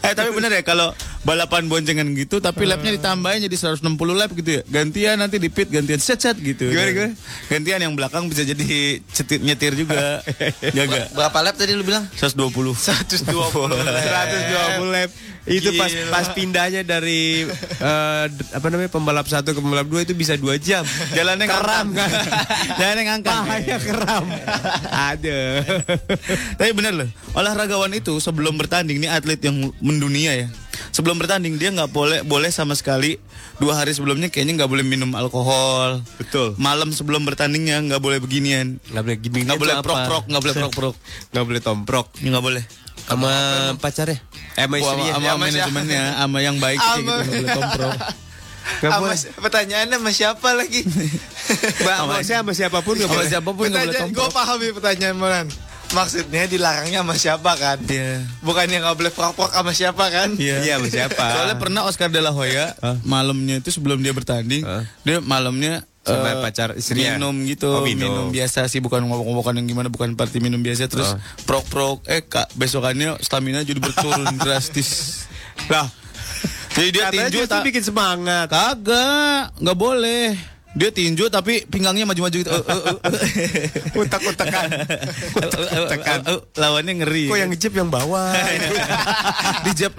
Eh tapi bener ya kalau balapan boncengan gitu tapi lapnya ditambahin jadi 160 lap gitu ya. Gantian nanti di pit gantian set set gitu. Gimana, gimana? Gantian yang belakang bisa jadi cetit nyetir juga. Ya Jaga. Berapa lap tadi lu bilang? 120. 120 lap. 120 lap. Itu pas Gila. pas pindahnya dari eh, d- apa namanya pembalap satu ke pembalap dua itu bisa dua jam. Jalannya keram kan. Jalannya ngangkat. Bahaya keram. Ada. Tapi bener loh, olahragawan itu sebelum bertanding ini atlet yang mendunia ya. Sebelum bertanding dia nggak boleh boleh sama sekali dua hari sebelumnya kayaknya nggak boleh minum alkohol. Betul. Malam sebelum bertandingnya nggak boleh beginian. Nggak boleh gini. Nggak boleh prok-prok, nggak boleh prok-prok. Nggak boleh tomprok. Nggak boleh. Sama pacarnya? Eh, sama Wah, istrinya. sama manajemennya, sama yang baik sih gitu, nggak boleh tomprok. Nggak Sama boleh. si- pertanyaannya sama siapa lagi? Maksudnya sama siapapun nggak Sama boleh. siapapun nggak boleh Gue paham ya pertanyaan Moran. Maksudnya dilarangnya sama siapa kan? Iya. Bukan yang nggak boleh prok-prok sama siapa kan? Iya, sama siapa? Soalnya pernah Oscar De La Hoya malamnya itu sebelum dia bertanding, dia malamnya Sama eh, pacar istrinya. minum gitu, Oh, minum. minum. biasa sih bukan ngomong-ngomongan yang gimana, bukan party minum biasa terus Oh. prok-prok eh kak besokannya stamina jadi berturun drastis. Lah. Jadi dia Katanya tinju justru bikin semangat. Kagak, nggak boleh. Dia tinju tapi pinggangnya maju-maju gitu. Utak-utakan. Tekan. Lawannya ngeri. Kok yang ngejep yang bawah? dijep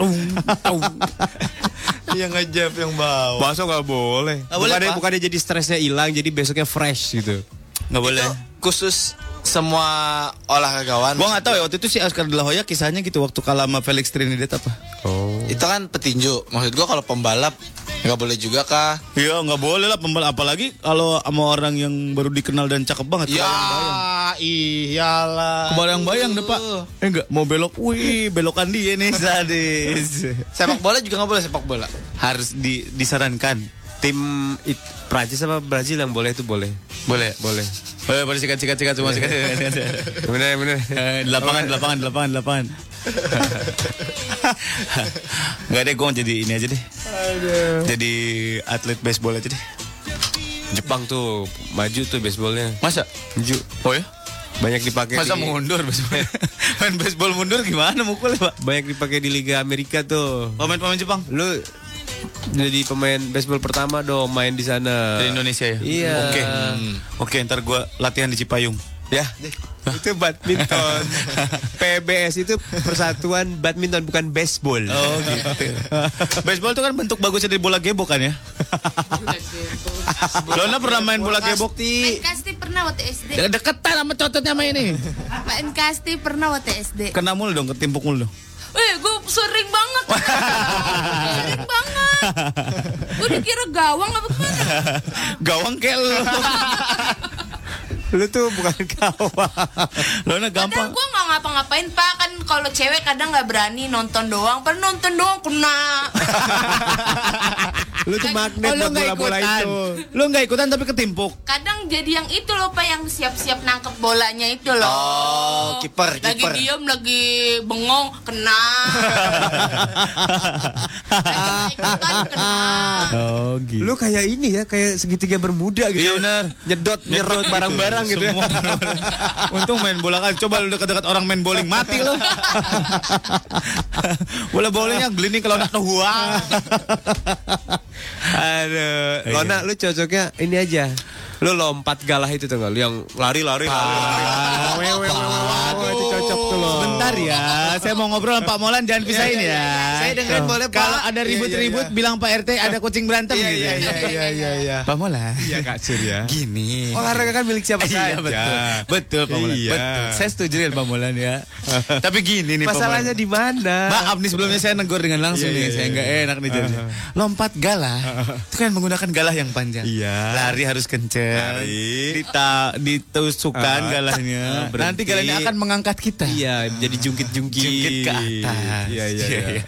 Yang ngejep yang bawah. Bakso nggak boleh. Nggak boleh, bukannya, Pak. bukannya jadi stresnya hilang, jadi besoknya fresh gitu. Nggak boleh. Khusus semua olahragawan. Gua nggak tahu ya waktu itu si Oscar De La Hoya kisahnya gitu waktu kalah sama Felix Trinidad apa? Oh. Itu kan petinju. Maksud gua kalau pembalap nggak boleh juga kah? Iya nggak boleh lah pembalap apalagi kalau sama orang yang baru dikenal dan cakep banget. Ya, iyalah. Kebayang bayang deh pak. Eh enggak mau belok, wih belokan dia nih sadis. Sepak bola juga nggak boleh sepak bola. Harus di- disarankan. Tim it- Prancis sama Brazil yang boleh itu boleh. Boleh. Boleh. Boleh boleh sikat sikat sikat semua sikat. sikat, sikat, sikat. Bener bener. Eh, Di lapangan, di lapangan, di lapangan, di lapangan. Gak deh, gue jadi ini aja deh. Jadi atlet baseball aja deh. Jepang tuh maju tuh baseballnya. Masa? Maju. Oh ya? Banyak dipakai. Masa di- mundur baseball? Main baseball mundur gimana mukulnya pak? Banyak dipakai di Liga Amerika tuh. Pemain-pemain Oh, Jepang? Lu jadi pemain baseball pertama dong main di sana. Dari Indonesia ya? Iya. Oke. Hmm. Oke, ntar gue latihan di Cipayung. Ya. Itu badminton. PBS itu Persatuan Badminton bukan baseball. Oh gitu. baseball tuh kan bentuk bagusnya dari bola gebok kan ya? Lona pernah main bola gebok? Pak Kasti pernah waktu SD. De- Deketan sama cototnya sama ini. Pak Kasti pernah waktu SD. Kena mulu dong, ketimpuk mulu dong. Eh, gue sering banget. sering banget. Gue dikira gawang apa gimana? Gawang kayak lu. Lu tuh bukan kawan. Padahal Lona gampang. gue nggak ngapa-ngapain pak kan kalau cewek kadang nggak berani nonton doang, per nonton doang kena. Lu tuh magnet buat bola-bola itu. Lu nggak ikutan tapi ketimpuk. Kadang jadi yang itu loh pak yang siap-siap nangkep bolanya itu loh. Oh, kiper, Lagi kiper. diem, lagi bengong, kena. lagi ikutan, kena. Oh gitu. Lu kayak ini ya, kayak segitiga bermuda gitu. Iya benar. Nyedot, nyerot barang-barang gitu. Semua barang-barang. ya. Untung main bola kan. Coba lu dekat-dekat orang main bowling mati lu. bola bowlingnya gelining kalau nak huang. Aduh, Iya. Lona lu cocoknya ini aja. Lu lompat galah Oh, itu tuh nggak? Lu yang lari-lari. lari-lari. Wewe, wewe, wewe, wewe, itu cocok cocok tuh loh. Bentar ya, saya mau ngobrol sama Pak Molan jangan Iya, iya, pisahin ya. iya. Saya dengerin, Tuh. boleh, Pak. Kalau ada Iya, iya, ribut-ribut iya. bilang Pak RT ada kucing berantem Iya, gitu. iya, iya, iya, iya, iya. Pak Molan. Iya Kak Sur ya. Gini. Olahraga kan milik siapa Iya saja. betul. Betul Pak Molan. Iya. Betul. Saya setuju dengan Pak Molan ya. Tapi gini nih Pak Molan. Masalahnya di mana? Maaf nih sebelumnya saya negor dengan langsung Iya, nih. iya, saya iya. nggak enak nih jadinya. Uh-huh. Lompat galah itu kan menggunakan galah yang panjang. Iya. Lari harus kenceng. Dita, ditusukan Uh, tak, galahnya. berhenti. Nanti galahnya akan mengangkat kita. Iya, jadi jungkit-jungkit. Jungkit ke atas. Iya, iya, iya.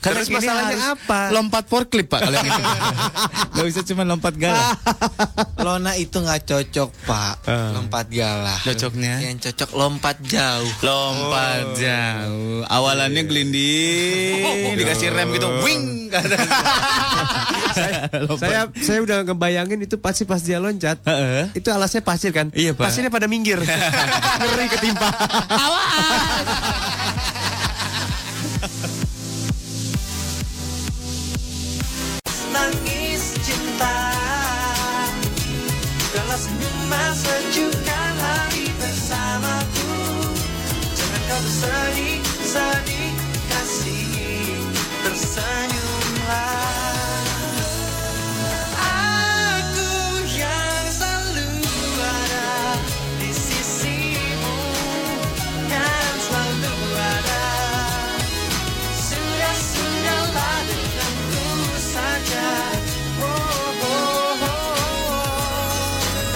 Karena Terus ini masalahnya harus apa? Lompat forklift Pak kalau yang ini. Gak bisa cuma lompat galah. Lona itu nggak cocok pak Lompat galah Ah. Cocoknya? Yang cocok lompat jauh Lompat jauh. Awalannya gelinding, dikasih rem gitu, wing. saya saya udah ngebayangin itu pasti pas dia loncat. Itu alasnya pasir kan? Iya, Pak. Pasirnya pada minggir. Ngeri ketimpa. Nangis cinta Dalam senyuman sejukkan hari bersamaku Jangan kau bersedih, sedih Kasih tersenyumlah Aku yang selalu ada di sisimu Kan selalu ada sudah sudahlah denganku saja. Oh, oh, oh, oh.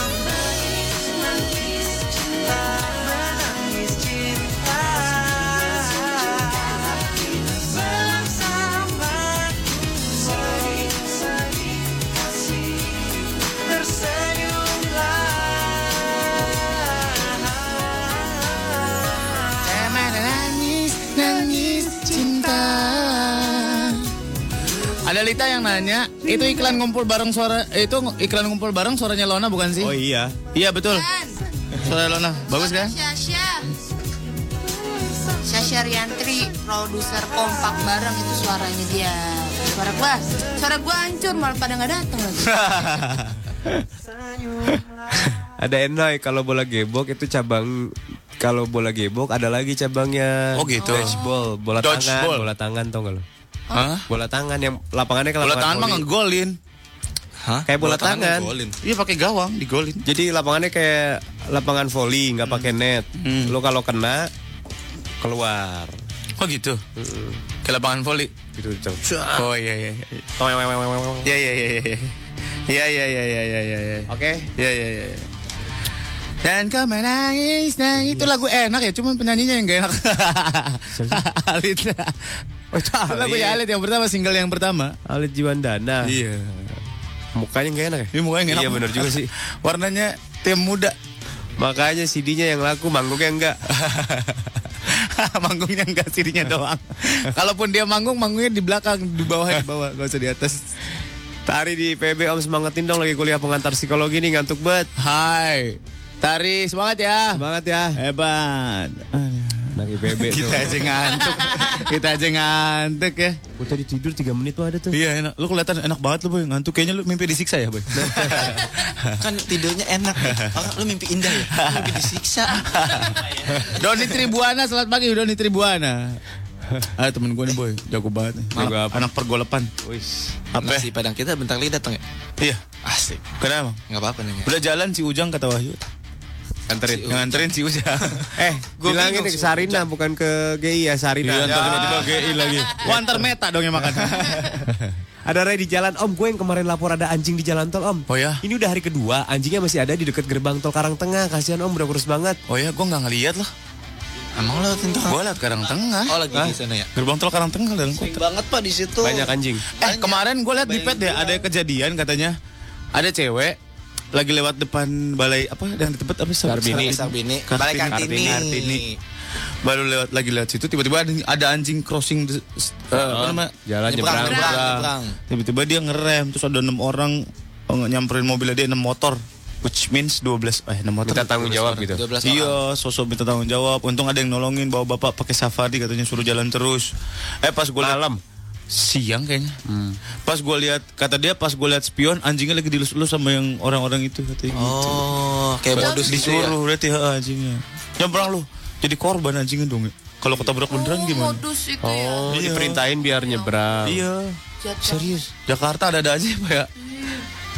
Menangis, menangis cinta, menangis cinta. Bersamaku, sedih, sedih, kasih, Tersenyumlah Nangis, nangis cinta. Ada Lita yang nanya, itu iklan ngumpul bareng suara itu iklan ngumpul bareng suaranya Lona bukan sih? Oh iya. Iya betul. Suara Lona bagus kan? Syasha Syasha Riantri produser kompak bareng itu suaranya dia suara gua suara gua hancur malah pada nggak datang lagi ada Enoy kalau bola gebok itu cabang kalau bola gebok ada lagi cabangnya. Oh, gitu. Dodgeball, bola tangan, Dodgeball. bola tangan tau gak lo? Hah? Bola tangan yang lapangannya kalau Bola tangan mah ngegolin. Hah? Kayak bola, Bola tangan tangan. ngegolin. Iya pakai gawang digolin. Jadi lapangannya kayak lapangan volley nggak pakai net. Hmm. Lo kalau kena keluar. Oh gitu. Ke lapangan voli. Gitu. Oh iya iya. Iya iya iya iya. Iya iya iya iya iya iya. iya. Oke. Iya iya iya. Dan kau menangis, nah itu lagu enak ya, cuman penyanyinya yang gak enak. Alit. Lagu ya Alit yang pertama single yang pertama. Alit Jiwandana. Iya. Mukanya gak enak ya? Iya mukanya gak enak. Iya benar juga sih. Warnanya tim muda. Makanya CD-nya yang laku, manggungnya enggak. manggungnya enggak, CD-nya doang. Kalaupun dia manggung, manggungnya di belakang, di bawah, di bawah, gak usah di atas. Tari di PB Om semangatin dong lagi kuliah pengantar psikologi nih ngantuk banget. Hai. Tari semangat ya. Semangat ya. Hebat. Anak IPB tuh. Kita aja ngantuk. Kita aja ngantuk ya. Gue tadi tidur 3 menit tuh ada tuh. Iya enak. Lu kelihatan enak banget lu boy ngantuk. Kayaknya lu mimpi disiksa ya boy. Kan tidurnya enak ya. Orang lu mimpi indah ya Lu Mimpi disiksa Doni Tribuana selamat pagi Doni Tribuana. Ah temen gue nih boy jago banget nih. Jago Anak, anak pergolepan. Apa? Nasi padang kita bentar lagi datang ya Iya. Asik. Kenapa? Gak apa-apa nih ya. Udah jalan si Ujang kata Wahyu. Anterin. Si nganterin si Ujang. eh, Gue bilangin ke Sarina bukan ke GI ya Sarina. Iya, ntar tiba-tiba GI lagi. Wah, ntar meta dong yang makan. ada Ray di jalan Om, gue yang kemarin lapor ada anjing di jalan tol Om. Oh ya? Ini udah hari kedua, anjingnya masih ada di dekat gerbang tol Karang Tengah. Kasihan Om, udah kurus banget. Oh ya, gue nggak ngeliat loh. Emang lo tentang Gue lah Karang Tengah. Oh lagi di sana ya Gerbang tol Karang Tengah dalam kota. Banget pak di situ Banyak anjing. Eh kemarin gue liat di pet deh ada kejadian katanya ada cewek lagi lewat depan balai apa yang di tempat apa sih? Sarbini. Sarbini. Balai Kartini. Kartini. Baru lewat lagi lewat situ tiba-tiba ada, ada anjing crossing the- s- eh, apa namanya? Jalan Nyebrang, nyebrang. nyebrang, nyebrang. Tiba-tiba dia ngerem terus ada enam orang eh, nyamperin mobilnya dia enam motor. Which means 12 eh 6 motor. Minta tanggung jawab 12 gitu. orang. Iya, sosok minta tanggung jawab. Untung ada yang nolongin Oh, bawa bapak pakai safari katanya suruh jalan terus. Eh pas gue malam siang kayaknya. Hmm. Pas gue lihat kata dia pas gue lihat spion anjingnya lagi dilus-lus sama yang orang-orang itu katanya gitu. Oh, kayak modus gitu ya? disuruh berarti ya, anjingnya. Nyebrang lu. Jadi korban anjingnya dong. Kalau ketabrak beneran gimana? modus itu ya. Oh, Jadi diperintahin biar nyebrang. Iya. Serius, Jakarta ada-ada aja ya, Pak ya.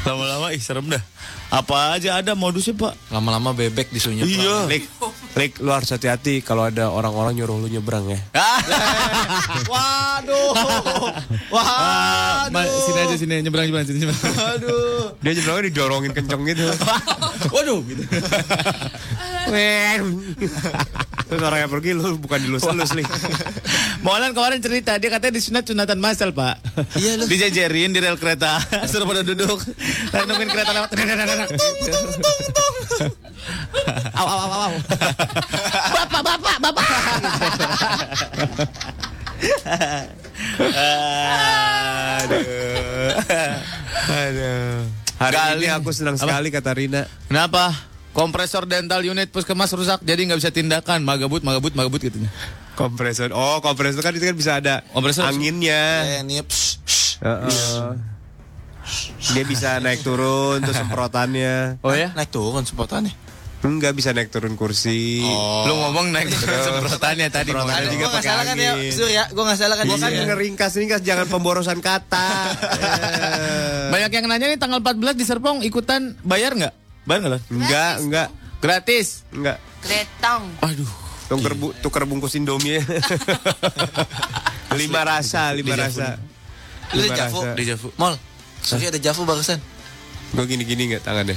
Lama-lama ih serem dah. Apa aja ada modusnya, Pak. Lama-lama bebek disunyap. Iya. Lik, Lik, lu harus hati-hati kalau ada orang-orang nyuruh lu nyebrang ya. Waduh. Ma, sini aja sini nyebrang nyebrang sini nyebrang. Aduh. Dia nyebrangnya didorongin kenceng gitu. Waduh gitu. Terus orang yang pergi lu bukan dilus-lus, Lik. Molan kemarin cerita dia katanya disunat sunatan masal pak. Iya loh. Dijajarin di rel kereta suruh pada duduk. Lalu nungguin kereta lewat. Nah, Aw aw aw aw. Bapak, bapak, bapak. Aduh. Aduh. Hari Kali- ini aku senang Apa? sekali kata Rina. Kenapa? Kompresor dental unit puskesmas rusak jadi nggak bisa tindakan. Magabut, magabut, magabut gitu. Kompresor. Oh, kompresor kan itu kan bisa ada Kompresor. Iya. anginnya. iya, Heeh. Dia bisa naik turun terus semprotannya. Oh ya? Naik turun semprotannya. Enggak bisa naik turun kursi. Lu ngomong naik turun semprotannya tadi, Semprotannya ngomong. juga Gua nggak pakai salah angin. kan ya, Surya, gue gak salah kan? Gua kan Iya. ngeringkas-ringkas jangan pemborosan kata. Banyak yang nanya nih tanggal 14 di Serpong ikutan bayar nggak? Bayar nggak? Enggak, enggak. Gratis? Enggak. Kretong. Aduh. Tuker, bu, tuker bungkus Indomie. lima rasa, Deja vu lima Iya. rasa. Lu ada Javu? Deja vu. Mol, Surya ada Javu barusan. Gue gini-gini nggak tangannya?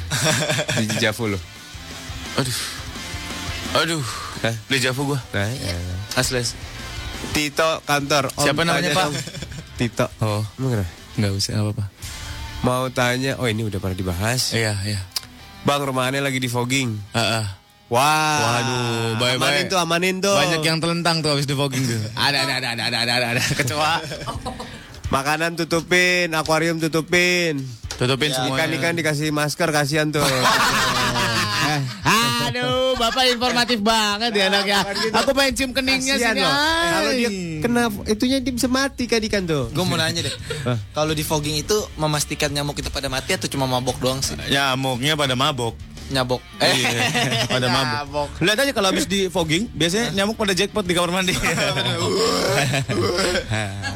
Di Javu lo. Aduh. Aduh. Deja vu gue. Nah, ya. Asles. Tito kantor. Om Siapa namanya, tanya Pak? dong. Tito. Oh. Enggak usah, nggak apa-apa. Mau tanya, oh ini udah pernah dibahas. Iya, iya. Bang rumahnya lagi di fogging. Heeh. Wah. Waduh, Amanin bye-bye. tuh, amanin tuh. Oh. Banyak yang telentang tuh habis difogging tuh. Ada, ada, ada, ada, ada, ada, ada. Kecoa. Makanan tutupin, akuarium tutupin. Tutupin Ya, semuanya. Ikan-ikan dikasih masker, kasihan tuh. Aduh, Bapak informatif banget ya anaknya. Aku pengen cium keningnya Kasihan sini. loh. ay. Kalau dia Eh. kena itunya dia bisa mati kan ikan tuh. Gue mau nanya deh, kalau di fogging itu memastikan nyamuk itu pada mati atau cuma mabok doang sih? Nyamuknya pada mabok. Nyabok. Eh, Iya, pada mabuk. Lihat aja kalau habis di fogging, biasanya nyamuk pada jackpot di kamar mandi.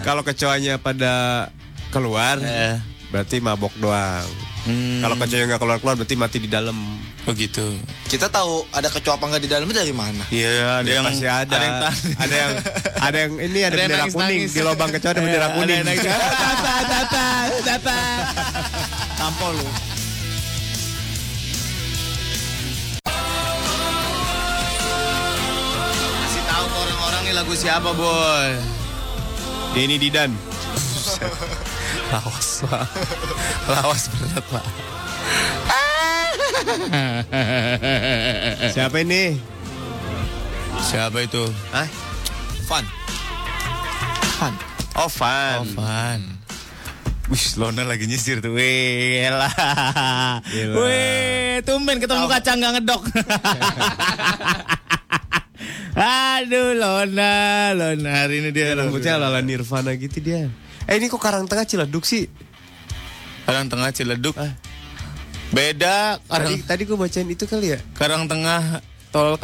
Kalau kecoanya pada keluar, Eh. berarti mabok doang. Hmm. Kalau kecoanya nggak keluar-keluar, berarti mati di dalam. Begitu. Kita tahu ada kecoa apa nggak di dalamnya dari mana? Iya, ada yang pasti ada. Ada yang, ada yang, ini ada, Ada yang bendera nangis-nangis. kuning di lubang kecoa ada bendera Iya, Ada kuning. yang nangis- Tata, tata, tata. Tampol lu. Kasih tahu ke orang-orang nih lagu siapa, Boy. Ini Didan. Lawas, Pak. Lawas berat, Pak. Siapa ini? Siapa itu? Hah? Fun. Fun. Oh, Fan. Wih, Lona lagi nyisir tuh. Wih, elah. Wih, tumben ketemu kacang gak ngedok. Aduh, Lona, Lona hari ini dia Rambutnya ala Nirvana gitu dia. Eh ini kok Karang Tengah Ciledug sih? Karang Tengah Ciledug. Beda. Karang, Tadi, tadi gue bacain itu kali ya. Karang Tengah tol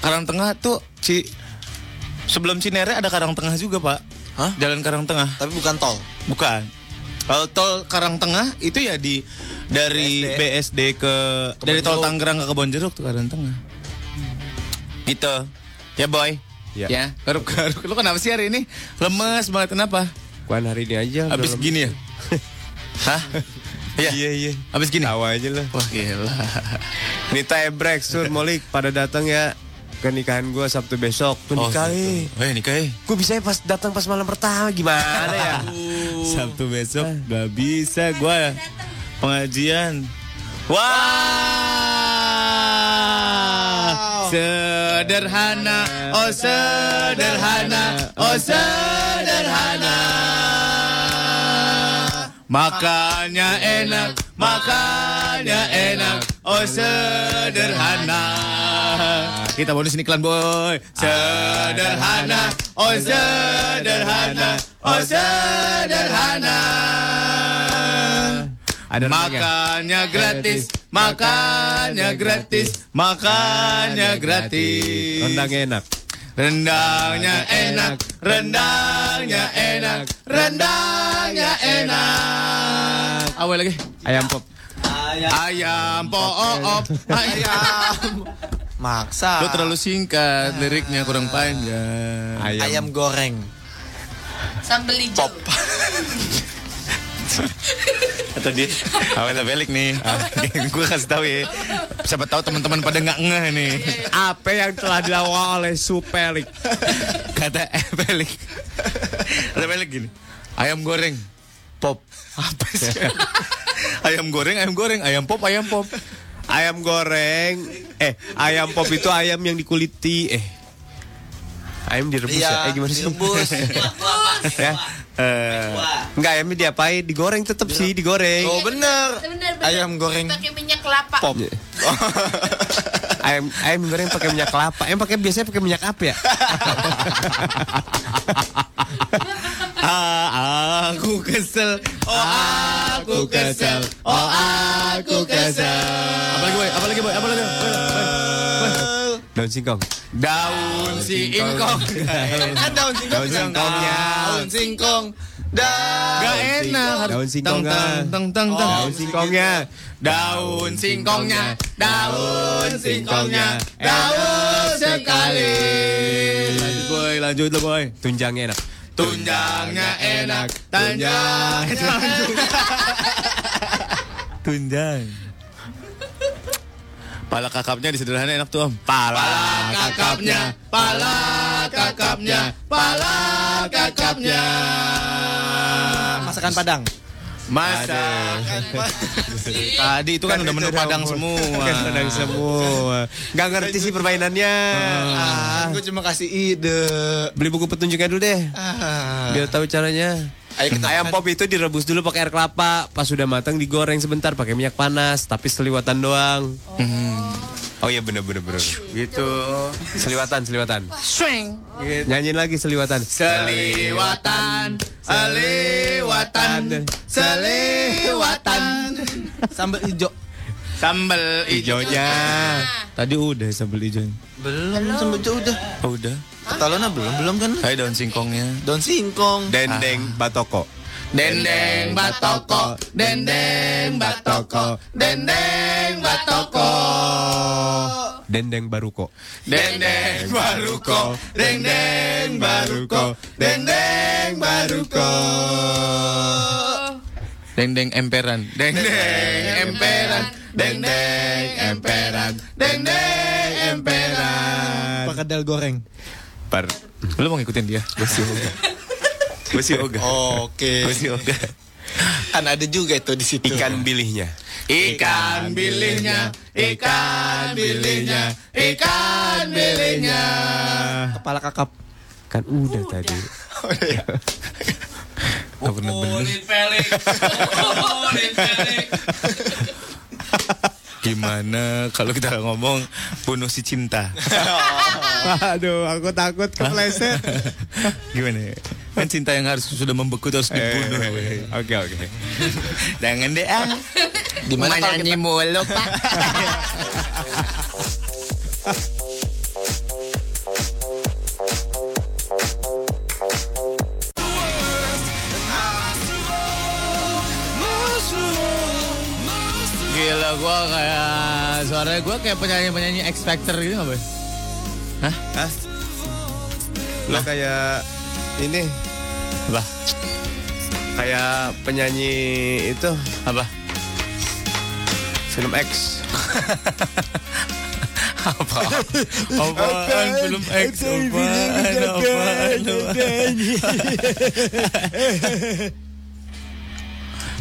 Karang Tengah tuh Ci sebelum Cinere ada Karang Tengah juga, Pak. Jalan Karang Tengah. Tapi bukan tol. Bukan. Kalau tol Karang Tengah itu ya di dari BSD ke dari tol Tangerang ke Kebon Jeruk tuh Karang Tengah. Gitu. Ya boy. Ya. Ya. Garuk-garuk. Lu kenapa sih hari ini? Lemes banget kenapa? Kuan hari ini aja. Abis udah gini ya? Hah? Iya. Iya iya. Abis gini. Tawa aja lah. Wah gila. Nita Ebrek, Sur Molik pada datang ya ke nikahan gue Sabtu besok. Tuh Oh, nikah, eh. gitu. Eh nikah eh. Gue bisa ya pas datang pas malam pertama gimana ya? Sabtu besok gak bisa gua ya. pengajian. Wah, sederhana, oh sederhana, oh sederhana. Makannya enak, makannya enak, oh sederhana. Kita bonus iklan boy. Sederhana, oh sederhana, oh sederhana. Ada Makannya gratis, makannya gratis, makannya gratis. Rendang enak. Rendangnya enak, rendangnya enak, rendangnya enak. Awal lagi. Ayam pop. Ayam poop, ayam. Maksa. Lu terlalu singkat, liriknya kurang panjang. Ayam, goreng. Sambel hijau. Atau dia awalnya belik nih. Gue kasih tahu ya. Siapa tahu teman-teman pada nggak ngeh nih. Apa yang telah dilakukan oleh Supelik? Kata Epelik. Kata Epelik gini. Ayam goreng. Pop. Apa sih? ayam goreng, ayam goreng, ayam pop, ayam pop. Ayam goreng. Eh, ayam pop itu ayam yang dikuliti. Eh, ayam direbus ya? Iya, Eh, gimana sih? direbus. ya. Eh, enggak ayamnya diapain? Digoreng tetap sih, digoreng. Oh bener. Bener, bener. Ayam goreng. Pakai minyak kelapa. Pop. Iya. ayam ayam goreng pakai minyak kelapa. Em pakai biasanya pakai minyak apa ya? Ah, aku kesel. Oh, aku kesel. Oh, aku kesel. Apalagi boy, apalagi boy, apalagi. Boy, boy, boy. Daun singkong. Daun si ingkong. Kan daun singkong. Daun singkongnya. Daun singkong. Daun ah. Gak enak. Daun singkongnya. Teng teng teng. Daun ya. singkongnya. Daun singkongnya. Daun singkongnya. Daun sekali. Lanjut boy, lanjut lo boy. Tunjangnya enak. Tunjangnya enak. Tunjangnya enak. Tunjang. Pala kakapnya di sederhana enak tuh om. Pala, kakapnya, pala kakapnya, pala kakapnya. Masakan Padang. Masak. Tadi itu kan udah menu padang semua. Kan padang semua. Gak ngerti sih permainannya. Ah. Gue Kan cuma kasih ide. Beli buku petunjuknya dulu deh. Ah. Biar tahu caranya. Ayam pop itu direbus dulu pakai air kelapa. Pas sudah matang digoreng sebentar pakai minyak panas, tapi seliwatan doang. Oh iya bener bener bener. Gitu. Seliwatan seliwatan. Swing. Nyanyiin lagi seliwatan. Seliwatan, seliwatan, seliwatan. Sambal hijau. Sambal Ijonya. Tadi udah sambal hijau. Belum, sambal hijau udah. Oh, udah. Talona belum, belum kan? Kayak daun singkongnya. Daun singkong. Dendeng batoko. Dendeng batoko, dendeng batoko, dendeng batoko. Dendeng baruko. Dendeng baruko, dendeng baruko, dendeng baruko. Dendeng emperan, dendeng emperan, dendeng emperan, dendeng emperan. Pakedal goreng. Par. Lu mau ngikutin dia? Gue sih ogah. Gue sih ogah. Oke. Gue sih ogah. Kan ada juga itu di situ. Ikan bilihnya. Ikan bilihnya, ikan bilihnya, ikan bilihnya. Kepala kakap. Kan udah, tadi. Gak bener-bener. Gimana kalau kita ngomong bunuh si cinta? Aduh, aku takut kepleset. Gimana? ya? Kan cinta yang harus sudah membeku terus dibunuh. eh. Oke oke. Jangan deh ah. Gimana kalau nyanyi mulu pak? Gila gua kayak suaranya gua kayak penyanyi-penyanyi X Factor gitu nggak boy? Hah? Hah? Lo kayak ini Apa? Kayak penyanyi itu Apa? Film X. Apa? Apaan film X? Apaan? Apaan? Apaan?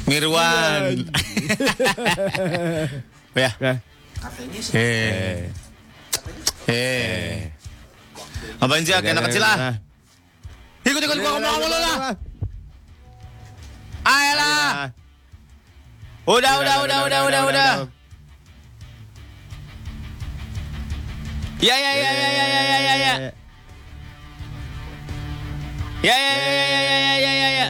Mirwan. ya. Eh. Eh. Apaan sih? Kayak anak kecil lah. Ikut ikut gua ngomong sama lu lah. Ayolah. Udah udah udah udah udah udah. Ya ya ya ya ya ya ya ya ya. Ya ya ya ya ya ya ya ya ya.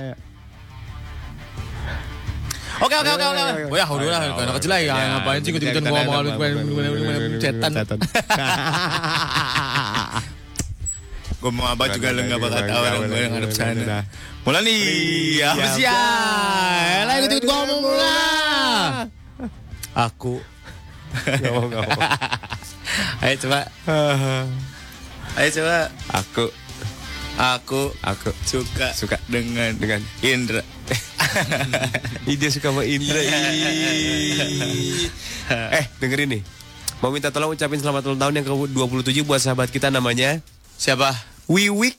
Oke oke oke oke. Oh ya udah lah, anak kecil lah ya ngapain sih ikut-ikutan gua mau cetan. Gua mau apa juga lu nggak bakal tahu orang gua yang ngadep sana. Mulai nih, apa sih ya? Lah ikut-ikut gua ngomong lah. Aku. Gak mau gak mau. Ayo coba. Ayo coba. Aku. Aku. Aku. Suka. Suka dengan dengan Indra. Ih, dia suka sama Indra. ih. eh, dengerin nih. Mau minta tolong ucapin selamat ulang tahun yang ke-27 buat sahabat kita namanya siapa? Wiwik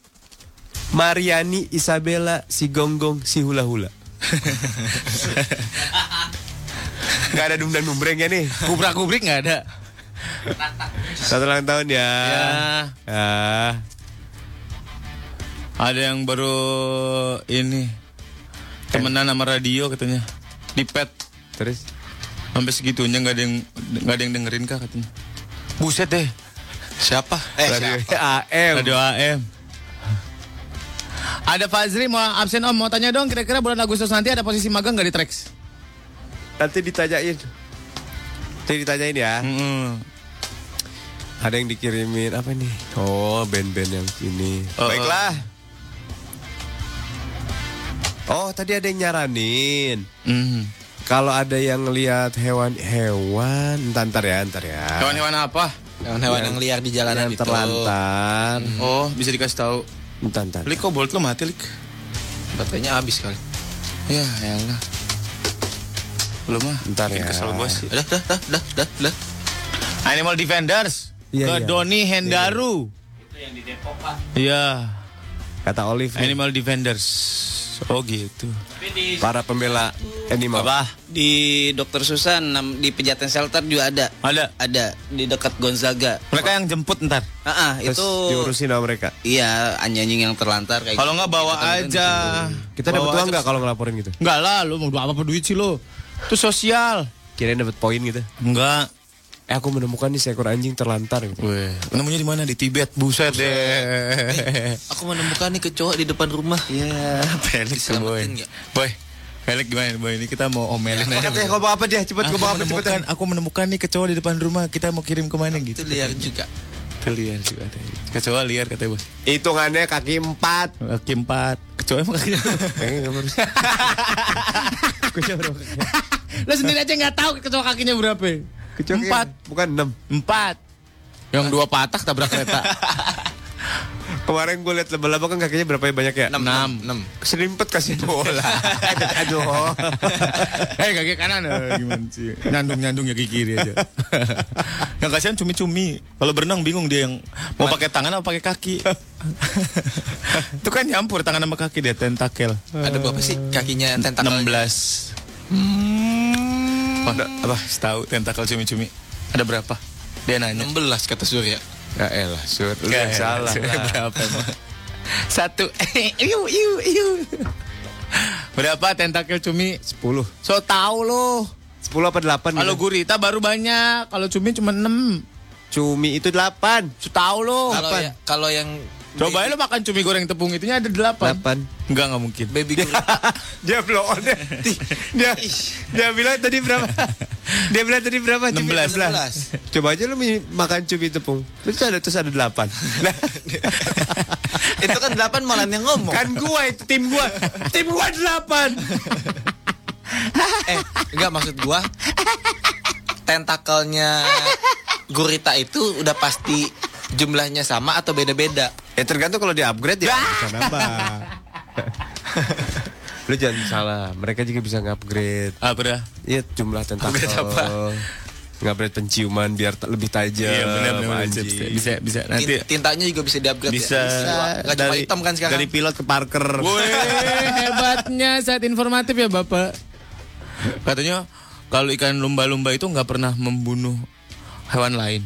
Mariani Isabella si Gonggong si Hula Hula. gak ada dum dan dumbrengnya nih. Kubrak kubrik nggak ada. Satu ulang tahun ya. Ah. Ya. Ada yang baru ini temenan sama radio katanya di pet. Terus sampai segitunya nggak ada yang nggak ada yang dengerin kah katanya. Buset deh. Siapa? Eh, Radio AM. Eh, Radio AM. Ada Fazri mau absen Om mau tanya dong kira-kira bulan Agustus nanti ada posisi magang nggak di Trax? Nanti ditanyain. Nanti ditanyain ya. Ada yang dikirimin apa nih? Oh, band-band yang ini. Baiklah. Oh, tadi ada yang nyaranin. Mm-hmm. Kalau ada yang lihat hewan-hewan, entar ntar ya, ntar ya. Ah. Hewan-hewan apa? Hewan-hewan yang liar di jalanan yang gitu. terlantar. Oh, bisa dikasih tahu. Entar, entar. Lik, kok bolt lo mati, Lik? Baterainya habis kali. Ya, ya enggak. Belum mah. Entar Bikin ya. kesel gua sih. Dah, dah, dah, dah, dah, dah. Ah. Animal Defenders. ke iya. Doni Hendaru. Iya. Kata Olive. nih, Animal Defenders. Oh gitu. Para pembela animal. Di Dokter Susan nam- di Pejaten Shelter juga ada. Ada. Ada di dekat Gonzaga. Mereka yang jemput ntar. Ah, ah, Terus itu diurusin sama mereka. Iya, anjing yang terlantar kayak Kalau gitu. nggak bawa Kita temuin aja. Kita dapat Bawa uang aja nggak kalau ngelaporin gitu? Enggak lah, lu mau apa duit sih lu? Itu sosial. Kirain dapat poin gitu. Enggak. Eh aku menemukan nih seekor anjing terlantar gitu. Weh, nemunya di mana? Di Tibet. Buset deh. Aku menemukan nih kecoa di depan rumah. Iya, Felix tuh, boy. Boy, Felix gimana boy? Ini kita mau omelin aja. Oke, ngomong apa dia? Cepet Aku ngomong apa menemukan, cepetan. aku menemukan nih kecoa di depan rumah. Kita mau kirim kemana gitu? Itu liar juga. Itu liar juga. ada. Kecoa liar kata bos. Hitungannya kaki empat. Kaki empat. Kecoa emang kaki Kecoa berapa? Lo sendiri aja nggak tahu kecoa kakinya berapa? Kecoa empat. ya? Bukan enam. Empat. Yang dua patah tabrak kereta. Kemarin gue liat laba-laba kan kakinya berapa ya banyak ya? Enam. Enam. Serimpet kasih bola. Aduh. Eh kaki kanan eh, gimana sih? Nyandung nyandung ya kaki kiri aja. yang Ya, kasihan cumi-cumi. Kalau berenang bingung dia yang mau pakai tangan apa pakai kaki. Itu kan nyampur tangan sama kaki dia tentakel. Ada berapa sih kakinya tentakel? 16. Mana apa? Tahu tentakel cumi-cumi. Ada berapa? Dia nanya. 16 kata Surya. Ya elah, sur. Lu yang salah. Berapa emang? Satu. iu, iu, iu. Berapa tentakel cumi? 10. So tau lo. 10 apa Iya. 8 Kalau gitu? gurita baru banyak, kalau cumi cuma 6. Cumi itu 8. So tau lo. Kalau ya, kalau yang Coba lo makan cumi goreng tepung itunya ada 8. 8. Enggak enggak mungkin. baby goreng Dia blow on dia. Dia, dia bilang tadi berapa? Dia bilang tadi berapa? Cumi? 16. 16. Coba aja lu mi- makan cumi tepung. Terus ada terus ada 8. Nah, itu kan 8 malah yang ngomong. kan gua itu tim gua. Tim gua 8. eh, enggak maksud gua tentakelnya gurita itu udah pasti jumlahnya sama atau beda-beda. Ya tergantung kalau di upgrade ya. Bisa nambah. lu jangan salah, mereka juga bisa nge-upgrade. Apa dah? Iya jumlah tentakel. Upgrade apa? Nge-upgrade penciuman biar ta- lebih tajam. Iya benar sama benar bisa, anjing. bisa bisa bisa nanti Tin- Tintanya juga bisa di-upgrade bisa, ya. Enggak cuma hitam kan sekarang. dari pilot ke Parker. Weh, hebatnya saat informatif ya Bapak. Katanya kalau ikan lumba-lumba itu nggak pernah membunuh hewan lain.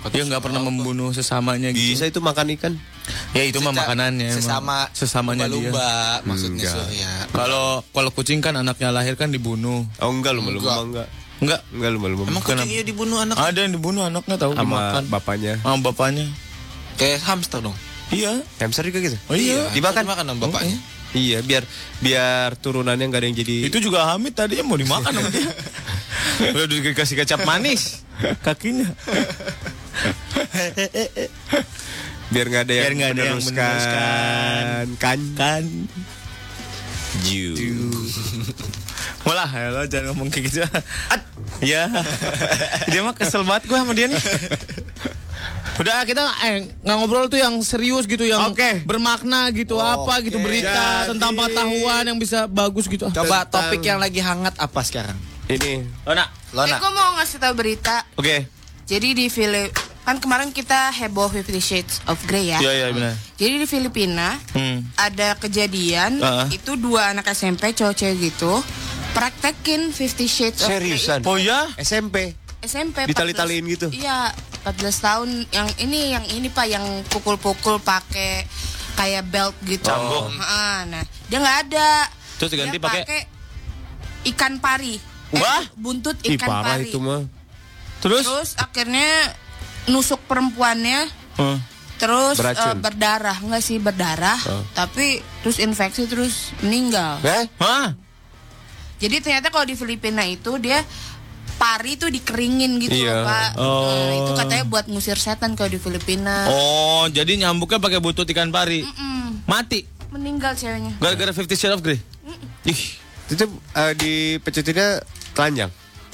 Dia nggak pernah membunuh sesamanya gitu. Bisa itu makan ikan. Ya itu mah Seca- makanannya. emang. sesama sesamanya dia. lumba maksudnya Surya. Kalau kalau kucing kan anaknya lahir kan dibunuh. Oh enggak lu malu enggak. Enggak. Enggak lu malu Emang kucingnya dibunuh anak Ada yang dibunuh anaknya tahu sama dimakan. bapaknya. Sama bapaknya. kayak hamster dong. Iya. Hamster juga gitu. Oh iya. Dimakan makan dong bapaknya. Iya, biar biar turunannya nggak ada yang jadi. Itu juga Hamid tadinya mau dimakan sama dia. Udah dikasih kecap manis kakinya. Biar nggak ada yang Biar nggak ada yang meneruskan. Kan kan. Ju. Walah, ya lo jangan ngomong kayak gitu. At. Ya. Dia mah kesel banget gue sama dia nih. Udah kita eh, nggak ngobrol tuh yang serius gitu yang bermakna gitu Oh, apa gitu berita tentang pengetahuan yang bisa bagus gitu. Coba topik yang lagi hangat apa sekarang? Ini. Lona. Eh, gue mau ngasih tahu berita. Oke. Jadi di Filip kan kemarin kita heboh Fifty Shades of Grey ya. Iya, iya, benar. Jadi di Filipina Hmm. ada kejadian Ah. itu dua anak SMP cowok cewek gitu praktekin Fifty Shades of Grey. Seriusan. Oh ya? SMP. SMP 14 Ditali-taliin gitu? Iya 14 tahun yang ini yang ini pak yang pukul-pukul pakai kayak belt gitu Cambuk. Heeh, nah dia nggak ada Terus diganti Dia pakai- ikan pari Eh, Wah. buntut Ih, ikan parah pari itu mah. terus akhirnya nusuk perempuannya terus Beracun. eh, berdarah nggak sih berdarah Oh. tapi terus infeksi terus meninggal Eh? Hah? jadi ternyata kalau di Filipina itu dia pari itu dikeringin gitu Iya. loh, Pak. Oh. Nah, itu katanya buat ngusir setan kalau di Filipina. Oh, jadi nyambuknya pakai butut ikan pari. Mm, Mati meninggal ceweknya. gara-gara Fifty Shades of Grey. Ih, itu eh, di pecutinnya telanjang.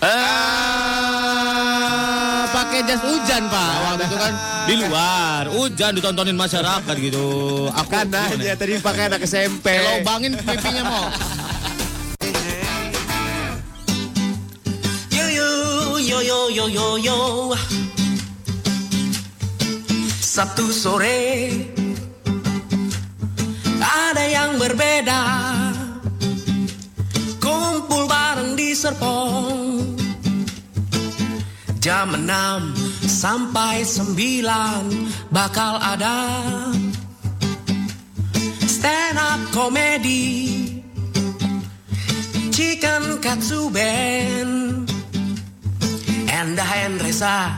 Ah, Eh. pakai jas hujan pak waktu itu kan di luar hujan ditontonin masyarakat gitu aku kan Nah, aja Iya, tadi pakai anak SMP lobangin pipinya mau Yo yo yo yo yo yo yo Sabtu sore Ada yang berbeda Kumpul bareng di Serpong Jam 6 sampai 9 Bakal ada Stand up comedy Chicken Katsu Band Enda Hendresa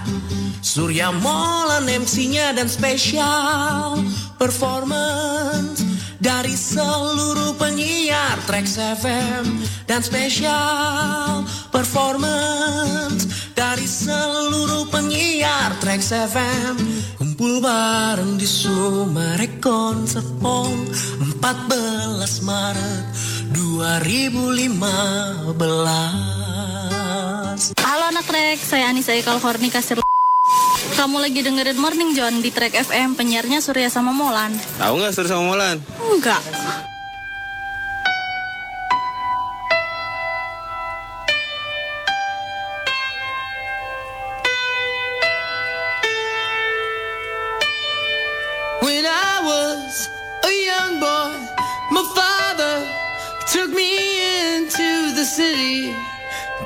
Surya Molan MC-nya dan spesial performance dari seluruh penyiar Trax FM dan spesial performance dari seluruh penyiar Trax FM kumpul bareng di Sumare Concert Hall 14 Maret 2015 Halo anak trek, saya Anissa Ikal Horni Kasir Kamu lagi dengerin Morning John di Trek FM, penyiarnya Surya sama Molan Tahu nggak Sur sama Molan? Enggak When I was a young boy, my father took me into the city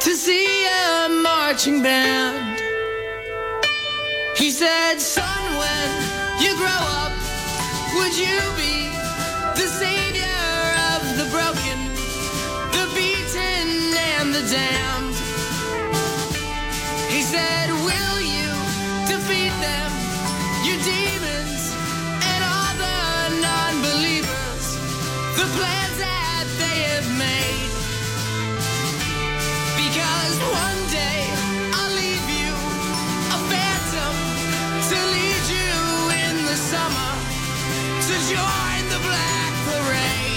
to see a marching band. He said, Son, when you grow up, would you be the savior of the broken, the beaten, and the damned? He said, Will you defeat them, your demons, and all the non believers, the plans that they have made? Because one day I'll leave you a phantom to lead you in the summer to join the black parade.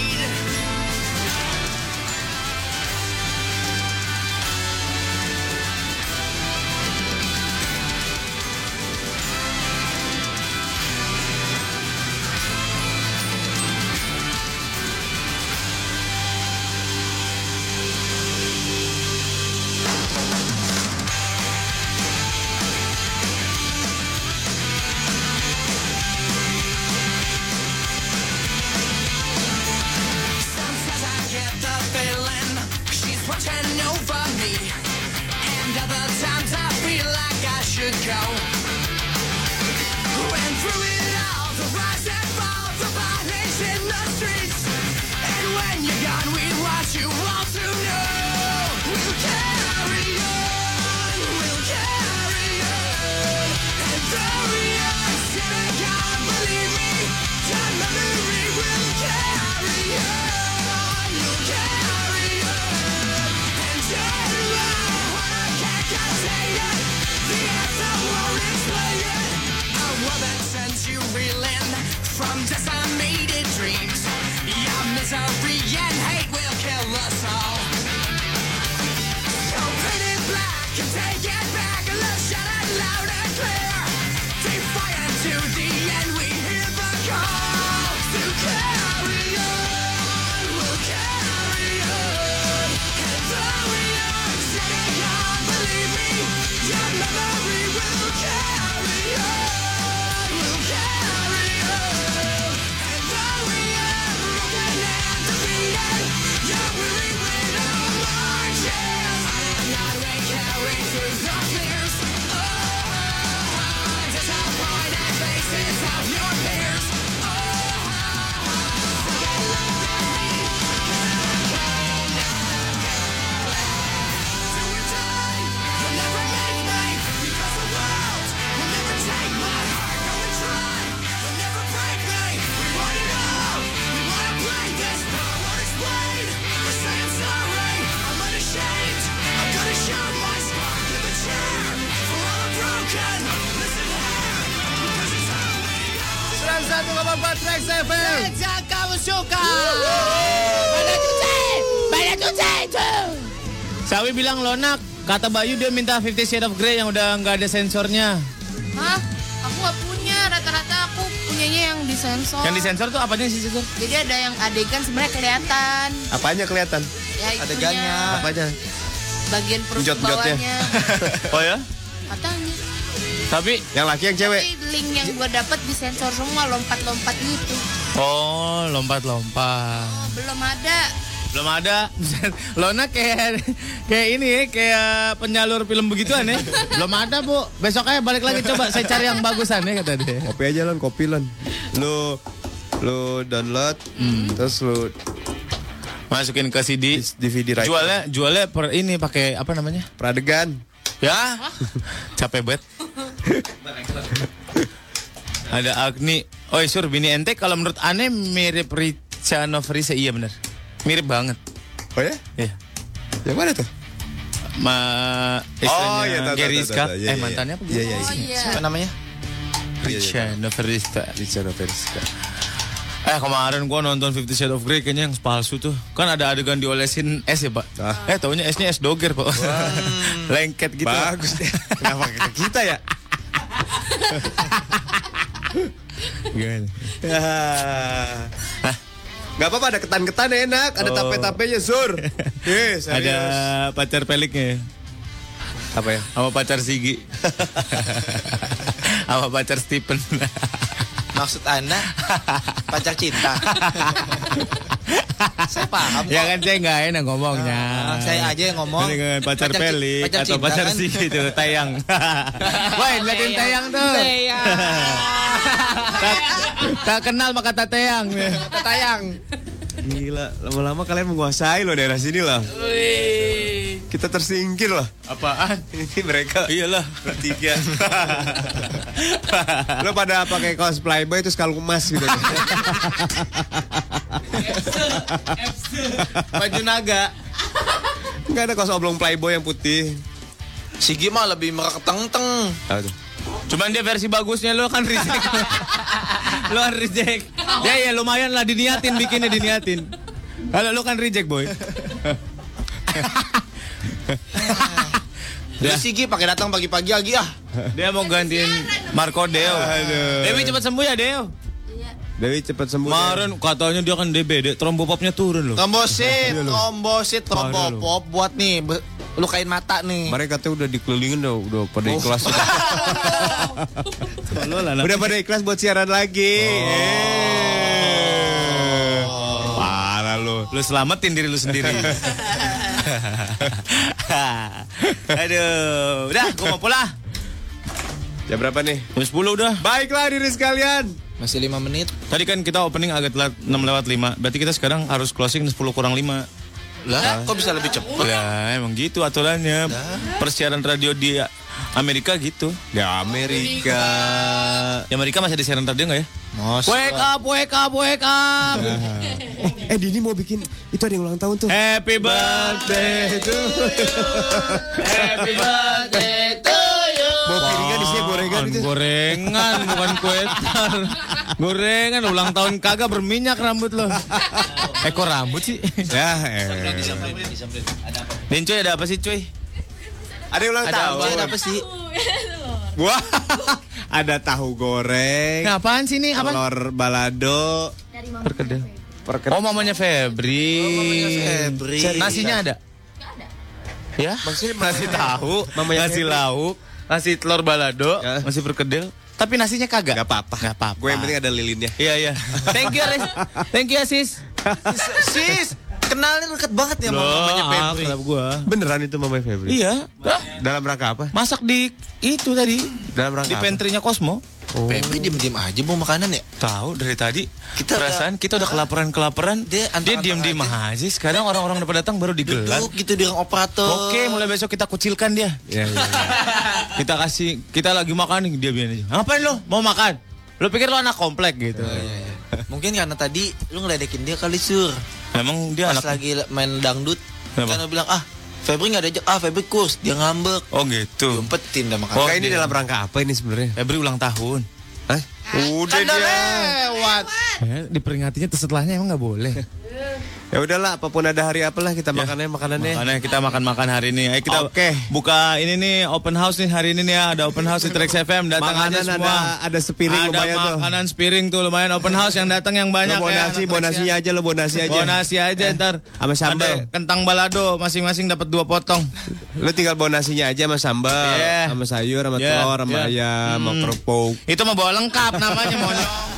104 Trax FM. Yang kamu suka Mana cuci Mana cuci Sawi bilang lonak, kata Bayu dia minta 50 Shades of Grey yang udah nggak ada sensornya. Hah? Aku nggak punya. Rata-rata aku punyanya yang disensor. Yang disensor tuh apanya sih sensor? Jadi ada yang adegan sebenarnya kelihatan. Apanya kelihatan? Ya, itunya. Adegannya. Apanya? Bagian perut ke Njot-njotnya. bawahnya. oh ya? Katanya. Tapi yang laki yang cewek? Tapi link yang gue dapat disensor semua lompat-lompat gitu. Oh, lompat-lompat. Belum ada. Belum ada. Lona kayak kayak ini ya, kayak penyalur film begituan ya. Belum ada, Bu. Besok aja balik lagi coba saya cari yang bagusan ya kata dia. Kopi aja lan, kopi lan. Lu lu download, terus lu masukin ke CD, DVD right. Jualnya jualnya per ini pakai apa namanya? Pradegan. Ya. Capek banget. Ada Agni. Oh, sur bini ente kalau menurut aneh mirip Richa Novrisa. Iya bener. Mirip banget. Oh ya? Iya. Yang mana tuh? Ma istrinya Oh, iya, tahu, tahu, Gary tahu, tahu, Scott. tahu. Iya, eh iya, mantannya apa? iya, iya, Oh, iya. Siapa namanya? Richa Novrisa. Richa Novrisa. Eh kemarin gua nonton Fifty Shades of Grey kayaknya yang palsu tuh. Kan ada adegan diolesin es ya, Pak. Ah. Eh taunya esnya es doger, Pak. Lengket gitu. Bagus. Kenapa kita, kita ya? Gimana? Hah? Gak apa-apa ada ketan-ketan enak, ada Oh. tape-tapenya sur. Eh, serius. Ada pacar peliknya. Apa ya? Sama pacar Sigi. Sama pacar Stephen. Maksud Anda pacar cinta. saya paham. ya kan saya nggak enak ngomongnya. Ah, saya aja yang ngomong. Ini kan pacar, Pacar ci- pelik pacar atau cinta pacar kan? Sigi itu tayang. Woi, liatin tayang tuh. tak, tak kenal maka tak tayang. Tayang. Gila, lama-lama kalian menguasai loh daerah sini lah. Kita tersingkir lah. Apaan? Iya. Ini mereka. Iyalah. Bertiga. Lo pada pakai kaos playboy terus kalung emas gitu. Baju naga. Enggak ada kaos oblong playboy yang putih. Sigi mah lebih mereketeng-teng. Cuman dia versi bagusnya lo kan reject. lo kan reject. Ya ya lumayan lah diniatin bikinnya diniatin. Kalau lo kan reject boy. Ya. Lu Sigi pakai datang pagi-pagi lagi ah. Dia mau gantiin Marco Deo. Dewi cepat sembuh ya Deo. Dewi cepat sembuh. ya. Kemarin katanya dia kan DBD, trombopopnya turun loh. Trombosit, Iya loh. trombosit, trombopop buat nih be- lukain mata nih. Mereka tuh udah dikelilingin udah, udah pada Oh. ikhlas. udah pada ikhlas buat siaran lagi. Oh. Eh. Parah lo. Lo Oh. selamatin diri lo sendiri. Aduh, udah gua mau pulang. Jam berapa nih? Jam 10 udah. Baiklah diri sekalian. Masih 5 menit. Tadi kan kita opening agak telat 6 lewat 5. Berarti kita sekarang harus closing 10 kurang 5. Lah, kok bisa lebih cepat? Lah, emang gitu aturannya. Persiaran radio di Amerika gitu. Di Amerika. Di Amerika masih ada siaran radio nggak ya? Mas. Wake up, wake up, wake up. Eh Dini mau bikin itu ada yang ulang tahun tuh. Happy birthday to you. Happy birthday to you. Bawa piringan Kan isinya gorengan itu. Gorengan bukan kue tar. Gorengan ulang tahun kagak berminyak rambut lo. eh. Ekor Eh, rambut sih. Ya. Dan cuy ada apa sih cuy? Ada yang ulang Ada tahun. apa? Ada apa sih? Wah. Ada tahu goreng. Nah, apaan sih ini? Apa? Telur balado. Perkedel. Oh mamanya Febri. Febri. Nasinya ada? Ya. Maksudnya Nasi tahu, Mamanya nasi Febri. lauk, nasi telur balado, nasi perkedel. Tapi nasinya kagak. Gak apa-apa. Gak apa-apa. Gue yang penting ada lilinnya. Iya iya. Thank you Aris. Thank you Asis. Sis, kenalin dekat banget ya sama mamanya Febri. gua. Beneran itu mamanya Febri? Iya. Dalam rangka apa? Masak di itu tadi Dalam rangka di apa? pantry-nya Cosmo. Febri diem-diem aja mau makanan ya? Oh. Tahu dari tadi Kita kita perasaan kita udah kelaparan kelaparan dia, antang-antang diem diem aja. Nah, Sekarang orang-orang udah pada datang baru digelar. Duduk gitu di ruang operator. Oke, mulai besok kita kucilkan dia. Iya, iya. Kita kasih kita lagi makan dia gitu. biarin aja. Ngapain lo? Mau makan? Lo pikir lo anak komplek gitu. Mungkin karena tadi lu ngeledekin dia kali sur. Emang dia Pas anak lagi main dangdut, Kenapa? kan lu bilang ah Febri nggak diajak, ah Febri kurs, dia ngambek. Oh gitu. Umpetin dah Oh, makanya. ini dalam rangka apa ini sebenarnya? Kan Febri ulang tahun. Hah? Udah Udah dia. lewat. Eh, diperingatinya setelahnya emang nggak boleh. Ya udahlah, apapun ada hari apalah kita Iya. makannya makanannya. Makanya kita makan-makan hari ini. Ayo kita Oke. buka ini nih open house nih hari ini nih ya. Ada open house di Trax FM datang Makanan aja semua. ada- ada sepiring ada lumayan tuh. makanan sepiring tuh lumayan open house yang datang yang banyak Lo bonasi, anak Trax bonasinya ya. aja, lo bonasi aja. Bonasi aja ntar. Sama sambal. Ada kentang balado masing-masing dapat dua potong. Lu tinggal bonasinya aja sama sambal, Iya. sama sayur, sama Iya, telur, sama iya. ayam, sama kerupuk. Itu mah bawa lengkap namanya monyong.